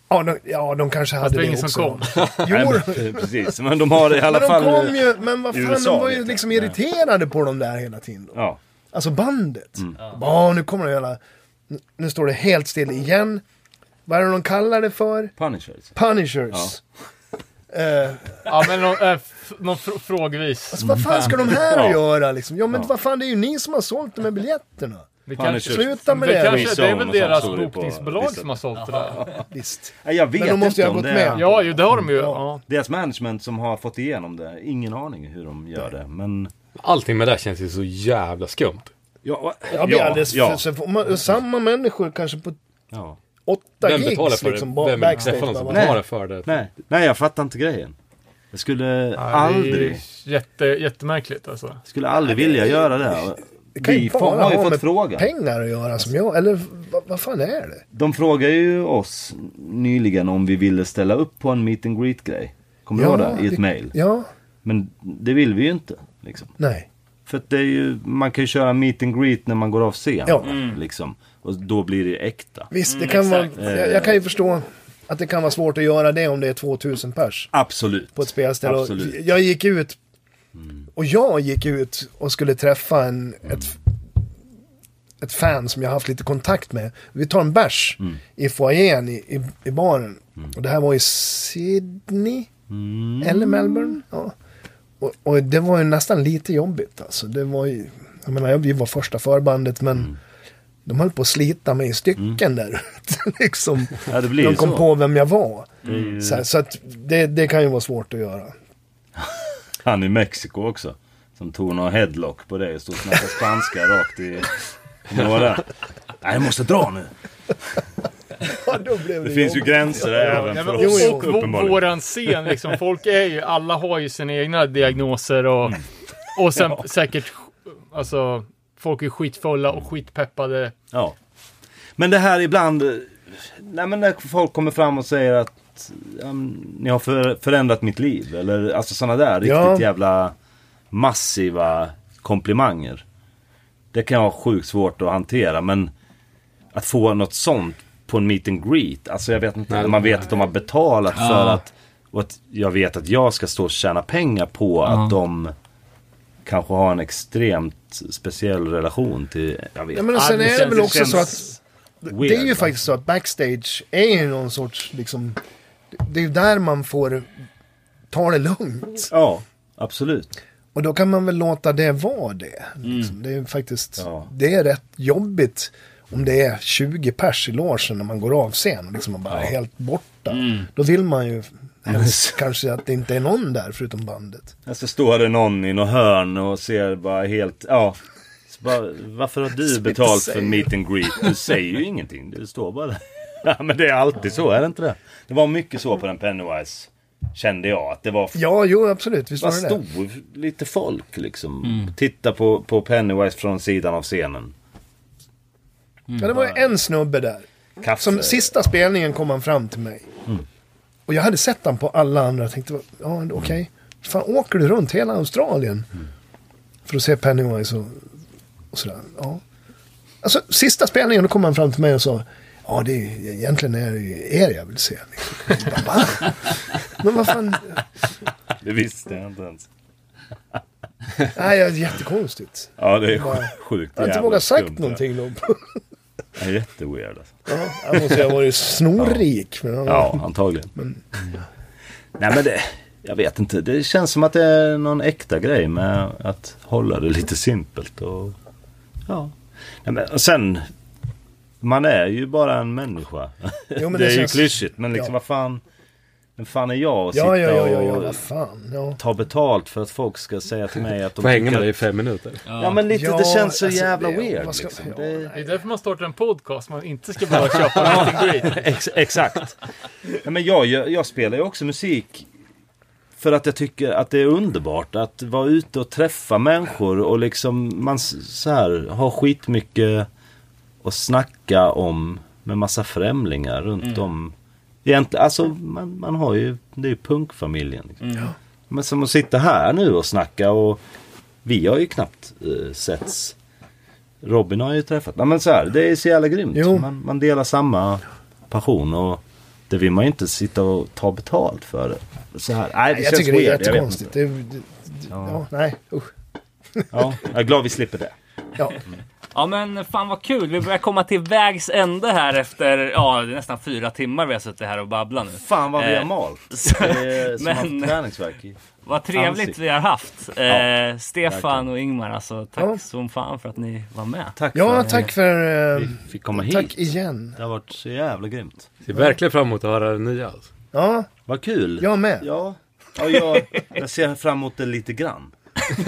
Speaker 5: ja, de, ja, de kanske hade
Speaker 1: det var
Speaker 5: det
Speaker 1: ingen som
Speaker 5: också.
Speaker 1: kom.
Speaker 5: Jo,
Speaker 6: [LAUGHS] Nej, men, eh, precis. Men de har det i alla
Speaker 5: men de
Speaker 6: fall...
Speaker 5: kom ju. Men vad
Speaker 6: i
Speaker 5: fan,
Speaker 6: USA
Speaker 5: de var ju
Speaker 6: vet jag.
Speaker 5: liksom
Speaker 6: Ja.
Speaker 5: irriterade på dem där hela tiden. Då.
Speaker 6: Ja.
Speaker 5: Alltså bandet.
Speaker 6: Mm.
Speaker 5: Ja, nu kommer det hela... nu- Nu står det helt still igen. Vad är det de kallar det för?
Speaker 6: Punishers.
Speaker 5: Punishers. Eh,
Speaker 1: Ja, men någon, eh, f- någon fr- frågvis.
Speaker 5: alltså vad fan ska de här
Speaker 6: Ja.
Speaker 5: göra liksom? Ja men vad fan det är ju ni som har sålt de här biljetterna.
Speaker 1: Det
Speaker 6: Fan,
Speaker 1: kanske,
Speaker 6: det känns-
Speaker 5: Sluta med
Speaker 1: det,
Speaker 5: det.
Speaker 1: kanske, det är väl
Speaker 6: Rezone och
Speaker 1: deras
Speaker 6: sånt står det på
Speaker 1: bokningsbolag
Speaker 6: listan.
Speaker 1: som har sålt det där.
Speaker 5: Visst.
Speaker 6: Ja, Jag vet
Speaker 5: Men de måste
Speaker 6: inte
Speaker 5: ju ha
Speaker 6: om
Speaker 5: gått
Speaker 6: det
Speaker 5: med.
Speaker 6: är...
Speaker 1: Ja, ju det har de ju. Ja.
Speaker 6: Deras management som har fått igenom det. Ingen aning hur de gör det. Men...
Speaker 4: Allting med det här känns ju så jävla skumt.
Speaker 6: Ja,
Speaker 5: Jag blir alldeles för,
Speaker 6: ja,
Speaker 5: så får man, samma människor kanske på
Speaker 6: ja.
Speaker 5: åtta
Speaker 4: Vem betalar
Speaker 5: gigs
Speaker 4: för
Speaker 5: liksom
Speaker 4: det?
Speaker 5: ba-
Speaker 4: Vem
Speaker 5: backstage.
Speaker 4: träffar någon som
Speaker 5: bara,
Speaker 6: Nej.
Speaker 4: betalar för det?
Speaker 6: Nej. Nej, jag fattar inte grejen. Jag skulle
Speaker 1: Det är
Speaker 6: aldrig...
Speaker 1: ju jätte, jättemärkligt alltså.
Speaker 6: Skulle aldrig vilja göra det.
Speaker 5: Det kan ju
Speaker 6: Vi
Speaker 5: inte
Speaker 6: får,
Speaker 5: bara
Speaker 6: har ju
Speaker 5: ha
Speaker 6: fått
Speaker 5: med
Speaker 6: frågan.
Speaker 5: pengar att göra som jag, eller vad, vad fan är det?
Speaker 6: De frågar ju oss nyligen om vi ville ställa upp på en meet and greet grej. Kommer du ihåg det? I ett mail.
Speaker 5: Ja,
Speaker 6: Men det vill vi ju inte. Liksom.
Speaker 5: nej.
Speaker 6: För att det är ju, man kan ju köra meet and greet när man går av scen.
Speaker 5: Ja.
Speaker 6: Liksom. Och då blir det äkta.
Speaker 5: Visst, det kan vara, jag, jag kan ju förstå att det kan vara svårt att göra det om det är 2000 pers.
Speaker 6: Absolut.
Speaker 5: på ett spelställe. Och
Speaker 6: Absolut. Mm.
Speaker 5: jag gick ut och jag gick ut och skulle träffa en, ett, ett fan som jag haft lite kontakt med. Vi tar en bärs
Speaker 6: Mm.
Speaker 5: i foajén i, i, i baren. Och det här var i Sydney
Speaker 6: Mm.
Speaker 5: eller Melbourne. Ja. Och, och det var ju nästan lite jobbigt alltså. Det var ju, jag menar, vi var första förbandet men
Speaker 6: Mm.
Speaker 5: de höll på att slita mig i stycken där [LAUGHS] ute. liksom.
Speaker 6: Ja, det blir ju
Speaker 5: De kom
Speaker 6: så.
Speaker 5: på vem jag var. Så, här, så att det, det kan ju vara svårt att göra.
Speaker 6: Han i Mexiko också. Som tog någon headlock på det och stod och snackade spanska rakt i... Kommer du ihåg det? Nej, jag måste dra nu.
Speaker 5: [LAUGHS] Ja, då blev
Speaker 6: Det finns ju gränser även
Speaker 1: Ja,
Speaker 6: för
Speaker 1: men,
Speaker 5: Jo,
Speaker 6: oss.
Speaker 5: jo.
Speaker 1: och och vå-
Speaker 6: Uppenbarligen.
Speaker 1: våran scen, liksom, folk är ju, alla har ju sina egna diagnoser och,
Speaker 6: Mm.
Speaker 1: och sen säkert, alltså, folk är skitfulla och skitpeppade.
Speaker 6: Ja. Men det här ibland... eh, Nej men när folk kommer fram och säger att ja, men, ni har för, förändrat mitt liv. Eller alltså sådana där riktigt
Speaker 5: Ja.
Speaker 6: jävla massiva komplimanger. Det kan jag ha sjukt svårt att hantera men att få något sånt på en meet and greet. Alltså jag vet inte,
Speaker 4: Nej,
Speaker 6: när man vet att de har betalat för att... Och att jag vet att jag ska stå och tjäna pengar på att de kanske har en extremt speciell relation till... Jag vet
Speaker 5: Ja, men och sen
Speaker 1: Ja, det
Speaker 5: är det
Speaker 1: känns-
Speaker 5: väl också
Speaker 1: känns
Speaker 5: så att
Speaker 6: Weird,
Speaker 5: det är ju
Speaker 6: va?
Speaker 5: faktiskt så att backstage är ju någon sorts liksom... Det är ju där man får ta det lugnt.
Speaker 6: Ja, absolut.
Speaker 5: Och då kan man väl låta det vara det. Liksom. Det är ju faktiskt...
Speaker 6: Mm. Ja.
Speaker 5: Det är rätt jobbigt om det är 20 pers i logen när man går av scen. Liksom man bara är helt borta.
Speaker 6: Mm.
Speaker 5: Då vill man ju helst kanske att det inte är någon där förutom bandet.
Speaker 6: Alltså står det någon i något hörn och ser bara helt, ja. Så bara, varför har du betalt för meet and greet? Du säger ju ingenting, du står bara där. Ja men det är alltid så, är det inte det? Det var mycket så på den Pennywise. Kände jag att det var
Speaker 5: Ja, jo, absolut. Visst
Speaker 6: Vad
Speaker 5: var det det.
Speaker 6: stod lite folk liksom. Titta på, på Pennywise från sidan av scenen.
Speaker 5: Ja, det var ju
Speaker 6: Mm.
Speaker 5: en snubbe där.
Speaker 6: Kaffe.
Speaker 5: Som sista spelningen kom han fram till mig.
Speaker 6: Mm.
Speaker 5: Och jag hade sett han på alla andra. Jag tänkte, ja okej.
Speaker 6: Mm.
Speaker 5: Fan, åker du runt hela Australien? För att se Pennywise och, och sådär. Ja. Alltså, sista spelningen, då kom han fram till mig och sa, ja det är, ju- egentligen är det ju er jag vill se. Liksom. Jag bara, "Va?" Men vad fan,
Speaker 6: Det visste jag inte ens.
Speaker 5: nej, det är jättekonstigt.
Speaker 6: Ja det är
Speaker 5: Bara-
Speaker 6: sjukt
Speaker 5: Jag har inte
Speaker 6: jävla
Speaker 5: vågat
Speaker 6: skumt
Speaker 5: sagt
Speaker 6: det där.
Speaker 5: någonting då.
Speaker 6: Det är jätteweird alltså.
Speaker 5: Ja, jag måste ju ha varit snorrik. Men,
Speaker 6: Ja, antagligen. Nej men det, jag vet inte. Det känns som att det är någon äkta grej med att hålla det lite simpelt. Och, ja. Nej, men, och sen, man är ju bara en människa.
Speaker 5: Jo, men
Speaker 6: det,
Speaker 5: det
Speaker 6: är
Speaker 5: känns-
Speaker 6: ju klyschigt men liksom
Speaker 5: ja.
Speaker 6: vad fan. Vem fan är jag att
Speaker 5: Ja,
Speaker 6: sitta
Speaker 5: ja, ja, ja, ja,
Speaker 6: och
Speaker 5: vad fan. Ja.
Speaker 6: ta betalt för att folk ska säga till mig att de
Speaker 4: Får hänga med
Speaker 6: tycker
Speaker 4: dig i
Speaker 6: att-
Speaker 4: fem minuter.
Speaker 6: Ja men lite,
Speaker 5: Ja,
Speaker 6: det känns så
Speaker 5: alltså,
Speaker 6: jävla
Speaker 5: det-
Speaker 6: weird
Speaker 5: vad ska-
Speaker 6: liksom.
Speaker 5: ja,
Speaker 6: det,
Speaker 1: Det är därför man startar en podcast, man inte ska behöva köpa
Speaker 6: [LAUGHS]
Speaker 1: meet and greet.
Speaker 6: Ex exakt. Nej, men jag, jag, jag spelar ju också musik för att jag tycker att det är underbart att vara ute och träffa människor och liksom man s- så här har skitmycket att snacka om med massa främlingar runt
Speaker 3: Mm.
Speaker 6: om. Egentligen, alltså man, man har ju, det är ju punkfamiljen. Liksom.
Speaker 3: Mm.
Speaker 6: Men som att sitta här nu och snacka och vi har ju knappt eh, setts. Robin har jag ju träffat. Nej, men så här, det är så jävla grymt.
Speaker 5: Jo.
Speaker 6: Man, man delar samma passion och det vill man ju inte sitta och ta betalt för. Så här. Nej, det
Speaker 5: Nej, jag
Speaker 6: känns
Speaker 5: tycker det är
Speaker 6: weird, jag vet
Speaker 5: jättekonstigt.
Speaker 6: inte.
Speaker 5: Det, det, det, ja. nej, usch.
Speaker 6: Ja, jag är glad vi slipper det.
Speaker 5: Ja.
Speaker 3: Ja men fan vad kul, vi börjar komma till vägs ände här efter, ja det är nästan fyra timmar vi har suttit här och babblat nu.
Speaker 6: Fan vad vi har
Speaker 3: Eh,
Speaker 6: malt.
Speaker 3: så-
Speaker 6: Det är som
Speaker 3: men-
Speaker 6: haft träningsvärk i.
Speaker 3: Vad trevligt
Speaker 6: Ansikte.
Speaker 3: vi har haft. Eh,
Speaker 6: Ja,
Speaker 3: Stefan
Speaker 6: verkligen.
Speaker 3: och Ingmar alltså, tack
Speaker 5: Ja.
Speaker 3: som fan för att ni var med.
Speaker 6: Tack för
Speaker 5: ja,
Speaker 6: att
Speaker 5: tack för...
Speaker 6: vi
Speaker 5: eh,
Speaker 6: fick komma hit.
Speaker 5: tack igen.
Speaker 6: Det har varit så jävla grymt.
Speaker 4: Ser verkligen fram emot att höra det nya. Alltså.
Speaker 5: Ja,
Speaker 6: Vad kul.
Speaker 5: jag med.
Speaker 6: Ja, ja jag, jag ser fram emot det lite grann. [LAUGHS]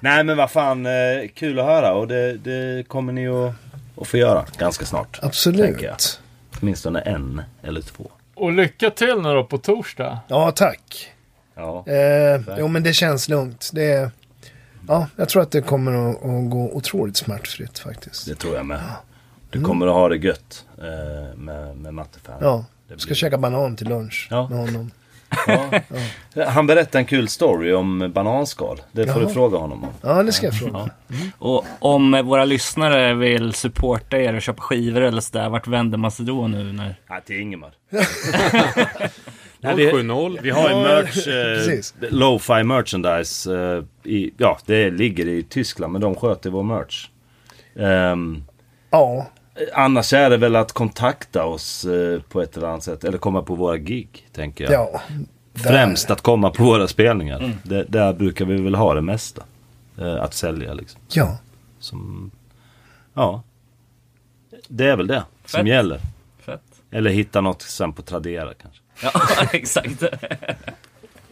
Speaker 6: Nej men vad fan, eh, kul att höra och det, det kommer ni att, att få göra ganska snart. tänker jag.
Speaker 5: Absolut.
Speaker 6: Åtminstone en eller två.
Speaker 1: Och lycka till nu då på torsdag.
Speaker 5: Ja, tack.
Speaker 6: Ja.
Speaker 5: Eh, jo, men det känns lugnt. Det, är- ja, jag tror att det kommer att, att gå otroligt smärtfritt faktiskt.
Speaker 6: Det tror jag med. Du kommer att ha det gött eh, med, med Mattefan.
Speaker 5: Mm. Ja,
Speaker 6: det
Speaker 5: ska
Speaker 6: blir-
Speaker 5: käka banan till lunch
Speaker 6: Ja.
Speaker 5: med honom.
Speaker 6: Han berättade en kul story om bananskal. Det får
Speaker 5: Jaha.
Speaker 6: du fråga honom om.
Speaker 5: Ja, det ska jag fråga.
Speaker 3: Och om eh, våra lyssnare vill supporta er och köpa skivor eller sådär, vart vänder man sig då nu när
Speaker 6: Nej, till Ingemar.
Speaker 4: 070.
Speaker 6: Vi har ju merch,
Speaker 5: precis.
Speaker 6: eh, lo-fi merchandise. Eh, i, ja, det ligger i Tyskland men de sköter vår merch. Ehm,
Speaker 5: Ja,
Speaker 6: eh, annars är det väl att kontakta oss eh, på ett eller annat sätt. Eller komma på våra gig, tänker jag.
Speaker 5: ja. där.
Speaker 6: Främst att komma på våra spelningar.
Speaker 3: Mm.
Speaker 6: Det, där brukar vi väl ha det mesta. Eh, att sälja liksom.
Speaker 5: Ja,
Speaker 6: Som, ja. Det är väl det som
Speaker 3: Fett.
Speaker 6: gäller.
Speaker 3: Fett.
Speaker 6: Eller hitta något sen på Tradera kanske.
Speaker 3: Ja, exakt.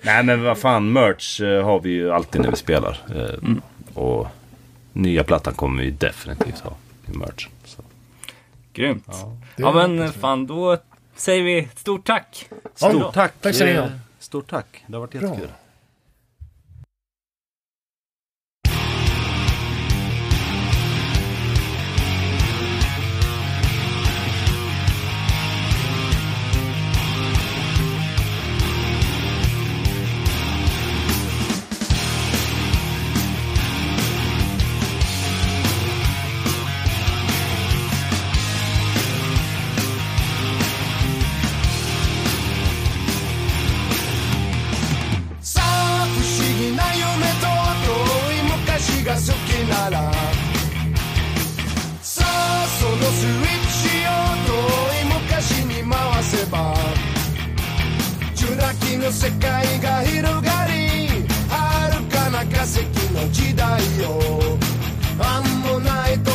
Speaker 6: Nej men vad fan, merch eh, har vi ju alltid när vi spelar. Eh,
Speaker 5: Mm.
Speaker 6: Och nya plattan kommer vi definitivt ha i merch. Så.
Speaker 3: Grymt. Ja, men eh, fan då säger vi stort tack.
Speaker 6: Stort
Speaker 5: Ja,
Speaker 6: tack!
Speaker 5: tack ska ni ha.
Speaker 6: eh, Stort tack, det har varit
Speaker 5: Bra.
Speaker 6: jättekul.
Speaker 9: So
Speaker 10: 気の世界が広がり遥かな化石の時代を案もないと